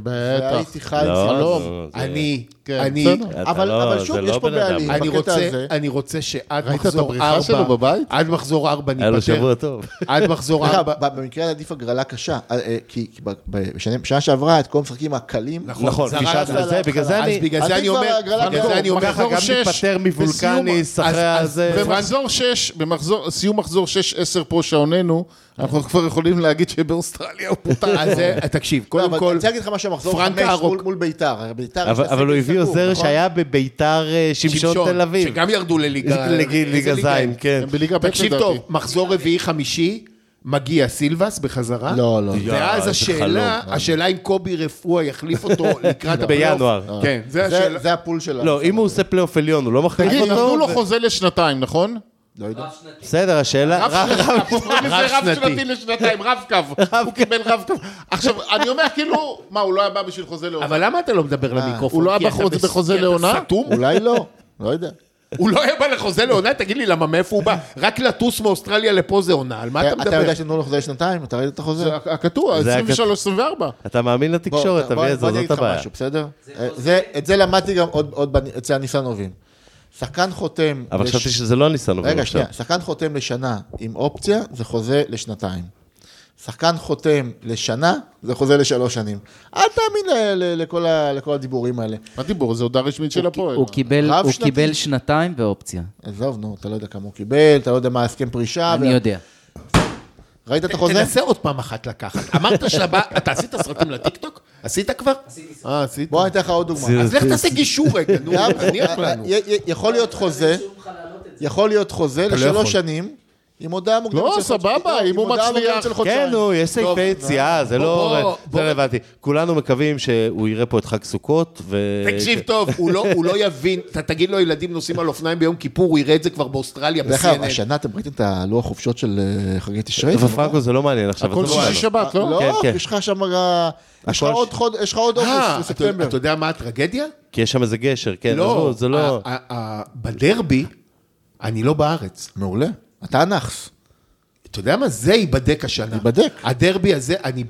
[SPEAKER 2] והייתי חי עם
[SPEAKER 1] לא,
[SPEAKER 2] חלום.
[SPEAKER 1] לא, זה-
[SPEAKER 3] אני,
[SPEAKER 4] כן,
[SPEAKER 3] אני,
[SPEAKER 4] בסדר.
[SPEAKER 1] אתה
[SPEAKER 2] אבל-
[SPEAKER 1] לא-
[SPEAKER 2] אבל שוב,
[SPEAKER 1] זה
[SPEAKER 2] יש
[SPEAKER 1] לא
[SPEAKER 2] פה
[SPEAKER 1] בן אדם.
[SPEAKER 2] בעלים.
[SPEAKER 3] אני
[SPEAKER 2] בקטע
[SPEAKER 3] רוצה,
[SPEAKER 2] הזה-
[SPEAKER 3] אני רוצה שעד
[SPEAKER 4] ראית את
[SPEAKER 3] מחזור
[SPEAKER 4] הבריחה שלו
[SPEAKER 3] ארבע,
[SPEAKER 4] בבית?
[SPEAKER 3] עד מחזור ארבע
[SPEAKER 1] היה לו
[SPEAKER 3] ניפטר,
[SPEAKER 1] שבוע
[SPEAKER 3] (laughs)
[SPEAKER 1] טוב.
[SPEAKER 3] עד מחזור
[SPEAKER 2] אתה יודע,
[SPEAKER 3] ארבע,
[SPEAKER 2] ב- במקרה הזה עדיף הגרלה קשה, אה, אה, כי כי ב- ב- בשנה- בשנה שעברה את כל המשחקים הקלים,
[SPEAKER 1] נכון,
[SPEAKER 3] זרקת
[SPEAKER 1] בשעת-
[SPEAKER 3] עליו
[SPEAKER 1] זה, בגלל זה
[SPEAKER 3] אז
[SPEAKER 1] אני...
[SPEAKER 3] בגלל זה
[SPEAKER 2] אני
[SPEAKER 3] אני
[SPEAKER 2] כבר
[SPEAKER 3] אומר,
[SPEAKER 2] הגרלה
[SPEAKER 3] בגלל זה אני אומר,
[SPEAKER 1] ככה גם
[SPEAKER 4] מחזור שש,
[SPEAKER 1] ניפטר מוולקניס
[SPEAKER 3] בסיום-
[SPEAKER 1] אחרי
[SPEAKER 3] אז- אז-
[SPEAKER 1] הזה.
[SPEAKER 4] במחזור 6, סיום מחזור 6, 10 פה שעוננו, אנחנו כבר יכולים להגיד שבאוסטרליה הוא פוטר.
[SPEAKER 3] אז זה- תקשיב,
[SPEAKER 2] (laughs)
[SPEAKER 3] קודם
[SPEAKER 2] לא, אבל
[SPEAKER 3] כל,
[SPEAKER 2] אני רוצה להגיד לך משהו, מחזור
[SPEAKER 3] פרנק
[SPEAKER 2] חמש
[SPEAKER 3] ארוק.
[SPEAKER 2] מול- מול ביתר. הרי ביתר
[SPEAKER 1] אבל-
[SPEAKER 2] יש לה
[SPEAKER 1] אבל הוא
[SPEAKER 2] סגל
[SPEAKER 1] הביא
[SPEAKER 2] סגור,
[SPEAKER 1] עוזר
[SPEAKER 2] נכון?
[SPEAKER 1] שהיה בביתר אה, שמשון תל אביב.
[SPEAKER 3] שגם ירדו לליגה,
[SPEAKER 1] לג-
[SPEAKER 3] איזה
[SPEAKER 1] ליגה
[SPEAKER 3] ליגה הם?
[SPEAKER 1] זין, כן.
[SPEAKER 4] הם בליגה ב'
[SPEAKER 3] תקשיב
[SPEAKER 4] לדעתי.
[SPEAKER 3] טוב, מחזור רביעי חמישי, מגיע סילבס בחזרה.
[SPEAKER 2] לא, לא.
[SPEAKER 3] ואז
[SPEAKER 4] אה,
[SPEAKER 1] איזה
[SPEAKER 3] השאלה,
[SPEAKER 1] חלום.
[SPEAKER 3] השאלה אם קובי רפואה יחליף
[SPEAKER 4] (laughs)
[SPEAKER 3] אותו לקראת הפלייאוף.
[SPEAKER 1] בינואר. אה.
[SPEAKER 3] כן, זה
[SPEAKER 2] זה-
[SPEAKER 3] השאלה.
[SPEAKER 2] זה הפול שלה.
[SPEAKER 1] לא, אם הוא עושה פלייאוף עליון, הוא לא מחליף
[SPEAKER 4] תגיד,
[SPEAKER 1] אותו?
[SPEAKER 4] נתנו לו
[SPEAKER 1] ו-
[SPEAKER 4] חוזה לשנתיים, נכון?
[SPEAKER 2] לא יודע.
[SPEAKER 1] בסדר, השאלה... רב-
[SPEAKER 4] לא קוראים לזה רב
[SPEAKER 1] רב-שנתי.
[SPEAKER 4] שנתי לשנתיים, רב קו. הוא קיבל רב קו. עכשיו, אני אומר, כאילו, מה, הוא לא היה בא בשביל חוזה לעונה?
[SPEAKER 3] אבל למה אתה לא מדבר
[SPEAKER 2] אה,
[SPEAKER 3] למיקרופון?
[SPEAKER 4] הוא לא
[SPEAKER 3] כי
[SPEAKER 4] היה
[SPEAKER 3] אתה
[SPEAKER 4] בחוזה-
[SPEAKER 3] מס-
[SPEAKER 4] בחוזה
[SPEAKER 3] כי אתה
[SPEAKER 4] לעונה?
[SPEAKER 3] סתום?
[SPEAKER 2] אולי לא, לא יודע.
[SPEAKER 3] הוא לא היה בא לחוזה לעונה? תגיד לי, למה, מאיפה הוא בא? רק לטוס מאוסטרליה לפה זה עונה, על מה אה, אתה
[SPEAKER 2] אתה אתה
[SPEAKER 3] מדבר?
[SPEAKER 2] יודע שנתנו לו חוזה לשנתיים? אתה ראית את החוזה?
[SPEAKER 4] זה הכתוב,
[SPEAKER 1] זה היה
[SPEAKER 4] 23-24.
[SPEAKER 1] אתה לא מאמין
[SPEAKER 2] בוא,
[SPEAKER 1] לתקשורת,
[SPEAKER 2] בוא-
[SPEAKER 1] אביעזר,
[SPEAKER 2] בוא אני
[SPEAKER 1] זאת
[SPEAKER 2] אגיד לך
[SPEAKER 1] הבעיה.
[SPEAKER 2] משהו, בסדר? אה, זה- את זה למדתי גם עוד עוד בנ- אצל הניסנובים. שחקן חותם...
[SPEAKER 1] אבל
[SPEAKER 2] לש-
[SPEAKER 1] חשבתי שזה לא ניסנובים
[SPEAKER 2] רגע,
[SPEAKER 1] עכשיו.
[SPEAKER 2] שנייה. שחקן חותם לשנה עם אופציה, זה חוזה לשנתיים. שחקן חותם לשנה, זה חוזה לשלוש שנים. אל תאמין ל- ל- לכל ה- לכל הדיבורים האלה.
[SPEAKER 4] מה דיבור? זו הודעה רשמית
[SPEAKER 2] כן.
[SPEAKER 4] של הפועל.
[SPEAKER 5] הוא קיבל- הוא
[SPEAKER 2] רב-שנתי.
[SPEAKER 5] קיבל שנתיים ואופציה.
[SPEAKER 1] אה,
[SPEAKER 2] עזוב, נו, אתה לא יודע כמה הוא קיבל, אתה לא יודע מה ההסכם פרישה.
[SPEAKER 5] אני
[SPEAKER 2] ו-
[SPEAKER 5] יודע.
[SPEAKER 2] ראית את החוזה?
[SPEAKER 3] תנסה עוד פעם אחת לקחת. אמרת שלבא, אתה עשית סרטים לטיקטוק? עשית כבר?
[SPEAKER 4] אה, עשית?
[SPEAKER 2] בוא אני אתן לך עוד דוגמה.
[SPEAKER 3] אז לך תעשה גישור רגע,
[SPEAKER 2] (laughs)
[SPEAKER 3] נו,
[SPEAKER 2] גם-
[SPEAKER 3] תניח לנו.
[SPEAKER 2] י- י- יכול להיות חוזה, יכול להיות חוזה
[SPEAKER 3] יכול.
[SPEAKER 2] לשלוש שנים, עם הודעה מוקדמת
[SPEAKER 4] לא,
[SPEAKER 2] של חודש-
[SPEAKER 4] סבבה,
[SPEAKER 2] לא,
[SPEAKER 4] אם
[SPEAKER 2] עם
[SPEAKER 4] הוא
[SPEAKER 2] הודעה
[SPEAKER 4] מצליח.
[SPEAKER 2] מוקדמת של
[SPEAKER 1] כן,
[SPEAKER 2] חודשיים.
[SPEAKER 1] נו, יש
[SPEAKER 3] טוב,
[SPEAKER 1] סעיפי יציאה, זה
[SPEAKER 3] בוא,
[SPEAKER 1] לא
[SPEAKER 3] בוא.
[SPEAKER 1] זה רלוונטי. כולנו מקווים שהוא יראה פה את חג סוכות, ו...
[SPEAKER 3] תקשיב טוב, הוא לא- הוא לא יבין, אתה תגיד לו ילדים נוסעים על אופניים ביום כיפור, הוא יראה את זה כבר באוסטרליה,
[SPEAKER 2] דרך אגב,
[SPEAKER 3] ב-CNN.
[SPEAKER 2] השנה אתם ראיתם את הלוח חופשות של אה, חגי תשרי?
[SPEAKER 1] אבל פרנקו זה לא מעניין עכשיו.
[SPEAKER 4] הכל
[SPEAKER 1] עזוב אותנו.
[SPEAKER 4] שישי שבת, לא?
[SPEAKER 2] לא,
[SPEAKER 1] כן, כן.
[SPEAKER 2] יש לך שם רגע... יש לך
[SPEAKER 1] הכל-
[SPEAKER 2] עוד חודש, יש לך עוד
[SPEAKER 3] אה,
[SPEAKER 2] אוגוסט
[SPEAKER 3] אתה
[SPEAKER 2] וספטמבר.
[SPEAKER 3] אתה יודע מה הטרגדיה?
[SPEAKER 1] כי יש שם איזה גשר, כן, עזוב, זה לא...
[SPEAKER 3] ה- ה- ה- בדרבי, אני לא בארץ.
[SPEAKER 2] מעולה. אתה אנכס.
[SPEAKER 3] אתה יודע מה? זה ייבדק השנה.
[SPEAKER 2] ייבדק.
[SPEAKER 3] הדרבי הזה, אני
[SPEAKER 2] אם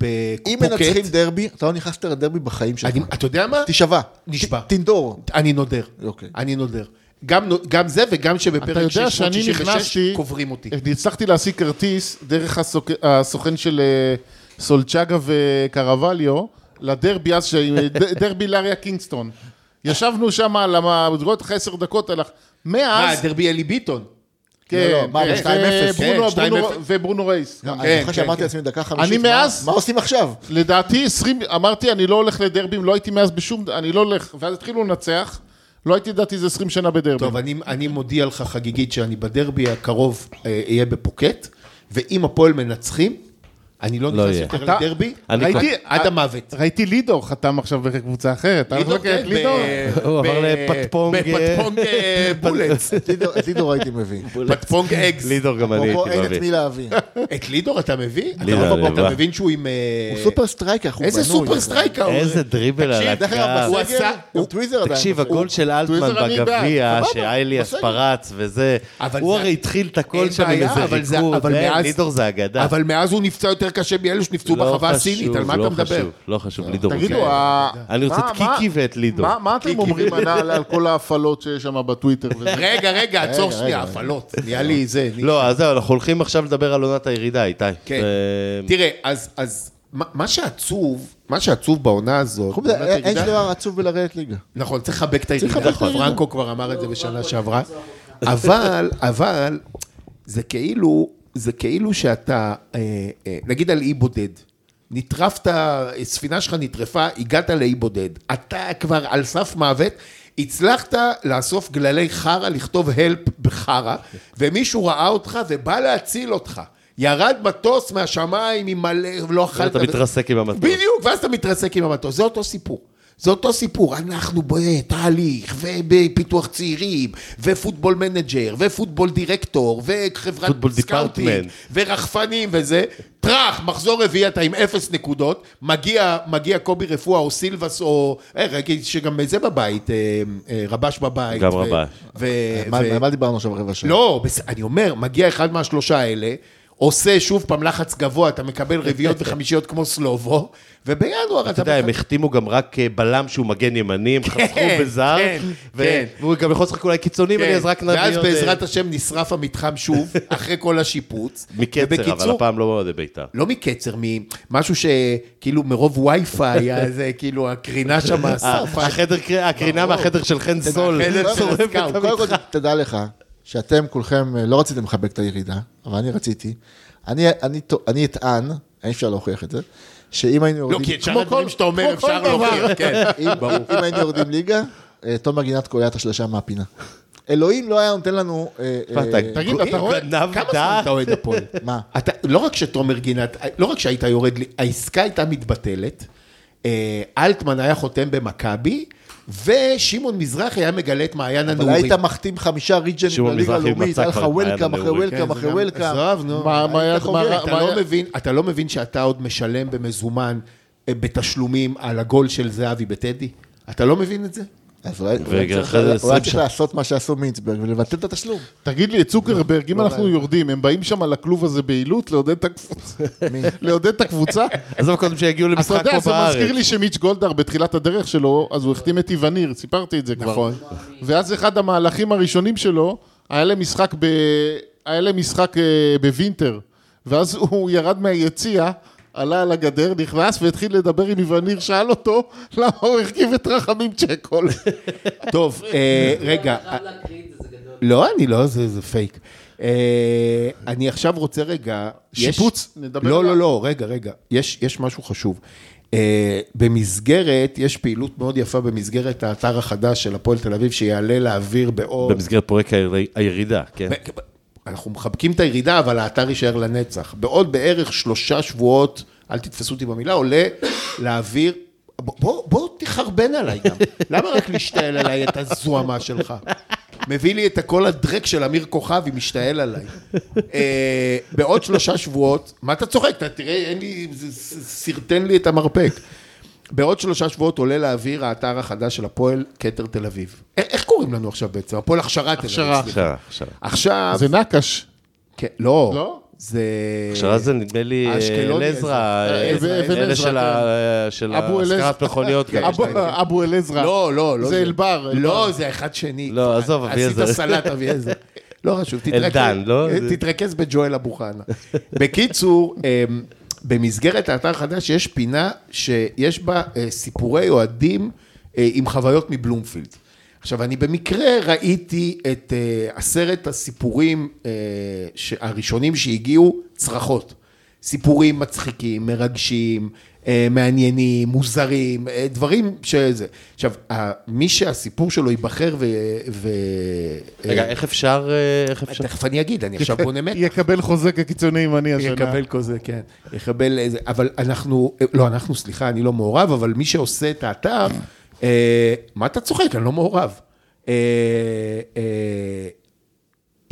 [SPEAKER 3] בפוקט.
[SPEAKER 2] מנצחים דרבי, אתה לא נכנסת לדרבי בחיים שלך.
[SPEAKER 3] אני- אתה יודע מה?
[SPEAKER 2] תישבע.
[SPEAKER 3] נשבע.
[SPEAKER 2] ת- תנדור.
[SPEAKER 3] אני נודר.
[SPEAKER 2] אוקיי.
[SPEAKER 3] אני נודר. גם נו- גם זה וגם
[SPEAKER 4] אתה
[SPEAKER 3] שבפרק
[SPEAKER 4] יודע שאני
[SPEAKER 3] 666
[SPEAKER 4] נכנסתי,
[SPEAKER 3] קוברים אותי.
[SPEAKER 4] הצלחתי להשיג כרטיס דרך הסוק- הסוכן של אה, סולצ'אגה וקרווליו, לדרבי אז, שהי-
[SPEAKER 3] (laughs)
[SPEAKER 4] ד- דרבי לאריה קינגסטון. ישבנו שם על המדרגות, אחרי עשר דקות הלך.
[SPEAKER 3] מה,
[SPEAKER 4] מאז,
[SPEAKER 3] הדרבי אלי ביטון.
[SPEAKER 2] לא,
[SPEAKER 4] כן,
[SPEAKER 2] לא, מה,
[SPEAKER 4] כן,
[SPEAKER 2] ב- 2-0,
[SPEAKER 4] וברונו-
[SPEAKER 3] כן, 2-0.
[SPEAKER 4] ברונו- וברונו רייס.
[SPEAKER 2] גם,
[SPEAKER 3] כן,
[SPEAKER 2] אני זוכר
[SPEAKER 3] כן,
[SPEAKER 2] שאמרתי
[SPEAKER 3] כן.
[SPEAKER 2] לעצמי דקה חמישית,
[SPEAKER 4] אני
[SPEAKER 2] מה-
[SPEAKER 4] מאז-
[SPEAKER 2] מה עושים עכשיו?
[SPEAKER 4] לדעתי 20, אמרתי, אני לא הולך לדרבים, לא הייתי מאז בשום, אני לא הולך, ואז התחילו לנצח, לא הייתי לדעתי זה 20 שנה בדרבים.
[SPEAKER 3] טוב, אני, אני מודיע לך חגיגית שאני בדרבי הקרוב אה, אהיה בפוקט, ואם הפועל מנצחים, אני לא נכנס
[SPEAKER 1] יהיה.
[SPEAKER 3] יותר
[SPEAKER 4] אתה-
[SPEAKER 3] לדרבי,
[SPEAKER 1] אני
[SPEAKER 3] ראיתי
[SPEAKER 4] כבר-
[SPEAKER 3] עד המוות.
[SPEAKER 4] ראיתי לידור חתם עכשיו בקבוצה אחרת.
[SPEAKER 3] לידור,
[SPEAKER 4] אתה הולך לקראת
[SPEAKER 3] כן,
[SPEAKER 4] לידור?
[SPEAKER 3] ב-
[SPEAKER 1] אה, הוא עבר
[SPEAKER 3] ב-
[SPEAKER 1] לפטפונג, אה, (laughs)
[SPEAKER 3] בפטפונג אה,
[SPEAKER 2] (laughs)
[SPEAKER 3] בולץ.
[SPEAKER 2] את לידור- את לידור הייתי מביא.
[SPEAKER 3] פטפונג אגס.
[SPEAKER 1] לידור לא, גם אני
[SPEAKER 2] פה אין
[SPEAKER 1] הייתי
[SPEAKER 2] את
[SPEAKER 1] מביא.
[SPEAKER 2] מי להביא.
[SPEAKER 3] את לידור אתה מביא? אתה
[SPEAKER 1] לידור,
[SPEAKER 3] לא-
[SPEAKER 1] אני
[SPEAKER 3] אתה
[SPEAKER 1] בא.
[SPEAKER 3] מבין שהוא עם... אה,
[SPEAKER 2] הוא סופר סטרייקר, הוא בנוי.
[SPEAKER 3] איזה סופר סטרייקר הוא?
[SPEAKER 1] איזה דריבל על
[SPEAKER 2] אה, דרך אגב,
[SPEAKER 1] הקו.
[SPEAKER 3] הוא
[SPEAKER 2] בסגל,
[SPEAKER 3] עשה-
[SPEAKER 2] הוא טוויזר עדיין.
[SPEAKER 1] תקשיב, הגול של אלטמן
[SPEAKER 4] טוויזר אני בעד,
[SPEAKER 1] בגביע,
[SPEAKER 4] סבבה,
[SPEAKER 1] שאייליאס
[SPEAKER 4] בסדר.
[SPEAKER 1] פרץ וזה,
[SPEAKER 3] אבל
[SPEAKER 1] הוא
[SPEAKER 3] זה-
[SPEAKER 1] הרי התחיל את הכל
[SPEAKER 3] אין
[SPEAKER 1] שם עם
[SPEAKER 3] בעיה,
[SPEAKER 1] איזה
[SPEAKER 3] אבל זה-
[SPEAKER 1] ריקוד,
[SPEAKER 3] אבל
[SPEAKER 1] אין,
[SPEAKER 3] מאז-
[SPEAKER 1] לידור זה אגדה.
[SPEAKER 3] אבל מאז הוא נפצע יותר קשה מאלו שנפצעו
[SPEAKER 1] לא
[SPEAKER 3] בחווה
[SPEAKER 1] חשוב,
[SPEAKER 3] הסינית, על מה
[SPEAKER 1] לא
[SPEAKER 3] אתה מדבר? אה,
[SPEAKER 1] חשוב, לא חשוב, לידור.
[SPEAKER 4] תגידו,
[SPEAKER 1] זה-
[SPEAKER 4] ה-
[SPEAKER 1] אני רוצה
[SPEAKER 4] מה-
[SPEAKER 1] את קיקי
[SPEAKER 4] מה-
[SPEAKER 1] ואת לידור.
[SPEAKER 4] מה- מה אתם אומרים על- על על כל ההפעלות שיש שם בטוויטר? וזה?
[SPEAKER 3] (laughs) רגע,
[SPEAKER 1] (laughs)
[SPEAKER 3] רגע, עצור שנייה, הפעלות. נהיה לי זה. נהיה-
[SPEAKER 1] לא, אז זהו, אנחנו הולכים עכשיו לדבר על עונת הירידה, איתי.
[SPEAKER 3] כן.
[SPEAKER 1] ו-
[SPEAKER 3] תראה, אז, אז מה, מה שעצוב, מה שעצוב בעונה הזאת,
[SPEAKER 2] חוץ מזה,
[SPEAKER 3] בעונת
[SPEAKER 2] אה, אין
[SPEAKER 3] הירידה-
[SPEAKER 2] שום דבר עצוב בלרדת ליגה.
[SPEAKER 3] נכון, צריך לחבק את הירידה, נכון, פרנקו כבר אמר את זה בשנה שעברה, אבל, אבל, זה כאילו, זה כאילו שאתה, אה, אה, נגיד על אי בודד, נטרפת, הספינה שלך נטרפה, הגעת לאי בודד. אתה כבר על סף מוות, הצלחת לאסוף גללי חרא, לכתוב הלפ בחרא, ומישהו ראה אותך ובא להציל אותך. ירד מטוס מהשמיים עם מלא, לא אכלת...
[SPEAKER 1] אתה מתרסק עם המטוס.
[SPEAKER 3] בדיוק, ואז אתה מתרסק עם המטוס. זה אותו סיפור. זה אותו סיפור, אנחנו בתהליך, ובפיתוח צעירים, ופוטבול מנג'ר, ופוטבול דירקטור, וחברת
[SPEAKER 1] פוטבול
[SPEAKER 3] סקאוטינג,
[SPEAKER 1] דיפרטמנט.
[SPEAKER 3] ורחפנים וזה, טראח, מחזור רביעי אתה עם אפס נקודות, מגיע, מגיע קובי רפואה או סילבס או... אה, ראיתי שגם זה בבית, אה, אה, רבש בבית.
[SPEAKER 1] גם רבש.
[SPEAKER 3] ו-
[SPEAKER 2] מה-
[SPEAKER 3] ו-
[SPEAKER 2] מה דיברנו עכשיו רבע שעה?
[SPEAKER 3] לא, בס... אני אומר, מגיע אחד מהשלושה האלה, עושה שוב פעם לחץ גבוה, אתה מקבל
[SPEAKER 1] (laughs)
[SPEAKER 3] רביעיות וחמישיות כמו סלובו, ובינואר
[SPEAKER 1] אתה
[SPEAKER 3] אתה...
[SPEAKER 1] יודע, הם
[SPEAKER 3] מח-
[SPEAKER 1] החתימו גם רק אה, בלם שהוא מגן ימני, הם חסכו
[SPEAKER 3] כן,
[SPEAKER 1] בזר,
[SPEAKER 3] כן,
[SPEAKER 1] ו-
[SPEAKER 3] כן.
[SPEAKER 1] והוא גם יכול לשחק אולי קיצוני,
[SPEAKER 3] כן,
[SPEAKER 1] ואני אז רק נביא
[SPEAKER 3] ואז
[SPEAKER 1] עוד, אה,
[SPEAKER 3] בעזרת השם נשרף
[SPEAKER 1] (laughs)
[SPEAKER 3] המתחם שוב, אחרי כל השיפוץ.
[SPEAKER 1] מקצר, אבל
[SPEAKER 3] ובקיצור,
[SPEAKER 1] הפעם לא מאוד בית"ר.
[SPEAKER 3] לא מקצר, ממשהו שכאילו מרוב
[SPEAKER 1] (laughs)
[SPEAKER 3] וי-פיי, היה זה כאילו הקרינה שם, השרפה.
[SPEAKER 1] אה, החדר קר- הקרינה
[SPEAKER 3] ברור.
[SPEAKER 1] מהחדר של חן סול.
[SPEAKER 3] מהחדר
[SPEAKER 2] (laughs)
[SPEAKER 3] של
[SPEAKER 1] שורפת את
[SPEAKER 3] הסקאוט.
[SPEAKER 2] אה, קודם כל, תדע לך, שאתם כולכם אה, לא רציתם לחבק את הירידה, אבל אני רציתי. אני- אני טו- אני אטען, אי אפשר להוכיח את זה, שאם היינו
[SPEAKER 3] לא,
[SPEAKER 2] יורדים...
[SPEAKER 3] כי את
[SPEAKER 2] כמו
[SPEAKER 3] שאר
[SPEAKER 2] כל-
[SPEAKER 3] הדברים שאתה אומר
[SPEAKER 2] כמו כל
[SPEAKER 3] אפשר
[SPEAKER 2] דבר.
[SPEAKER 3] להוכיח, כן.
[SPEAKER 2] אם- אם היינו יורדים ליגה, אה, תומר גינת קולע את השלושה מהפינה. אלוהים לא היה נותן לנו... אה, אה,
[SPEAKER 1] ואתה-
[SPEAKER 4] תגיד, אתה רואה?
[SPEAKER 1] גנב
[SPEAKER 3] כמה זמן
[SPEAKER 1] דעת.
[SPEAKER 3] אתה אוהד הפועל?
[SPEAKER 2] מה?
[SPEAKER 3] אתה, לא רק שתומר גינת, לא רק שהיית יורד, לי- העסקה הייתה מתבטלת, אה, אלטמן היה חותם במכבי, ושמעון מזרחי היה מגלה את מעיין
[SPEAKER 2] אבל
[SPEAKER 3] הנעורים.
[SPEAKER 2] היית מחתים חמישה ריג'נים
[SPEAKER 1] שמעון
[SPEAKER 2] בליגה
[SPEAKER 1] מזרחי
[SPEAKER 2] הלאומית,
[SPEAKER 1] מצא
[SPEAKER 2] היה לך
[SPEAKER 1] כבר את כן, מעיין
[SPEAKER 2] וולקאם אחרי
[SPEAKER 1] הנעורים.
[SPEAKER 2] וולקאם אחרי
[SPEAKER 4] גם-
[SPEAKER 2] וולקאם.
[SPEAKER 4] עזוב, נו. מה-
[SPEAKER 2] היית
[SPEAKER 4] מה היה-
[SPEAKER 2] חוגג.
[SPEAKER 4] מה-
[SPEAKER 3] אתה לא
[SPEAKER 4] היה-
[SPEAKER 3] מבין, אתה לא מבין שאתה עוד משלם במזומן אה, בתשלומים על הגול של זהבי בטדי? אתה לא מבין את זה?
[SPEAKER 2] אז אולי
[SPEAKER 1] ואחרי
[SPEAKER 2] אולי צריך-
[SPEAKER 1] זה
[SPEAKER 2] אולי
[SPEAKER 1] 20
[SPEAKER 2] צריך
[SPEAKER 1] שנה.
[SPEAKER 2] לעשות מה שעשו מינצברג ולבטל את התשלום.
[SPEAKER 4] תגיד לי, את צוקרברג,
[SPEAKER 3] לא
[SPEAKER 4] אם אנחנו יורדים, הם באים שם לכלוב הזה בעילות לעודד את הקבוצה? לעודד את הקבוצה?
[SPEAKER 1] עזוב קודם שיגיעו
[SPEAKER 4] אתה
[SPEAKER 1] למשחק
[SPEAKER 4] יודע,
[SPEAKER 1] פה
[SPEAKER 4] זה מזכיר
[SPEAKER 1] בארץ.
[SPEAKER 4] לי שמיץ' גולדהר בתחילת הדרך שלו, אז הוא החתים את איווניר, סיפרתי את זה כבר. נכון. ואז אחד המהלכים הראשונים שלו, היה להם משחק, ב... היה להם משחק אה, בווינטר, ואז (laughs) הוא ירד מהיציע, עלה על הגדר, נכנס והתחיל לדבר עם איווניר, שאל אותו למה הוא הרכיב את רחמים (laughs) צ'קול.
[SPEAKER 3] טוב, אה, רגע. לא, אני לא, זה זה פייק. אה, אני עכשיו רוצה רגע... יש-
[SPEAKER 4] שיפוץ? נדבר
[SPEAKER 3] לא,
[SPEAKER 4] עליו.
[SPEAKER 3] לא, לא, רגע, רגע. יש יש משהו חשוב. אה, במסגרת, יש פעילות מאוד יפה במסגרת האתר החדש של הפועל תל אביב, שיעלה לאוויר בעוד...
[SPEAKER 1] במסגרת פרויקט הירי- הירידה, כן.
[SPEAKER 3] ב- אנחנו מחבקים את הירידה, אבל האתר יישאר לנצח. בעוד בערך שלושה שבועות, אל תתפסו אותי במילה, עולה לאוויר. ב- בוא, בוא תחרבן עליי גם. (laughs) למה רק להשתעל עליי את הזוהמה שלך? מביא לי את הקול הדרק של אמיר כוכבי, משתעל עליי. אה, בעוד שלושה שבועות, מה אתה צוחק? אתה תראה, אין לי, זה- זה- סרטן לי את המרפק. בעוד שלושה שבועות עולה לאוויר האתר החדש של הפועל כתר תל אביב. א- איך קוראים לנו עכשיו בעצם? הפועל הכשרה תל אביב.
[SPEAKER 4] הכשרה.
[SPEAKER 3] סליחה.
[SPEAKER 1] עכשיו, עכשיו.
[SPEAKER 3] עכשיו...
[SPEAKER 4] זה נקש.
[SPEAKER 3] כן, לא.
[SPEAKER 4] לא?
[SPEAKER 3] זה...
[SPEAKER 1] הכשרה זה נדמה לי אה,
[SPEAKER 3] אשקלוני,
[SPEAKER 1] לעזרא,
[SPEAKER 3] אה,
[SPEAKER 1] אה,
[SPEAKER 4] אבן
[SPEAKER 1] אלה
[SPEAKER 4] עזרא,
[SPEAKER 1] של ה- אה, של
[SPEAKER 4] אבו אלעזר.
[SPEAKER 1] השכרת מכוניות. כן. כאלה.
[SPEAKER 4] אבו- אבו אל עזרא.
[SPEAKER 3] לא, לא, לא.
[SPEAKER 4] זה אלבר.
[SPEAKER 3] לא, זה אחד שני.
[SPEAKER 1] לא, עזוב, אביעזר.
[SPEAKER 3] עשית סלט, אביעזר. לא חשוב, תתרכז. אה,
[SPEAKER 1] אלדן, לא?
[SPEAKER 3] תתרכז בג'ואל אבו חנה. בקיצור, אמ, במסגרת האתר החדש יש פינה שיש בה אה, סיפורי אוהדים אה, עם חוויות מבלומפילד. עכשיו, אני במקרה ראיתי את אה, עשרת הסיפורים אה, ש- הראשונים שהגיעו, צרחות. סיפורים מצחיקים, מרגשים, אה, מעניינים, מוזרים, אה, דברים שזה. עכשיו, ה- מי שהסיפור שלו ייבחר ו... ו...
[SPEAKER 1] רגע,
[SPEAKER 3] אה,
[SPEAKER 1] איך אפשר, אה, איך אפשר?
[SPEAKER 3] תכף אני אגיד, אני עכשיו בונה מטה.
[SPEAKER 4] יקבל חוזה כקיצוני ימני השנה.
[SPEAKER 3] יקבל כזה, כן. יקבל איזה, אבל אנחנו, לא, אנחנו, סליחה, אני לא מעורב, אבל מי שעושה את האתר, אה, מה אתה צוחק? אני לא מעורב. אה, אה,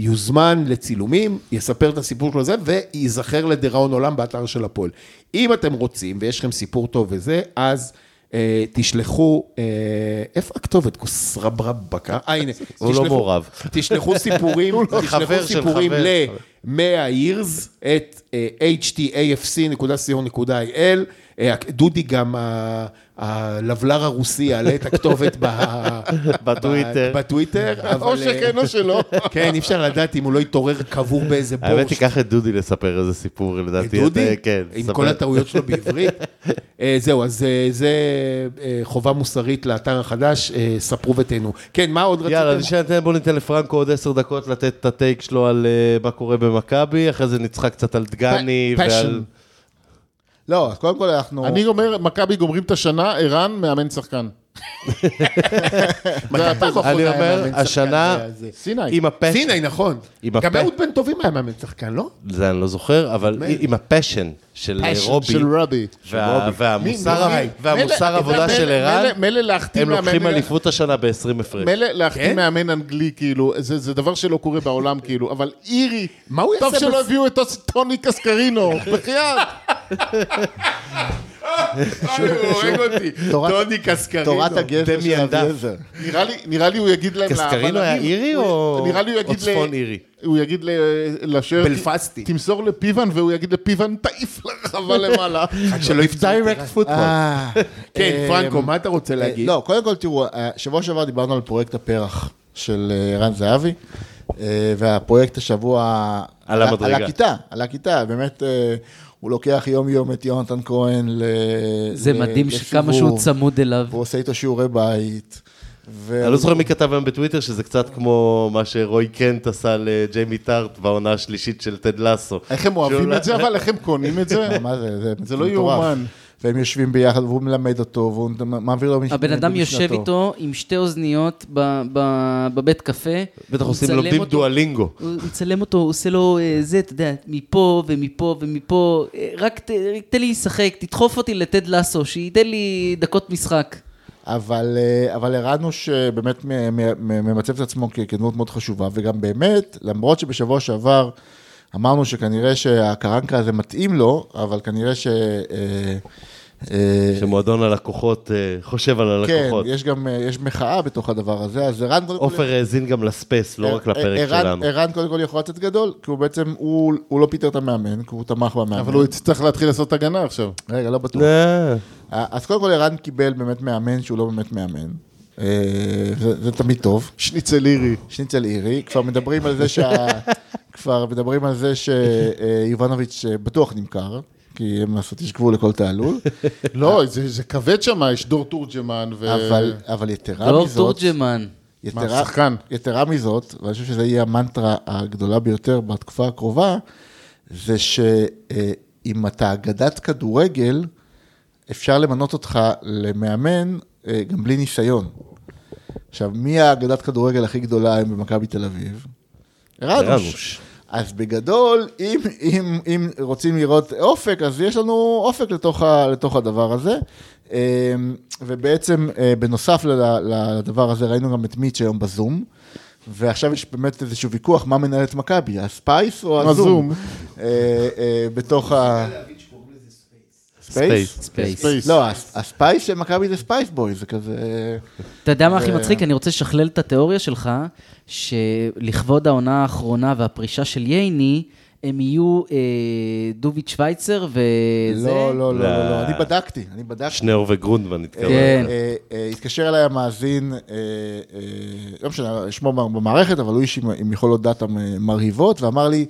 [SPEAKER 3] יוזמן לצילומים, יספר את הסיפור שלו זה, וייזכר לדיראון עולם באתר של הפועל. אם אתם רוצים, ויש לכם סיפור טוב וזה, אז... אה, תשלחו, אה, איפה הכתובת? כוסרברבקה? אה, הנה.
[SPEAKER 1] הוא לא
[SPEAKER 3] תשלחו-
[SPEAKER 1] מעורב. לא (laughs)
[SPEAKER 3] תשלחו סיפורים,
[SPEAKER 1] חבר של
[SPEAKER 3] תשלחו סיפורים
[SPEAKER 1] חבר,
[SPEAKER 3] ל...
[SPEAKER 1] חבר.
[SPEAKER 3] 100 years את אה, htafc.co.il. אה, דודי גם ה- הלבלר הרוסי יעלה את הכתובת ב-
[SPEAKER 1] בטוויטר.
[SPEAKER 3] ב- (laughs) בטוויטר.
[SPEAKER 4] או
[SPEAKER 3] אבל, אה,
[SPEAKER 4] שכן או
[SPEAKER 3] (laughs)
[SPEAKER 4] שלא.
[SPEAKER 3] כן, אי אפשר לדעת אם הוא לא יתעורר קבור באיזה בור.
[SPEAKER 1] האמת,
[SPEAKER 3] ש-
[SPEAKER 1] תיקח את דודי לספר איזה סיפור,
[SPEAKER 3] את
[SPEAKER 1] לדעתי.
[SPEAKER 3] דודי?
[SPEAKER 1] אתה- כן.
[SPEAKER 3] עם
[SPEAKER 1] ספר.
[SPEAKER 3] כל הטעויות שלו (laughs) בעברית. אה, זהו, אז אה, זה אה, חובה מוסרית לאתר החדש, אה, ספרו ותהנו. כן, מה עוד
[SPEAKER 1] יאללה,
[SPEAKER 3] רציתם?
[SPEAKER 1] נשאר, בוא ניתן לפרנקו עוד עשר דקות לתת את הטייק שלו על אה, מה קורה במכבי, אחרי זה נצחק קצת על דגני
[SPEAKER 3] פ- passion.
[SPEAKER 1] ועל...
[SPEAKER 2] לא, אז קודם כל אנחנו...
[SPEAKER 4] אני אומר, מכבי גומרים את השנה, ערן
[SPEAKER 1] (laughs)
[SPEAKER 4] מאמן שחקן.
[SPEAKER 3] מתי פעם אחרונה
[SPEAKER 1] אני
[SPEAKER 3] היה
[SPEAKER 1] אומר,
[SPEAKER 3] מאמן שחקן
[SPEAKER 1] השנה,
[SPEAKER 3] בזה?
[SPEAKER 4] סיני.
[SPEAKER 1] עם הפשן,
[SPEAKER 3] סיני, נכון.
[SPEAKER 1] עם
[SPEAKER 3] גם
[SPEAKER 1] הפ-
[SPEAKER 3] אהוד בן טובים היה מאמן שחקן, לא?
[SPEAKER 1] זה אני לא זוכר, אבל עם הפשן של
[SPEAKER 3] Passion
[SPEAKER 1] אה, רובי,
[SPEAKER 4] של רבי.
[SPEAKER 1] וה- והמוסר
[SPEAKER 3] מי?
[SPEAKER 1] ה- והמוסר עבודה
[SPEAKER 4] מילא-
[SPEAKER 1] של ערן,
[SPEAKER 4] מילא- מילא להחתים
[SPEAKER 1] הם לוקחים
[SPEAKER 4] מאמן-
[SPEAKER 1] אליפות השנה ב-20 הפרש.
[SPEAKER 4] מילא להחתים
[SPEAKER 3] כן?
[SPEAKER 4] מאמן אנגלי, כאילו, זה זה דבר שלא קורה בעולם, כאילו, אבל אירי,
[SPEAKER 3] מה הוא
[SPEAKER 4] טוב
[SPEAKER 3] יעשה
[SPEAKER 4] שלא
[SPEAKER 3] בס-
[SPEAKER 4] הביאו את טוס- טוני
[SPEAKER 1] (laughs)
[SPEAKER 4] קסקרינו, בחייאת.
[SPEAKER 3] אוי, הוא הורג אותי.
[SPEAKER 2] תורת-
[SPEAKER 3] טוני קסקרינו.
[SPEAKER 2] תורת הגזר של
[SPEAKER 1] דמיאן דף.
[SPEAKER 2] אביעזר.
[SPEAKER 4] נראה לי- נראה לי הוא יגיד להם...
[SPEAKER 1] קסקרינו היה
[SPEAKER 4] לבלמים,
[SPEAKER 1] אירי
[SPEAKER 4] הוא-
[SPEAKER 1] או
[SPEAKER 4] נראה לי הוא
[SPEAKER 1] או
[SPEAKER 4] יגיד ל-
[SPEAKER 1] צפון אירי?
[SPEAKER 4] הוא יגיד ל- לשוער...
[SPEAKER 3] בלפסטי.
[SPEAKER 4] תמסור לפיוון, והוא יגיד לפיוון, תעיף
[SPEAKER 1] (laughs)
[SPEAKER 4] לרחבה למעלה.
[SPEAKER 3] שלא יפצע.
[SPEAKER 1] direct football.
[SPEAKER 2] (laughs) אה,
[SPEAKER 3] כן,
[SPEAKER 2] אה,
[SPEAKER 3] פרנקו, מה אתה רוצה להגיד?
[SPEAKER 2] לא, קודם כל תראו, אה, שבוע שעבר דיברנו על פרויקט הפרח של אה, ערן זהבי, אה, והפרויקט השבוע...
[SPEAKER 1] על המדרגה.
[SPEAKER 2] על הכיתה, על הכיתה, באמת, אה, הוא לוקח יום-יום את יונתן כהן ל...
[SPEAKER 5] זה
[SPEAKER 2] ל-
[SPEAKER 5] מדהים כמה
[SPEAKER 2] לסיבוב,
[SPEAKER 5] שהוא צמוד אליו.
[SPEAKER 2] והוא עושה איתו שיעורי בית. ו-
[SPEAKER 1] אני לא זוכר מי כתב היום בטוויטר שזה קצת כמו מה שרוי קנט עשה לג'יימי טארט בעונה השלישית של טד לאסו.
[SPEAKER 4] איך הם אוהבים
[SPEAKER 1] שאולי-
[SPEAKER 4] את זה, אבל איך הם קונים את זה?
[SPEAKER 2] מה זה, זה,
[SPEAKER 4] זה לא
[SPEAKER 2] מטורף.
[SPEAKER 4] יאומן.
[SPEAKER 2] והם יושבים ביחד, והוא מלמד אותו, והוא מעביר לו מש-
[SPEAKER 5] הבן אדם יושב
[SPEAKER 2] משנתו.
[SPEAKER 5] איתו עם שתי אוזניות ב- ב- בבית קפה.
[SPEAKER 1] בטח
[SPEAKER 5] הוא
[SPEAKER 1] עושים
[SPEAKER 5] מצלם
[SPEAKER 1] לומדים
[SPEAKER 5] אותו.
[SPEAKER 1] דואלינגו.
[SPEAKER 5] הוא מצלם אותו, הוא עושה לו אה, זה, אתה יודע, מפה ומפה ומפה, אה, רק ת- רק תן לי לשחק, תדחוף אותי לטד לסו, שייתן לי דקות משחק.
[SPEAKER 2] אבל, אה, אבל ערן הוא שבאמת מ- מ- מ- ממצב את עצמו כ- כדמות מאוד חשובה, וגם באמת, למרות שבשבוע שעבר אמרנו שכנראה שהקרנקה הזה מתאים לו, אבל כנראה ש... אה, אה,
[SPEAKER 1] שמועדון הלקוחות אה, חושב על
[SPEAKER 2] כן,
[SPEAKER 1] הלקוחות.
[SPEAKER 2] יש גם, אה, יש מחאה בתוך הדבר הזה, אז ערן קודם כל... אה,
[SPEAKER 1] עופר האזין גם לספייס,
[SPEAKER 4] אה,
[SPEAKER 1] לא רק לפרק
[SPEAKER 2] ערן-
[SPEAKER 1] שלנו.
[SPEAKER 2] ערן קודם כל יכול לצאת גדול, כי הוא בעצם, הוא הוא לא פיטר את המאמן, כי הוא תמך במאמן.
[SPEAKER 4] אבל הוא יצטרך להתחיל לעשות הגנה עכשיו.
[SPEAKER 2] רגע, לא בטוח.
[SPEAKER 1] אה,
[SPEAKER 2] אז קודם כל ערן קיבל באמת מאמן שהוא לא באמת מאמן. אה, זה זה תמיד טוב.
[SPEAKER 4] שניצל אירי.
[SPEAKER 2] שניצל אירי, כבר מדברים על זה שה... כבר מדברים על זה שיובנוביץ' בטוח נמכר, כי הם לעשות יש גבול לכל תעלול,
[SPEAKER 4] לא, זה זה כבד שם, יש דור תורג'מן ו...
[SPEAKER 2] אבל, אבל יתרה
[SPEAKER 5] דרור
[SPEAKER 2] מזאת,
[SPEAKER 5] לא, תורג'מן.
[SPEAKER 2] יתרה,
[SPEAKER 4] שחקן.
[SPEAKER 2] יתרה מזאת, ואני חושב שזו יהיה המנטרה הגדולה ביותר בתקופה הקרובה, זה שאם אתה אגדת כדורגל, אפשר למנות אותך למאמן אה, גם בלי ניסיון. עכשיו, מי האגדת כדורגל הכי גדולה היום במכבי תל אביב?
[SPEAKER 1] רדוש.
[SPEAKER 2] אז בגדול, אם, אם, אם רוצים לראות אופק, אז יש לנו אופק לתוך, ה, לתוך הדבר הזה. אמ, ובעצם, אה, בנוסף לד- לדבר הזה, ראינו גם את מיץ' היום בזום. ועכשיו יש באמת איזשהו ויכוח, מה מנהל את מכבי, הספייס או הזום?
[SPEAKER 4] הזום.
[SPEAKER 2] אה, אה, בתוך ה... ספייס?
[SPEAKER 1] ספייס.
[SPEAKER 5] ספייס.
[SPEAKER 4] ספייס.
[SPEAKER 2] לא, הס- הספייס של מכבי זה ספייס בוי, זה כזה...
[SPEAKER 5] אתה יודע מה הכי מצחיק? אני רוצה לשכלל את התיאוריה שלך, שלכבוד העונה האחרונה והפרישה של ייני, הם יהיו אה, דוביץ' שווייצר וזה.
[SPEAKER 2] לא, לא, לא, לא, לא,
[SPEAKER 1] לא.
[SPEAKER 2] אני בדקתי, אני בדקתי.
[SPEAKER 1] שניאור וגרונדמן התקרב.
[SPEAKER 5] כן.
[SPEAKER 2] אה, אה, התקשר אליי המאזין, אה, אה, לא משנה, שמו מה- במערכת, אבל הוא איש עם- עם יכולות דאטה מ- מרהיבות, ואמר לי,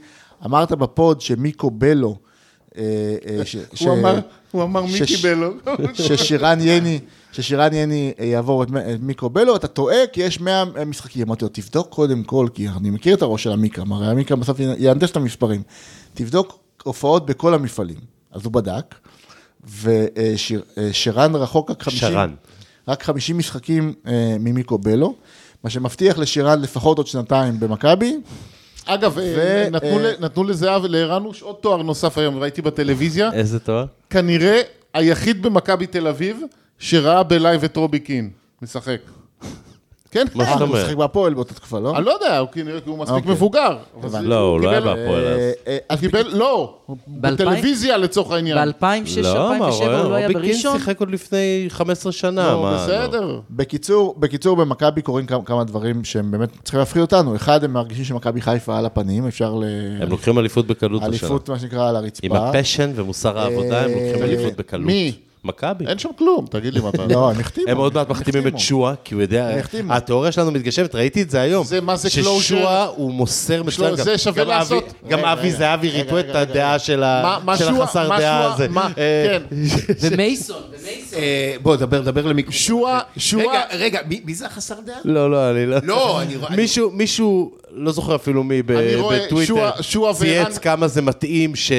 [SPEAKER 2] אמרת בפוד שמיקו בלו, אה, אה, ש- ש-
[SPEAKER 4] הוא אמר, הוא אמר מי
[SPEAKER 2] שש-
[SPEAKER 4] קיבל
[SPEAKER 1] (laughs)
[SPEAKER 4] לו.
[SPEAKER 2] ששירן יני, ששירן יני אה, יעבור את מ- את מיקו בלו, אתה טועה, כי יש 100 משחקים. אמרתי לו, תבדוק קודם כל, כי אני מכיר את הראש של המיקרם, הרי המיקרם בסוף יהנדס את המספרים. תבדוק הופעות בכל המפעלים. אז הוא בדק, אה, ושרן רחוק רק 50...
[SPEAKER 1] שרן.
[SPEAKER 2] רק 50 משחקים אה, ממיקו בלו, מה שמבטיח לשירן לפחות עוד שנתיים במכבי.
[SPEAKER 4] אגב, אה,
[SPEAKER 2] ו-
[SPEAKER 4] נתנו
[SPEAKER 2] אה,
[SPEAKER 4] ל- נתנו לזהב ולערנוש עוד תואר נוסף היום, ראיתי בטלוויזיה.
[SPEAKER 1] איזה תואר?
[SPEAKER 4] כנראה היחיד במכבי תל אביב שראה בלייב את רובי קין משחק. כן?
[SPEAKER 1] מה זאת
[SPEAKER 2] אה, הוא
[SPEAKER 1] אומרת?
[SPEAKER 2] משחק בהפועל באותה תקופה, לא?
[SPEAKER 4] אני לא יודע, הוא כנראה כי הוא מספיק
[SPEAKER 2] אוקיי.
[SPEAKER 4] מבוגר. אבל זה-
[SPEAKER 1] לא, הוא לא היה
[SPEAKER 4] קיבל-
[SPEAKER 1] בהפועל אז.
[SPEAKER 2] אה, אה,
[SPEAKER 4] הוא קיבל, לא,
[SPEAKER 5] ב-
[SPEAKER 4] בטלוויזיה לצורך העניין.
[SPEAKER 5] ב-2006-2007 הוא לא היה
[SPEAKER 1] רובי קין
[SPEAKER 5] בראשון?
[SPEAKER 1] שיחק עוד לפני 15 שנה.
[SPEAKER 4] לא,
[SPEAKER 1] מה,
[SPEAKER 4] בסדר.
[SPEAKER 2] בקיצור, בקיצור, במכבי קורים כמה, כמה דברים שהם באמת צריכים להפחיד אותנו. אחד, הם מרגישים שמכבי חיפה על הפנים, אפשר ל...
[SPEAKER 1] הם לוקחים אליפות בקלות השנה.
[SPEAKER 2] אליפות, מה שנקרא, על הרצפה.
[SPEAKER 1] עם הפשן ומוסר העבודה, הם לוקחים
[SPEAKER 2] אה,
[SPEAKER 1] אליפות בקלות.
[SPEAKER 4] מי?
[SPEAKER 1] מכבי.
[SPEAKER 4] אין שם כלום, תגיד לי
[SPEAKER 2] (laughs)
[SPEAKER 4] מה אתה...
[SPEAKER 2] לא, הם החתימו.
[SPEAKER 1] הם עוד מעט מחתימים את
[SPEAKER 2] החתימו.
[SPEAKER 1] שואה, כי הוא יודע...
[SPEAKER 2] החתימו.
[SPEAKER 1] התיאוריה שלנו מתגשמת, ראיתי את זה היום.
[SPEAKER 4] זה מה זה closure?
[SPEAKER 1] ששואה הוא מוסר מצוין.
[SPEAKER 4] לו-
[SPEAKER 1] גם-
[SPEAKER 4] זה שווה
[SPEAKER 1] גם אבי-
[SPEAKER 4] לעשות.
[SPEAKER 1] גם אבי זהבי ריפו את הדעה של ה-
[SPEAKER 4] מה- מה
[SPEAKER 1] של
[SPEAKER 4] שועה-
[SPEAKER 1] החסר
[SPEAKER 4] מה
[SPEAKER 1] דעה
[SPEAKER 4] שועה-
[SPEAKER 1] הזה.
[SPEAKER 4] מה-
[SPEAKER 1] אה,
[SPEAKER 4] כן.
[SPEAKER 1] (laughs)
[SPEAKER 5] ומייסון, ומייסון.
[SPEAKER 3] אה, בוא, דבר, דבר למיקרופון.
[SPEAKER 4] שועה,
[SPEAKER 3] רגע,
[SPEAKER 4] שועה,
[SPEAKER 3] רגע, מי- מי זה החסר דעה?
[SPEAKER 1] לא, לא, אני לא...
[SPEAKER 3] לא, אני רואה...
[SPEAKER 1] מישהו, מישהו, לא זוכר אפילו מי, ב-
[SPEAKER 4] אני רואה,
[SPEAKER 1] בטוויטר,
[SPEAKER 4] שועה- שועה
[SPEAKER 1] צייץ
[SPEAKER 4] וערן-
[SPEAKER 1] כמה זה מתאים ש...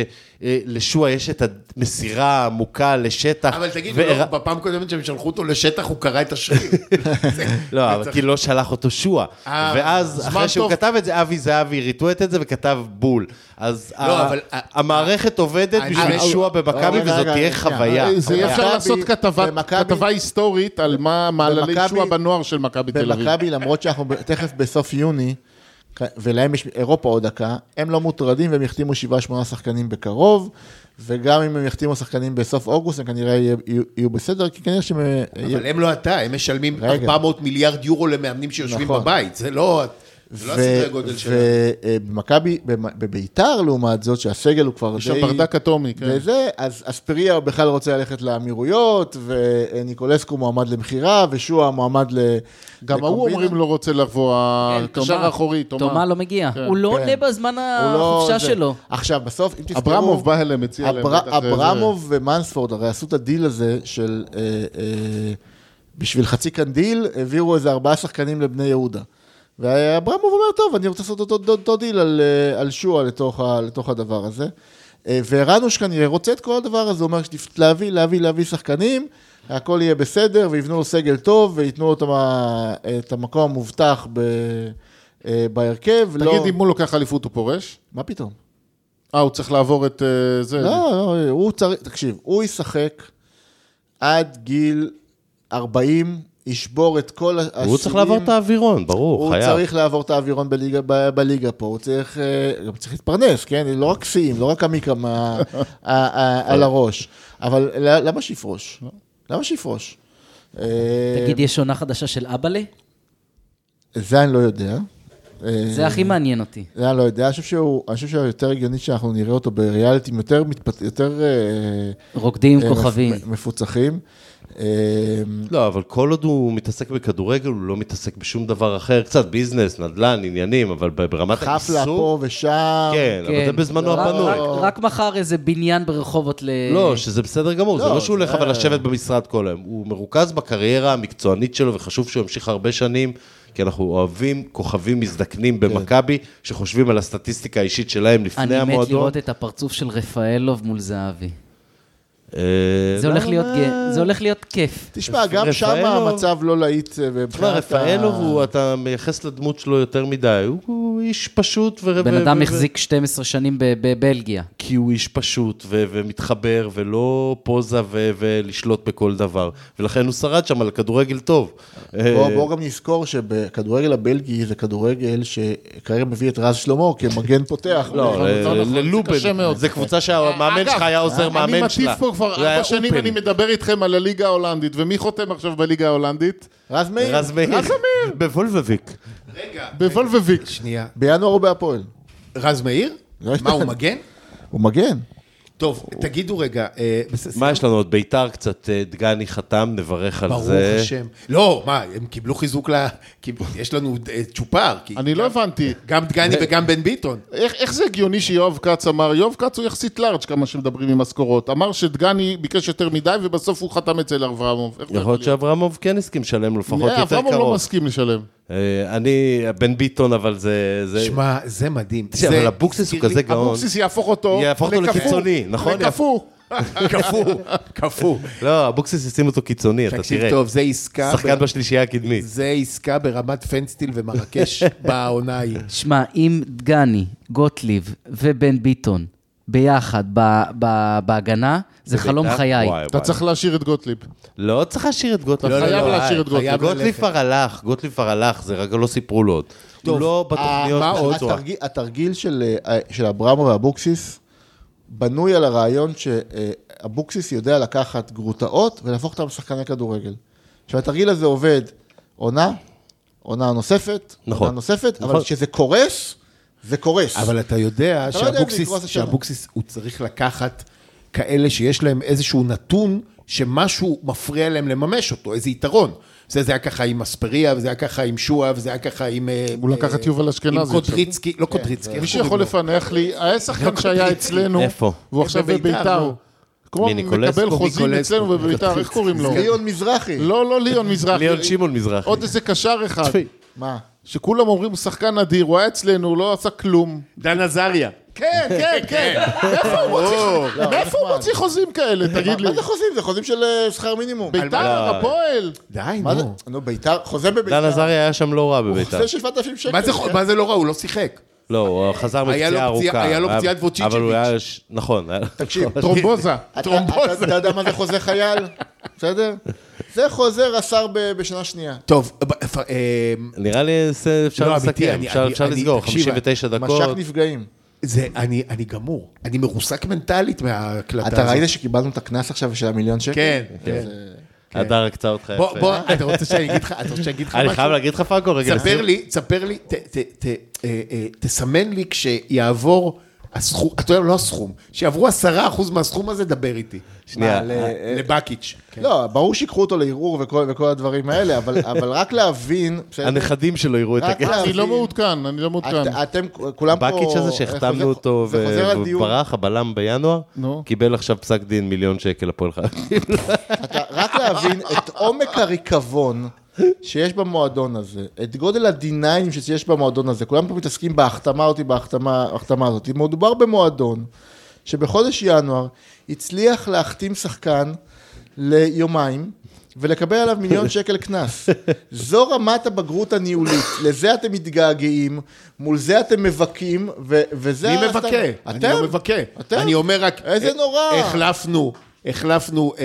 [SPEAKER 1] אה, לשועה יש את המסירה העמוקה לשטח.
[SPEAKER 3] אבל תגיד,
[SPEAKER 1] והרא-
[SPEAKER 3] לא, בפעם הקודמת שהם שלחו אותו לשטח, הוא קרא את השריר. זה-
[SPEAKER 1] לא, אבל כי לא שלח אותו שועה.
[SPEAKER 3] אה,
[SPEAKER 1] ואז,
[SPEAKER 3] זמן
[SPEAKER 1] אחרי שהוא
[SPEAKER 3] טוב.
[SPEAKER 1] כתב את זה, אבי זהבי ריטווט את זה וכתב בול. אז
[SPEAKER 3] לא,
[SPEAKER 1] ה-
[SPEAKER 3] אבל-
[SPEAKER 1] המערכת עובדת
[SPEAKER 3] אני-
[SPEAKER 1] בשביל
[SPEAKER 3] אבל-
[SPEAKER 1] שועה במכבי,
[SPEAKER 2] רגע,
[SPEAKER 1] וזאת
[SPEAKER 2] אה, רגע,
[SPEAKER 1] תהיה
[SPEAKER 2] שנייה.
[SPEAKER 1] חוויה.
[SPEAKER 2] אה,
[SPEAKER 4] זה
[SPEAKER 1] חוויה.
[SPEAKER 4] יהיה אפשר
[SPEAKER 2] במכבי-
[SPEAKER 4] לעשות כתבה-
[SPEAKER 2] במכבי-
[SPEAKER 4] כתבה היסטורית על מה מעללי
[SPEAKER 2] במכבי-
[SPEAKER 4] שועה בנוער של מכבי תל אביב.
[SPEAKER 2] במכבי, למרות שאנחנו ב- תכף בסוף יוני, כ- ולהם יש אירופה עוד דקה, הם לא מוטרדים והם יחתימו שבעה, שמונה שחקנים בקרוב, וגם אם הם יחתימו שחקנים בסוף אוגוסט, הם כנראה יהיו- יהיו- יהיו בסדר, כי כנראה שהם... אה,
[SPEAKER 3] אבל הם לא אתה, הם משלמים
[SPEAKER 2] רגע.
[SPEAKER 3] 400 מיליארד יורו למאמנים שיושבים
[SPEAKER 2] נכון.
[SPEAKER 3] בבית. זה לא זה לא הסדרי גודל שלהם.
[SPEAKER 2] ובמכבי, בביתר לעומת זאת, שהסגל הוא כבר די...
[SPEAKER 4] יש שם ברדק אטומי, כן.
[SPEAKER 2] וזה, אז אספריה בכלל רוצה ללכת לאמירויות, וניקולסקו מועמד למכירה, ושועה מועמד ל...
[SPEAKER 4] גם ההוא
[SPEAKER 2] לקומבינה.
[SPEAKER 4] אומרים לא רוצה לבוא,
[SPEAKER 2] אה,
[SPEAKER 5] כן,
[SPEAKER 4] הקשר
[SPEAKER 5] תומה.
[SPEAKER 4] האחורי,
[SPEAKER 5] תומה
[SPEAKER 4] תומה.
[SPEAKER 5] לא מגיע.
[SPEAKER 4] כן,
[SPEAKER 5] הוא לא
[SPEAKER 2] כן.
[SPEAKER 5] עולה בזמן
[SPEAKER 2] הוא לא
[SPEAKER 5] החופשה
[SPEAKER 2] זה.
[SPEAKER 5] שלו.
[SPEAKER 2] עכשיו, בסוף, אם תזכרו...
[SPEAKER 4] אברמוב בא אליהם, הציע להם.
[SPEAKER 2] אבר-
[SPEAKER 4] בטח, זה-
[SPEAKER 2] אברמוב ומנספורד הרי עשו את הדיל הזה של... אה, אה, בשביל חצי קנדיל, העבירו איזה ארבעה שחקנים לבני יהודה. ואברמוב אומר, טוב, אני רוצה לעשות אותו- אותו אותו דיל על, אה, על שועה לתוך, ה- לתוך הדבר הזה. אה, ורנוש כנראה רוצה את כל הדבר הזה, הוא אומר, שתפ- להביא, להביא, להביא שחקנים, הכל יהיה בסדר, ויבנו לו סגל טוב, וייתנו לו את המ- את המקום המובטח ב... אה, בהרכב,
[SPEAKER 4] זה- תגיד, אם הוא לוקח אליפות הוא פורש?
[SPEAKER 2] מה פתאום?
[SPEAKER 4] אה, הוא צריך לעבור את אה, זה.
[SPEAKER 2] לא, לא, הוא צריך, תקשיב, הוא ישחק עד גיל 40, ישבור את כל ה- השיאים.
[SPEAKER 1] הוא צריך לעבור את האווירון, ברור,
[SPEAKER 2] הוא
[SPEAKER 1] חייב.
[SPEAKER 2] צריך לעבור את האווירון בליגה, ב- בליגה פה, הוא צריך, אה, גם צריך להתפרנס, כן? לא רק שיאים, לא רק עמיקם ה-
[SPEAKER 1] (laughs)
[SPEAKER 2] ה- ה-
[SPEAKER 1] אה.
[SPEAKER 2] על הראש. אבל ל- למה שיפרוש?
[SPEAKER 1] לא.
[SPEAKER 2] למה שיפרוש? אה,
[SPEAKER 5] תגיד, יש עונה חדשה של אבאלה?
[SPEAKER 2] זה אני לא יודע. אה,
[SPEAKER 5] זה הכי מעניין אותי.
[SPEAKER 2] זה אני לא יודע, אני חושב שהוא, אני חושב שהיותר הגיוני שאנחנו נראה אותו בריאליטים יותר, מתפת- יותר אה,
[SPEAKER 5] רוקדים
[SPEAKER 2] אה,
[SPEAKER 5] עם כוכבים.
[SPEAKER 2] מפ- מפוצחים. אה,
[SPEAKER 1] לא, אבל כל עוד הוא מתעסק בכדורגל, הוא לא מתעסק בשום דבר אחר. קצת ביזנס, נדל"ן, עניינים, אבל ב- ברמת
[SPEAKER 2] חפלה
[SPEAKER 1] העיסוק...
[SPEAKER 2] פה ושם.
[SPEAKER 1] כן, אבל זה בזמנו
[SPEAKER 5] רק-
[SPEAKER 1] הפנוי.
[SPEAKER 5] רק- רק מחר איזה בניין ברחובות ל...
[SPEAKER 1] לא, שזה בסדר גמור, זה
[SPEAKER 2] לא,
[SPEAKER 1] לא שהוא הולך
[SPEAKER 2] זה-
[SPEAKER 1] אבל לשבת במשרד כל היום. הוא מרוכז בקריירה המקצוענית שלו, וחשוב שהוא ימשיך הרבה שנים, כי אנחנו אוהבים כוכבים מזדקנים במכבי, שחושבים על הסטטיסטיקה האישית שלהם לפני
[SPEAKER 5] כן. אני מת
[SPEAKER 1] המועדון.
[SPEAKER 5] לראות את הפרצוף של רפאלוב מול זהבי.
[SPEAKER 1] אה,
[SPEAKER 5] זה הולך
[SPEAKER 1] למה?
[SPEAKER 5] להיות ג- זה הולך להיות כיף.
[SPEAKER 2] תשמע, גם שם
[SPEAKER 1] רפאלוב-
[SPEAKER 2] המצב לא להיט. אה,
[SPEAKER 1] תשמע,
[SPEAKER 2] מבחינת ה-
[SPEAKER 1] רפאלוב, הוא- אתה מייחס לדמות שלו יותר מדי, הוא- הוא איש פשוט. ו-
[SPEAKER 5] בן
[SPEAKER 1] ו-
[SPEAKER 5] אדם
[SPEAKER 1] ו-
[SPEAKER 5] החזיק 12 שנים ב- בבלגיה.
[SPEAKER 1] כי הוא איש פשוט ו- ומתחבר, ולא פוזה ו- ולשלוט בכל דבר. ולכן הוא שרד שם על כדורגל טוב.
[SPEAKER 2] בוא, בוא גם נזכור שבכדורגל הבלגי זה כדורגל שכרגע מביא את רז שלמה כמגן פותח.
[SPEAKER 1] לא,
[SPEAKER 2] אה,
[SPEAKER 4] זה לא נכון, זה קשה
[SPEAKER 1] ללובן,
[SPEAKER 4] מאוד. אה,
[SPEAKER 1] זה קבוצה שהמאמן
[SPEAKER 4] אגב, אה,
[SPEAKER 1] שלך היה עוזר מאמן
[SPEAKER 4] אני
[SPEAKER 1] שלה.
[SPEAKER 4] מטיף פה כבר
[SPEAKER 1] זה היה
[SPEAKER 4] ארבע שנים,
[SPEAKER 1] אופן.
[SPEAKER 4] אני מדבר איתכם על הליגה ההולנדית, ומי חותם עכשיו בליגה ההולנדית?
[SPEAKER 2] רז מאיר,
[SPEAKER 1] רז מאיר. בוולבביק.
[SPEAKER 2] אוקיי.
[SPEAKER 4] בוולבביק.
[SPEAKER 3] שנייה.
[SPEAKER 2] בינואר הוא בהפועל.
[SPEAKER 3] רז מאיר?
[SPEAKER 2] לא
[SPEAKER 3] מה, הוא
[SPEAKER 2] יודע.
[SPEAKER 3] מגן?
[SPEAKER 2] הוא מגן.
[SPEAKER 3] טוב, תגידו רגע, אה, בסדר,
[SPEAKER 1] מה יש לנו עוד? ביתר קצת, אה, דגני חתם, נברך על
[SPEAKER 3] ברוך
[SPEAKER 1] זה.
[SPEAKER 3] השם. לא, מה, הם קיבלו חיזוק ל... קיבלו- יש לנו אה, צ'ופר. כי
[SPEAKER 4] אני לא
[SPEAKER 3] גם-
[SPEAKER 4] הבנתי.
[SPEAKER 3] גם דגני וגם בן ביטון.
[SPEAKER 4] איך, איך זה הגיוני שיואב כץ אמר, יואב כץ הוא יחסית לארג' כמה שמדברים עם משכורות, אמר שדגני ביקש יותר מדי ובסוף הוא חתם אצל אברמוב. איך זה
[SPEAKER 1] יכול להיות שאברמוב כן הסכים לשלם לו לפחות
[SPEAKER 4] אה,
[SPEAKER 1] יותר
[SPEAKER 4] אברמוב לא
[SPEAKER 1] קרוב.
[SPEAKER 4] מסכים לשלם.
[SPEAKER 1] אה, אני, בן ביטון, אבל זה... זה-
[SPEAKER 3] שמע, זה מדהים.
[SPEAKER 1] תקשיב,
[SPEAKER 3] זה
[SPEAKER 1] אבל אבוקסיס הוא
[SPEAKER 3] הזכיר לי-
[SPEAKER 1] כזה גאון.
[SPEAKER 4] אבוקסיס יהפוך אותו
[SPEAKER 1] יהפוך אותו
[SPEAKER 4] לקפוא.
[SPEAKER 1] לקיצוני, נכון?
[SPEAKER 4] לקפוא.
[SPEAKER 3] קפוא, (laughs) קפוא.
[SPEAKER 1] לא, אבוקסיס ישים אותו קיצוני, אתה
[SPEAKER 3] תקשיב
[SPEAKER 1] תראה.
[SPEAKER 3] טוב, זה עסקה...
[SPEAKER 1] שחקן
[SPEAKER 3] ב-
[SPEAKER 1] בשלישייה הקדמית.
[SPEAKER 3] זה עסקה ברמת פנסטיל ומרקש (laughs) בעונה ההיא.
[SPEAKER 5] שמע, אם דגני, גוטליב ובן ביטון ביחד ב- ב- בהגנה, זה חלום
[SPEAKER 1] ביתר?
[SPEAKER 5] חיי.
[SPEAKER 1] וואי,
[SPEAKER 4] אתה
[SPEAKER 1] וואי.
[SPEAKER 4] צריך להשאיר את גוטליב.
[SPEAKER 1] לא צריך להשאיר את גוטליב. לא,
[SPEAKER 4] אתה
[SPEAKER 1] לא,
[SPEAKER 4] חייב
[SPEAKER 1] לא,
[SPEAKER 4] להשאיר
[SPEAKER 1] אה,
[SPEAKER 4] את גוטליב.
[SPEAKER 3] חייב
[SPEAKER 1] גוטליב
[SPEAKER 3] ללכת.
[SPEAKER 1] כבר הלך, גוטליב כבר הלך, זה רק לא סיפרו לו עוד. הוא לא בתוכניות.
[SPEAKER 3] אה, מה
[SPEAKER 1] של
[SPEAKER 3] עוד?
[SPEAKER 1] צורה.
[SPEAKER 2] אה, התרגיל, התרגיל של, אה, של אברמו ואבוקסיס בנוי על הרעיון שאבוקסיס יודע לקחת גרוטאות ולהפוך אותם לשחקני כדורגל. עכשיו, התרגיל הזה עובד עונה, עונה נוספת,
[SPEAKER 1] נכון.
[SPEAKER 2] עונה נוספת, נכון.
[SPEAKER 1] נכון.
[SPEAKER 2] אבל כשזה קורס, זה קורס.
[SPEAKER 3] אבל אתה יודע
[SPEAKER 2] אתה לא יודע אם זה
[SPEAKER 3] שאבוקסיס,
[SPEAKER 2] יקרוס השנה.
[SPEAKER 3] שאבוקסיס הוא צריך לקחת כאלה שיש להם איזשהו נתון שמשהו מפריע להם לממש אותו, איזה יתרון. זה, זה היה ככה עם אספריה, וזה היה ככה עם שועה, וזה היה ככה עם... אה,
[SPEAKER 4] הוא
[SPEAKER 3] אה,
[SPEAKER 4] לקח את יובל אשכנזי
[SPEAKER 3] עם
[SPEAKER 4] עכשיו.
[SPEAKER 3] קודריצקי, לא
[SPEAKER 2] כן,
[SPEAKER 3] קודריצקי. איך
[SPEAKER 4] מי
[SPEAKER 3] קוראים
[SPEAKER 4] שיכול
[SPEAKER 3] לו?
[SPEAKER 4] לפענח לי, היה שחקן שהיה אצלנו,
[SPEAKER 1] לא איפה?
[SPEAKER 4] והוא עכשיו
[SPEAKER 3] בביתר,
[SPEAKER 4] בביתר.
[SPEAKER 3] נו.
[SPEAKER 4] כמו
[SPEAKER 1] מי, ניקולסקו?
[SPEAKER 4] מקבל חוזים
[SPEAKER 3] ניקולסקו.
[SPEAKER 4] אצלנו בביתר, איך קוראים לו?
[SPEAKER 2] ליון מזרחי.
[SPEAKER 4] לא, לא ליאון מזרחי.
[SPEAKER 1] ליאון שמעון מזרחי.
[SPEAKER 4] עוד איזה קשר אחד.
[SPEAKER 2] מה?
[SPEAKER 4] שכולם אומרים הוא שחקן אדיר, הוא היה אצלנו, הוא לא עשה כלום.
[SPEAKER 3] דן עזריה.
[SPEAKER 4] כן, כן, כן. מאיפה הוא מוציא-
[SPEAKER 3] לא,
[SPEAKER 4] מאיפה הוא מוציא חוזים כאלה, תגיד לי?
[SPEAKER 2] מה זה חוזים? זה חוזים של אה, שכר מינימום.
[SPEAKER 4] ביתר, הפועל.
[SPEAKER 3] די,
[SPEAKER 2] מה זה?
[SPEAKER 3] נו.
[SPEAKER 2] נו, ביתר, חוזה
[SPEAKER 1] דן
[SPEAKER 2] בביתר.
[SPEAKER 1] עזריה היה שם לא רע בביתר.
[SPEAKER 2] חוזה של 7,000 שקל.
[SPEAKER 3] מה זה חו- מה זה לא רע? הוא לא
[SPEAKER 4] אה,
[SPEAKER 3] שיחק.
[SPEAKER 1] לא, הוא חזר
[SPEAKER 3] היה לו
[SPEAKER 1] מפציעה
[SPEAKER 3] פציעה-
[SPEAKER 1] ארוכה.
[SPEAKER 3] היה לו פציעת
[SPEAKER 1] אבל הוא
[SPEAKER 3] ווצי'צ'יביץ'.
[SPEAKER 1] היה... ש- נכון. היה לו-
[SPEAKER 2] תקשיב,
[SPEAKER 4] טרומבוזה.
[SPEAKER 2] אתה-
[SPEAKER 3] טרומבוזה.
[SPEAKER 2] אתה אתה יודע מה זה חוזה חייל? בסדר? זה חוזה רס"ר ב- בשנה שנייה.
[SPEAKER 3] טוב, אה, פ- אה,
[SPEAKER 1] (laughs) נראה לי ס- אפשר
[SPEAKER 3] לא, אמיתי,
[SPEAKER 1] לסכם,
[SPEAKER 3] אני-
[SPEAKER 1] אפשר-
[SPEAKER 3] אני-
[SPEAKER 1] אפשר
[SPEAKER 3] אני-
[SPEAKER 1] לסגור,
[SPEAKER 3] תקשיב,
[SPEAKER 1] 59
[SPEAKER 2] מש"ק
[SPEAKER 1] דקות.
[SPEAKER 2] נפגעים.
[SPEAKER 3] זה, אני אני גמור. אני מרוסק מנטלית מההקלטה הזאת.
[SPEAKER 2] אתה ראית שקיבלנו את הקנס עכשיו של המיליון שקל?
[SPEAKER 3] כן, כן.
[SPEAKER 1] הדר הקצה אותך
[SPEAKER 3] בוא, בוא,
[SPEAKER 1] יפה.
[SPEAKER 3] אתה רוצה שאני אגיד לך, אתה רוצה שאני אגיד לך
[SPEAKER 1] אני חייב
[SPEAKER 3] משהו?
[SPEAKER 1] להגיד לך פאקו רגע.
[SPEAKER 3] תספר
[SPEAKER 1] לסיום?
[SPEAKER 3] לי, תספר לי, ת- ת- ת- אה, אה, תסמן לי כשיעבור הסכום, אתה יודע, לא הסכום, שיעברו עשרה אחוז מהסכום הזה, דבר איתי.
[SPEAKER 1] שנייה.
[SPEAKER 3] מה, ל- אה, לבקיץ'.
[SPEAKER 2] לא, ברור שיקחו אותו לערעור וכל וכל הדברים האלה, אבל אבל רק להבין... בסדר?
[SPEAKER 1] הנכדים שלו יראו את
[SPEAKER 2] רק
[SPEAKER 1] הכסף.
[SPEAKER 2] לה-
[SPEAKER 4] אני לא מעודכן, אני לא מעודכן.
[SPEAKER 2] את- אתם כולם פה...
[SPEAKER 1] בקיץ' הזה שהחתמנו
[SPEAKER 2] זה-
[SPEAKER 1] אותו
[SPEAKER 2] זה חוזר על דיון.
[SPEAKER 1] וברח, הבלם בינואר,
[SPEAKER 4] נו.
[SPEAKER 1] קיבל עכשיו פסק דין מיליון שקל הפועל חיפה.
[SPEAKER 2] אתה- רק להבין את עומק הריקבון שיש במועדון הזה, את גודל הדיניינים שיש במועדון הזה, כולם פה מתעסקים בהחתמה אותי, בהחתמה ההחתמה הזאת. מדובר במועדון שבחודש ינואר הצליח להחתים שחקן ליומיים ולקבל עליו מיליון שקל קנס. זו רמת הבגרות הניהולית, לזה אתם מתגעגעים, מול זה אתם מבכים, ו- וזה...
[SPEAKER 3] מי
[SPEAKER 2] הסטנד-
[SPEAKER 3] מבכה? אני
[SPEAKER 2] אתם?
[SPEAKER 3] לא מבכה.
[SPEAKER 2] אתם?
[SPEAKER 3] אני אומר רק...
[SPEAKER 2] איזה
[SPEAKER 3] אה,
[SPEAKER 2] נורא.
[SPEAKER 3] החלפנו, החלפנו אה,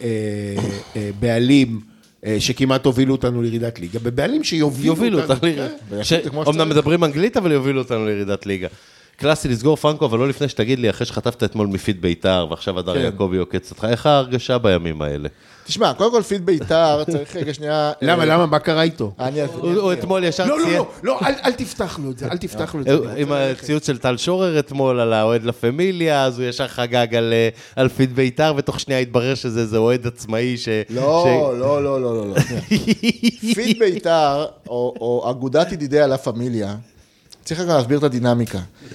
[SPEAKER 3] אה, אה, בעלים אה, שכמעט הובילו אותנו לירידת ליגה, בבעלים שיובילו
[SPEAKER 1] יובילו
[SPEAKER 3] אותנו. כן.
[SPEAKER 1] אותנו לירידה. אומנם מדברים אנגלית, אבל יובילו אותנו לירידת ליגה. קלאסי לסגור פרנקו, אבל לא לפני שתגיד לי, אחרי שחטפת אתמול מפיד בית"ר, ועכשיו הדר יעקבי עוקץ אותך, איך ההרגשה בימים האלה?
[SPEAKER 2] תשמע, קודם כל
[SPEAKER 1] (laughs)
[SPEAKER 2] פיד בית"ר, צריך רגע שנייה...
[SPEAKER 3] למה,
[SPEAKER 2] אה,
[SPEAKER 3] למה, מה קרה איתו?
[SPEAKER 2] אני
[SPEAKER 1] הוא הוא אתמול ישר
[SPEAKER 3] לא, לא,
[SPEAKER 1] ציין,
[SPEAKER 3] לא, לא, אל אל תפתח לו את זה, אל תפתח לו את זה.
[SPEAKER 1] הוא- עם הציוץ של טל שורר אתמול על האוהד לה פמיליה, אז הוא ישר חגג על, אה, על פיד בית"ר, ותוך שנייה התברר שזה איזה אוהד עצמאי ש...
[SPEAKER 2] לא, לא, לא, לא, לא, לא. פיד בית"ר, או או אגודת ידידי הלה פמיליה, צריך רגע להסביר את הדינמיקה.
[SPEAKER 1] ש...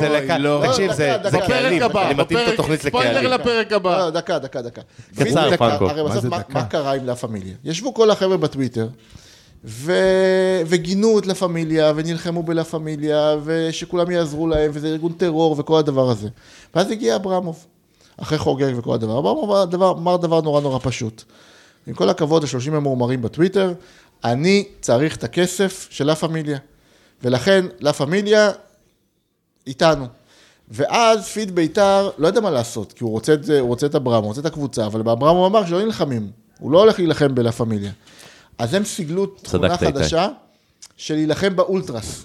[SPEAKER 1] זה לקה...
[SPEAKER 2] לא.
[SPEAKER 1] תקשיב,
[SPEAKER 2] לא,
[SPEAKER 1] זה
[SPEAKER 2] דקה,
[SPEAKER 1] זה
[SPEAKER 2] דקה.
[SPEAKER 1] קהלים,
[SPEAKER 2] בפרק הבא,
[SPEAKER 1] אני מתאים את
[SPEAKER 4] בפרק-
[SPEAKER 1] התוכנית לקהלים.
[SPEAKER 4] ספוילר לפרק הבא.
[SPEAKER 2] לא, דקה, דקה, דקה.
[SPEAKER 1] קצר,
[SPEAKER 2] פיד בית"ר,
[SPEAKER 1] פנקו.
[SPEAKER 2] הרי בסוף, מה- מה קרה עם לה פמיליה? ישבו כל החבר'ה בטוויטר, ו- וגינו את לה פמיליה, ונלחמו בלה פמיליה, ושכולם יעזרו להם, וזה ארגון טרור וכל הדבר הזה. ואז הגיע אברמוב, אחרי חוגג וכל הדבר. אברמוב הדבר- אמר דבר נורא נורא פשוט. עם כל הכבוד ל-30 המורמרים בטוויטר, אני צריך את הכסף של לה פמיליה. ולכן, לה פמיליה איתנו. ואז פיד ביתר, לא יודע מה לעשות, כי הוא רוצה את, זה- הוא רוצה את אברהם, הוא רוצה את הקבוצה, אבל באברהם הוא אמר שלא נלחמים, הוא לא הולך להילחם בלה פמיליה. אז הם סיגלו תכונה
[SPEAKER 1] צדקת, איתי.
[SPEAKER 2] חדשה של להילחם באולטרס.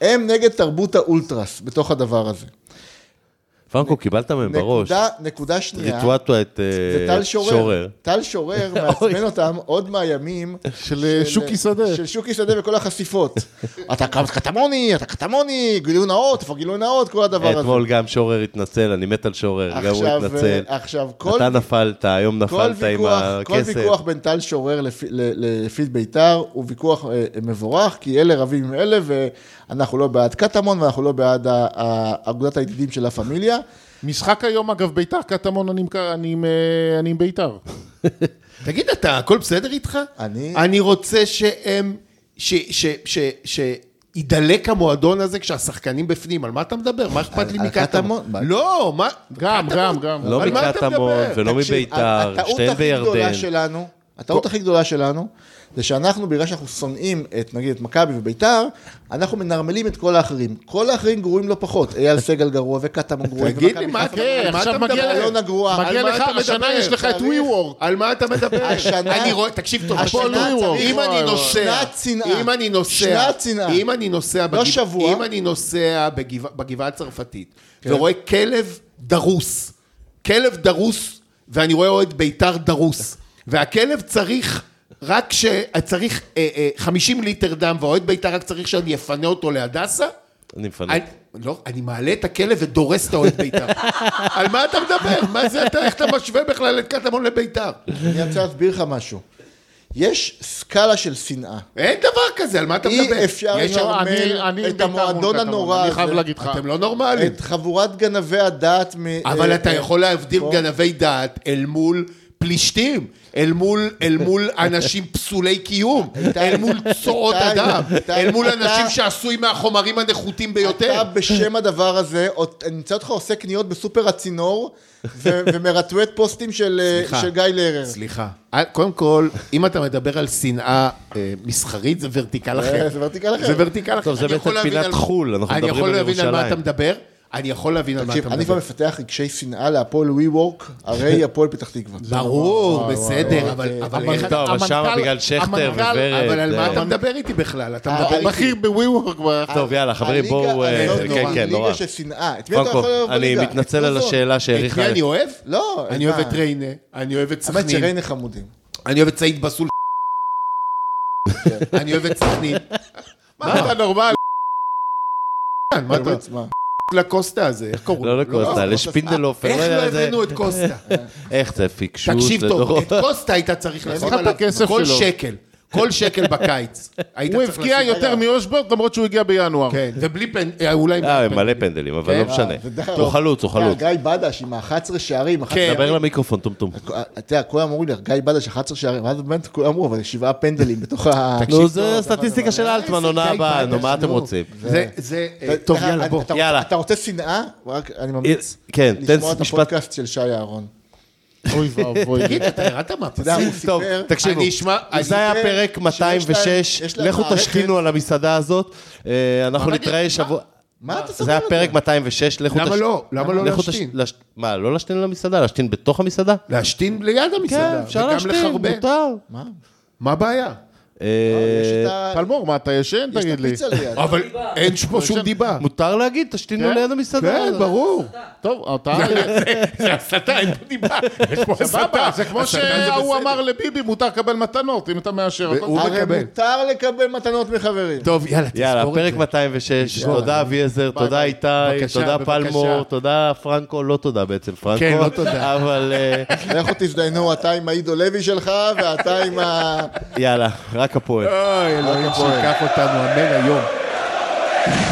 [SPEAKER 2] הם נגד תרבות האולטרס בתוך הדבר הזה.
[SPEAKER 1] פרנקו, קיבלת מהם בראש.
[SPEAKER 2] נקודה, נקודה שנייה.
[SPEAKER 1] ריטואטו את אה,
[SPEAKER 2] זה טל שורר.
[SPEAKER 1] שורר.
[SPEAKER 2] טל
[SPEAKER 4] (laughs)
[SPEAKER 2] שורר מעצבן אותם עוד מהימים
[SPEAKER 4] של אה, שוקי שדה.
[SPEAKER 2] של שוקי שדה וכל
[SPEAKER 4] (laughs)
[SPEAKER 2] החשיפות. אתה קטמוני, אתה קטמוני, גילוי נאות, איפה גילוי נאות, כל הדבר הזה.
[SPEAKER 1] אתמול גם שורר התנצל, אני מת על שורר, גם הוא
[SPEAKER 2] עכשיו,
[SPEAKER 1] התנצל.
[SPEAKER 2] אה, עכשיו, כל
[SPEAKER 1] אתה נפלת, היום
[SPEAKER 2] כל
[SPEAKER 1] נפלת עם
[SPEAKER 2] ויכוח, כל
[SPEAKER 1] הכסף.
[SPEAKER 2] ויכוח בין טל שורר לפי- ל- לפיד ביתר הוא ויכוח אה, מבורך, כי אלה רבים עם אלה, ואנחנו לא בעד קטמון ואנחנו לא בעד ה- ה- אגודת הידידים של לה פמיליה.
[SPEAKER 4] משחק היום, אגב, ביתר, קטמון, אני עם ק- אני עם, אה, אני עם ביתר.
[SPEAKER 3] תגיד, אתה, הכל בסדר איתך?
[SPEAKER 2] אני-
[SPEAKER 3] אני רוצה שהם... ש... ש... ש... ש... יידלק המועדון הזה כשהשחקנים בפנים, על מה אתה מדבר? מה אכפת לי
[SPEAKER 2] על
[SPEAKER 3] מקטמון?
[SPEAKER 2] קטמון?
[SPEAKER 3] לא, מה...
[SPEAKER 4] גם,
[SPEAKER 3] קטמון?
[SPEAKER 4] גם, גם.
[SPEAKER 1] לא
[SPEAKER 3] על מה אתה
[SPEAKER 1] מקטמון
[SPEAKER 3] מדבר?
[SPEAKER 1] ולא
[SPEAKER 2] תקשיב,
[SPEAKER 1] מביתר,
[SPEAKER 2] הטעות
[SPEAKER 1] שתיהן
[SPEAKER 2] הכי גדולה
[SPEAKER 1] בירדן.
[SPEAKER 2] שלנו, הטעות הכי גדולה שלנו, זה שאנחנו, בגלל שאנחנו שונאים את, נגיד, את מכבי וביתר, אנחנו מנרמלים את כל האחרים. כל האחרים גרועים לא פחות. אייל סגל גרוע וקטמון גרוע.
[SPEAKER 3] תגיד לי,
[SPEAKER 2] ומכבי
[SPEAKER 3] מה
[SPEAKER 2] חיפה
[SPEAKER 3] כן,
[SPEAKER 2] גרועה.
[SPEAKER 4] עכשיו
[SPEAKER 3] אתה
[SPEAKER 4] מגיע
[SPEAKER 3] מדבר?
[SPEAKER 4] לך-
[SPEAKER 2] אלונה גרועה.
[SPEAKER 4] מגיע
[SPEAKER 3] על מה
[SPEAKER 4] לך,
[SPEAKER 3] אתה
[SPEAKER 4] השנה
[SPEAKER 3] מדבר?
[SPEAKER 4] יש לך את
[SPEAKER 2] צריך.
[SPEAKER 4] WeWork.
[SPEAKER 3] על מה אתה מדבר?
[SPEAKER 2] השנה-
[SPEAKER 3] אני רואה, תקשיב טוב,
[SPEAKER 2] השנה
[SPEAKER 3] הפועל
[SPEAKER 2] צריך-
[SPEAKER 3] וורק. אם
[SPEAKER 2] וואי,
[SPEAKER 3] אני
[SPEAKER 2] וואי.
[SPEAKER 3] נוסע,
[SPEAKER 2] שנת צנעה.
[SPEAKER 3] אם אני נוסע,
[SPEAKER 2] שנת צנעה.
[SPEAKER 3] אם אני נוסע,
[SPEAKER 2] לא
[SPEAKER 3] בגבע-
[SPEAKER 2] שבוע.
[SPEAKER 3] אם אני נוסע בגבע- בגבעה הצרפתית, ורואה כלב דרוס, כלב דרוס, ואני רואה אוהד בית"ר דרוס, והכלב צריך... רק ש... צריך אה, אה, 50 ליטר דם, והאוהד בית"ר רק צריך שאני אפנה אותו להדסה,
[SPEAKER 1] אני מפנה.
[SPEAKER 3] אני, לא, אני מעלה את הכלב ודורס את האוהד
[SPEAKER 2] (laughs)
[SPEAKER 3] בית"ר. על מה אתה מדבר? מה זה אתה, איך אתה משווה בכלל את קטמון לבית"ר?
[SPEAKER 2] אני רוצה להסביר לך משהו. יש סקאלה של שנאה.
[SPEAKER 3] אין דבר כזה, על מה אתה מדבר?
[SPEAKER 2] אי אפשר
[SPEAKER 3] יש-
[SPEAKER 4] לא, אני-
[SPEAKER 2] לנרמל
[SPEAKER 4] אני עם
[SPEAKER 2] את
[SPEAKER 4] ביתר מול
[SPEAKER 2] המועדון
[SPEAKER 4] קטמון,
[SPEAKER 2] הנורא
[SPEAKER 4] אני חייב
[SPEAKER 2] הזה.
[SPEAKER 4] להגיד לך.
[SPEAKER 3] אתם לא נורמלים.
[SPEAKER 2] את חבורת גנבי הדעת מ...
[SPEAKER 3] אבל
[SPEAKER 2] אה,
[SPEAKER 3] אתה יכול להבדיל
[SPEAKER 2] פה.
[SPEAKER 3] גנבי דעת אל מול פלישתים, אל מול, אל מול אנשים פסולי קיום, אל מול צואות
[SPEAKER 2] איתי,
[SPEAKER 3] אדם,
[SPEAKER 2] איתי,
[SPEAKER 3] אל מול
[SPEAKER 2] אתה-
[SPEAKER 3] אנשים שעשוי מהחומרים הנחותים ביותר.
[SPEAKER 2] אתה בשם הדבר הזה, עוד- אני אמצא אותך עושה קניות בסופר הצינור, ו- ומרטווט פוסטים של אה,
[SPEAKER 3] סליחה.
[SPEAKER 2] של גיא לרר.
[SPEAKER 3] סליחה. אה, קודם כל, אם אתה מדבר על שנאה אה, מסחרית, זה ורטיקל אחר.
[SPEAKER 2] אה, זה ורטיקל אחר.
[SPEAKER 3] זה ורטיקל אחר.
[SPEAKER 1] טוב, זה
[SPEAKER 3] אני
[SPEAKER 1] בעצם
[SPEAKER 3] יכול להבין
[SPEAKER 1] פינת
[SPEAKER 3] על-
[SPEAKER 1] חו"ל, אנחנו מדברים
[SPEAKER 3] אני יכול
[SPEAKER 1] על
[SPEAKER 3] להבין על מה
[SPEAKER 1] ירושלים.
[SPEAKER 3] אתה מדבר, אני יכול להבין על מה
[SPEAKER 2] תקשיב,
[SPEAKER 3] אתה
[SPEAKER 2] אני כבר
[SPEAKER 3] מדבר.
[SPEAKER 2] מפתח רגשי שנאה להפועל ווי וורק, הרי הפועל פתח תקווה.
[SPEAKER 3] ברור,
[SPEAKER 2] אוקיי.
[SPEAKER 3] בסדר, אבל- אבל איך
[SPEAKER 1] טוב, אבל שמה
[SPEAKER 3] המנכ"ל-
[SPEAKER 1] בגלל שכטר
[SPEAKER 3] המנכ"ל-
[SPEAKER 1] וורד,
[SPEAKER 3] אבל על מה
[SPEAKER 1] אה,
[SPEAKER 3] אתה מדבר איתי בכלל? אתה מדבר
[SPEAKER 2] הייתי-
[SPEAKER 3] איתי...
[SPEAKER 4] בכיר בווי וורק.
[SPEAKER 3] אה,
[SPEAKER 1] טוב, יאללה, חברים, בואו... אה,
[SPEAKER 2] הליגה- עזוב,
[SPEAKER 1] כן,
[SPEAKER 2] נורא,
[SPEAKER 1] כן, נורא.
[SPEAKER 2] ליגה של שנאה. את מי אתה יכול
[SPEAKER 1] קודם
[SPEAKER 2] לאהוב
[SPEAKER 1] כל, אני
[SPEAKER 2] בליגה? לא,
[SPEAKER 1] מתנצל
[SPEAKER 2] את
[SPEAKER 1] על
[SPEAKER 2] קלוזון.
[SPEAKER 1] השאלה
[SPEAKER 3] את
[SPEAKER 1] שהעריכה...
[SPEAKER 3] מי אני אוהב?
[SPEAKER 2] לא,
[SPEAKER 3] אני
[SPEAKER 2] מה?
[SPEAKER 3] אוהב את ריינה, אני אוהב את
[SPEAKER 2] האמת
[SPEAKER 3] סכנין,
[SPEAKER 2] שריינה חמודים.
[SPEAKER 3] אני אוהב את סעיד בסול,
[SPEAKER 2] כן.
[SPEAKER 3] אני אוהב את סכנין.
[SPEAKER 4] מה
[SPEAKER 3] אה.
[SPEAKER 4] אתה נורמלי?
[SPEAKER 3] מה אתה
[SPEAKER 2] באמת, מה?
[SPEAKER 3] לקוסטה הזה? איך קוראים
[SPEAKER 1] לא לקוסטה,
[SPEAKER 2] אה,
[SPEAKER 1] לשפינדלופר.
[SPEAKER 3] איך
[SPEAKER 1] יודע,
[SPEAKER 3] לא
[SPEAKER 1] זה-
[SPEAKER 3] הבאנו את קוסטה?
[SPEAKER 1] איך זה פיקשוט?
[SPEAKER 3] תקשיב
[SPEAKER 1] זה לא-
[SPEAKER 3] טוב,
[SPEAKER 1] נורא.
[SPEAKER 3] את קוסטה היית צריך לשים
[SPEAKER 4] לך את
[SPEAKER 3] עליו
[SPEAKER 4] הכסף
[SPEAKER 3] כל
[SPEAKER 4] שלו.
[SPEAKER 3] שקל, כל שקל
[SPEAKER 4] (laughs)
[SPEAKER 3] בקיץ. היית
[SPEAKER 4] הוא
[SPEAKER 3] צריך
[SPEAKER 4] הבקיע
[SPEAKER 3] לשים
[SPEAKER 4] יותר
[SPEAKER 3] עליו.
[SPEAKER 4] מאושבולט למרות שהוא הגיע בינואר.
[SPEAKER 3] כן, ובלי פנ... אה, אולי... עם
[SPEAKER 1] אה,
[SPEAKER 3] פנ-
[SPEAKER 1] מלא פנדלים,
[SPEAKER 2] כן.
[SPEAKER 1] אבל לא משנה.
[SPEAKER 2] ודי.
[SPEAKER 1] הוא חלוץ, הוא חלוץ.
[SPEAKER 2] כן, גיא בדש עם ה-11 שערים. אחת-
[SPEAKER 3] כן.
[SPEAKER 1] דבר למיקרופון, טומטום.
[SPEAKER 2] אתה יודע, כולם אמרו לי, גיא בדש 11 שערים, ואז באמת כולם אמרו, אבל שבעה פנדלים בתוך ה... לא,
[SPEAKER 1] נו, זה הסטטיסטיקה של אלטמן, עונה
[SPEAKER 2] כן,
[SPEAKER 3] די,
[SPEAKER 1] הבאה,
[SPEAKER 3] די,
[SPEAKER 1] נו, מה
[SPEAKER 3] נו.
[SPEAKER 1] אתם רוצים?
[SPEAKER 3] זה... זה... אה,
[SPEAKER 2] אתה- אתה- אתה- אתה-
[SPEAKER 1] יאללה.
[SPEAKER 2] אתה רוצה שנאה? רק אני ממליץ.
[SPEAKER 1] כן, תן
[SPEAKER 2] לשמוע את
[SPEAKER 1] משפט.
[SPEAKER 2] הפודקאסט של שי אהרון.
[SPEAKER 4] אוי ואבוי.
[SPEAKER 3] אה, תגיד, אתה ירדת
[SPEAKER 2] אתה יודע,
[SPEAKER 3] מהפסים?
[SPEAKER 2] הוא
[SPEAKER 1] טוב,
[SPEAKER 2] סיפר...
[SPEAKER 1] תקשיבו,
[SPEAKER 3] אני אשמע- אני
[SPEAKER 1] זה היה
[SPEAKER 2] אשמע
[SPEAKER 1] פרק
[SPEAKER 2] שיש
[SPEAKER 1] 206,
[SPEAKER 2] להם- יש להם
[SPEAKER 1] לכו
[SPEAKER 2] מערכת-
[SPEAKER 1] תשתינו על המסעדה הזאת, אה, אנחנו
[SPEAKER 3] מה,
[SPEAKER 1] נתראה שבוע...
[SPEAKER 2] מה אתה סוגר
[SPEAKER 1] זה היה
[SPEAKER 2] את
[SPEAKER 1] פרק 206, לכו
[SPEAKER 3] למה
[SPEAKER 1] תש-
[SPEAKER 3] לא? למה לא
[SPEAKER 1] לכו
[SPEAKER 3] להשתין?
[SPEAKER 1] תש- לש- מה, לא להשתין על המסעדה? להשתין בתוך המסעדה?
[SPEAKER 3] להשתין ליד המסעדה.
[SPEAKER 1] כן, אפשר
[SPEAKER 3] וגם
[SPEAKER 1] להשתין,
[SPEAKER 3] לחרבן.
[SPEAKER 1] מותר.
[SPEAKER 2] מה?
[SPEAKER 3] מה הבעיה?
[SPEAKER 2] יש
[SPEAKER 1] אה,
[SPEAKER 2] את ה-
[SPEAKER 4] פלמור, מה, אתה ישן?
[SPEAKER 2] יש את
[SPEAKER 4] תגיד לי.
[SPEAKER 2] הפיצה ליד.
[SPEAKER 3] אבל אין פה שום דיבה.
[SPEAKER 1] מותר להגיד, תשתינו
[SPEAKER 4] כן?
[SPEAKER 1] ליד המסעדה.
[SPEAKER 3] כן, ברור.
[SPEAKER 4] טוב,
[SPEAKER 3] (laughs)
[SPEAKER 4] אתה...
[SPEAKER 3] זה הסתה, אין פה דיבה. (laughs) יש פה
[SPEAKER 4] סבבה, זה כמו
[SPEAKER 3] הסתה זה
[SPEAKER 4] שההוא
[SPEAKER 3] בסדר.
[SPEAKER 4] אמר לביבי, מותר לקבל מתנות, אם אתה מאשר. הכל
[SPEAKER 3] הוא
[SPEAKER 4] טוב.
[SPEAKER 2] הרי
[SPEAKER 3] מקבל.
[SPEAKER 2] מותר לקבל מתנות מחברים.
[SPEAKER 3] טוב, יאללה,
[SPEAKER 1] יאללה,
[SPEAKER 3] תזכור את
[SPEAKER 1] פרק
[SPEAKER 3] זה.
[SPEAKER 1] 206, תודה אביעזר, תודה
[SPEAKER 4] ביי.
[SPEAKER 1] איתי,
[SPEAKER 3] בבקשה,
[SPEAKER 1] תודה
[SPEAKER 3] בבקשה.
[SPEAKER 1] פלמור, תודה פרנקו, לא תודה בעצם פרנקו.
[SPEAKER 3] כן, לא תודה.
[SPEAKER 1] אבל אה,
[SPEAKER 2] לכו תזדיינו, אתה עם העידו לוי שלך, ואתה עם ה...
[SPEAKER 1] יאללה, רק הפועל.
[SPEAKER 3] אוי, אלוהים, שייקח אותנו, אמן היום.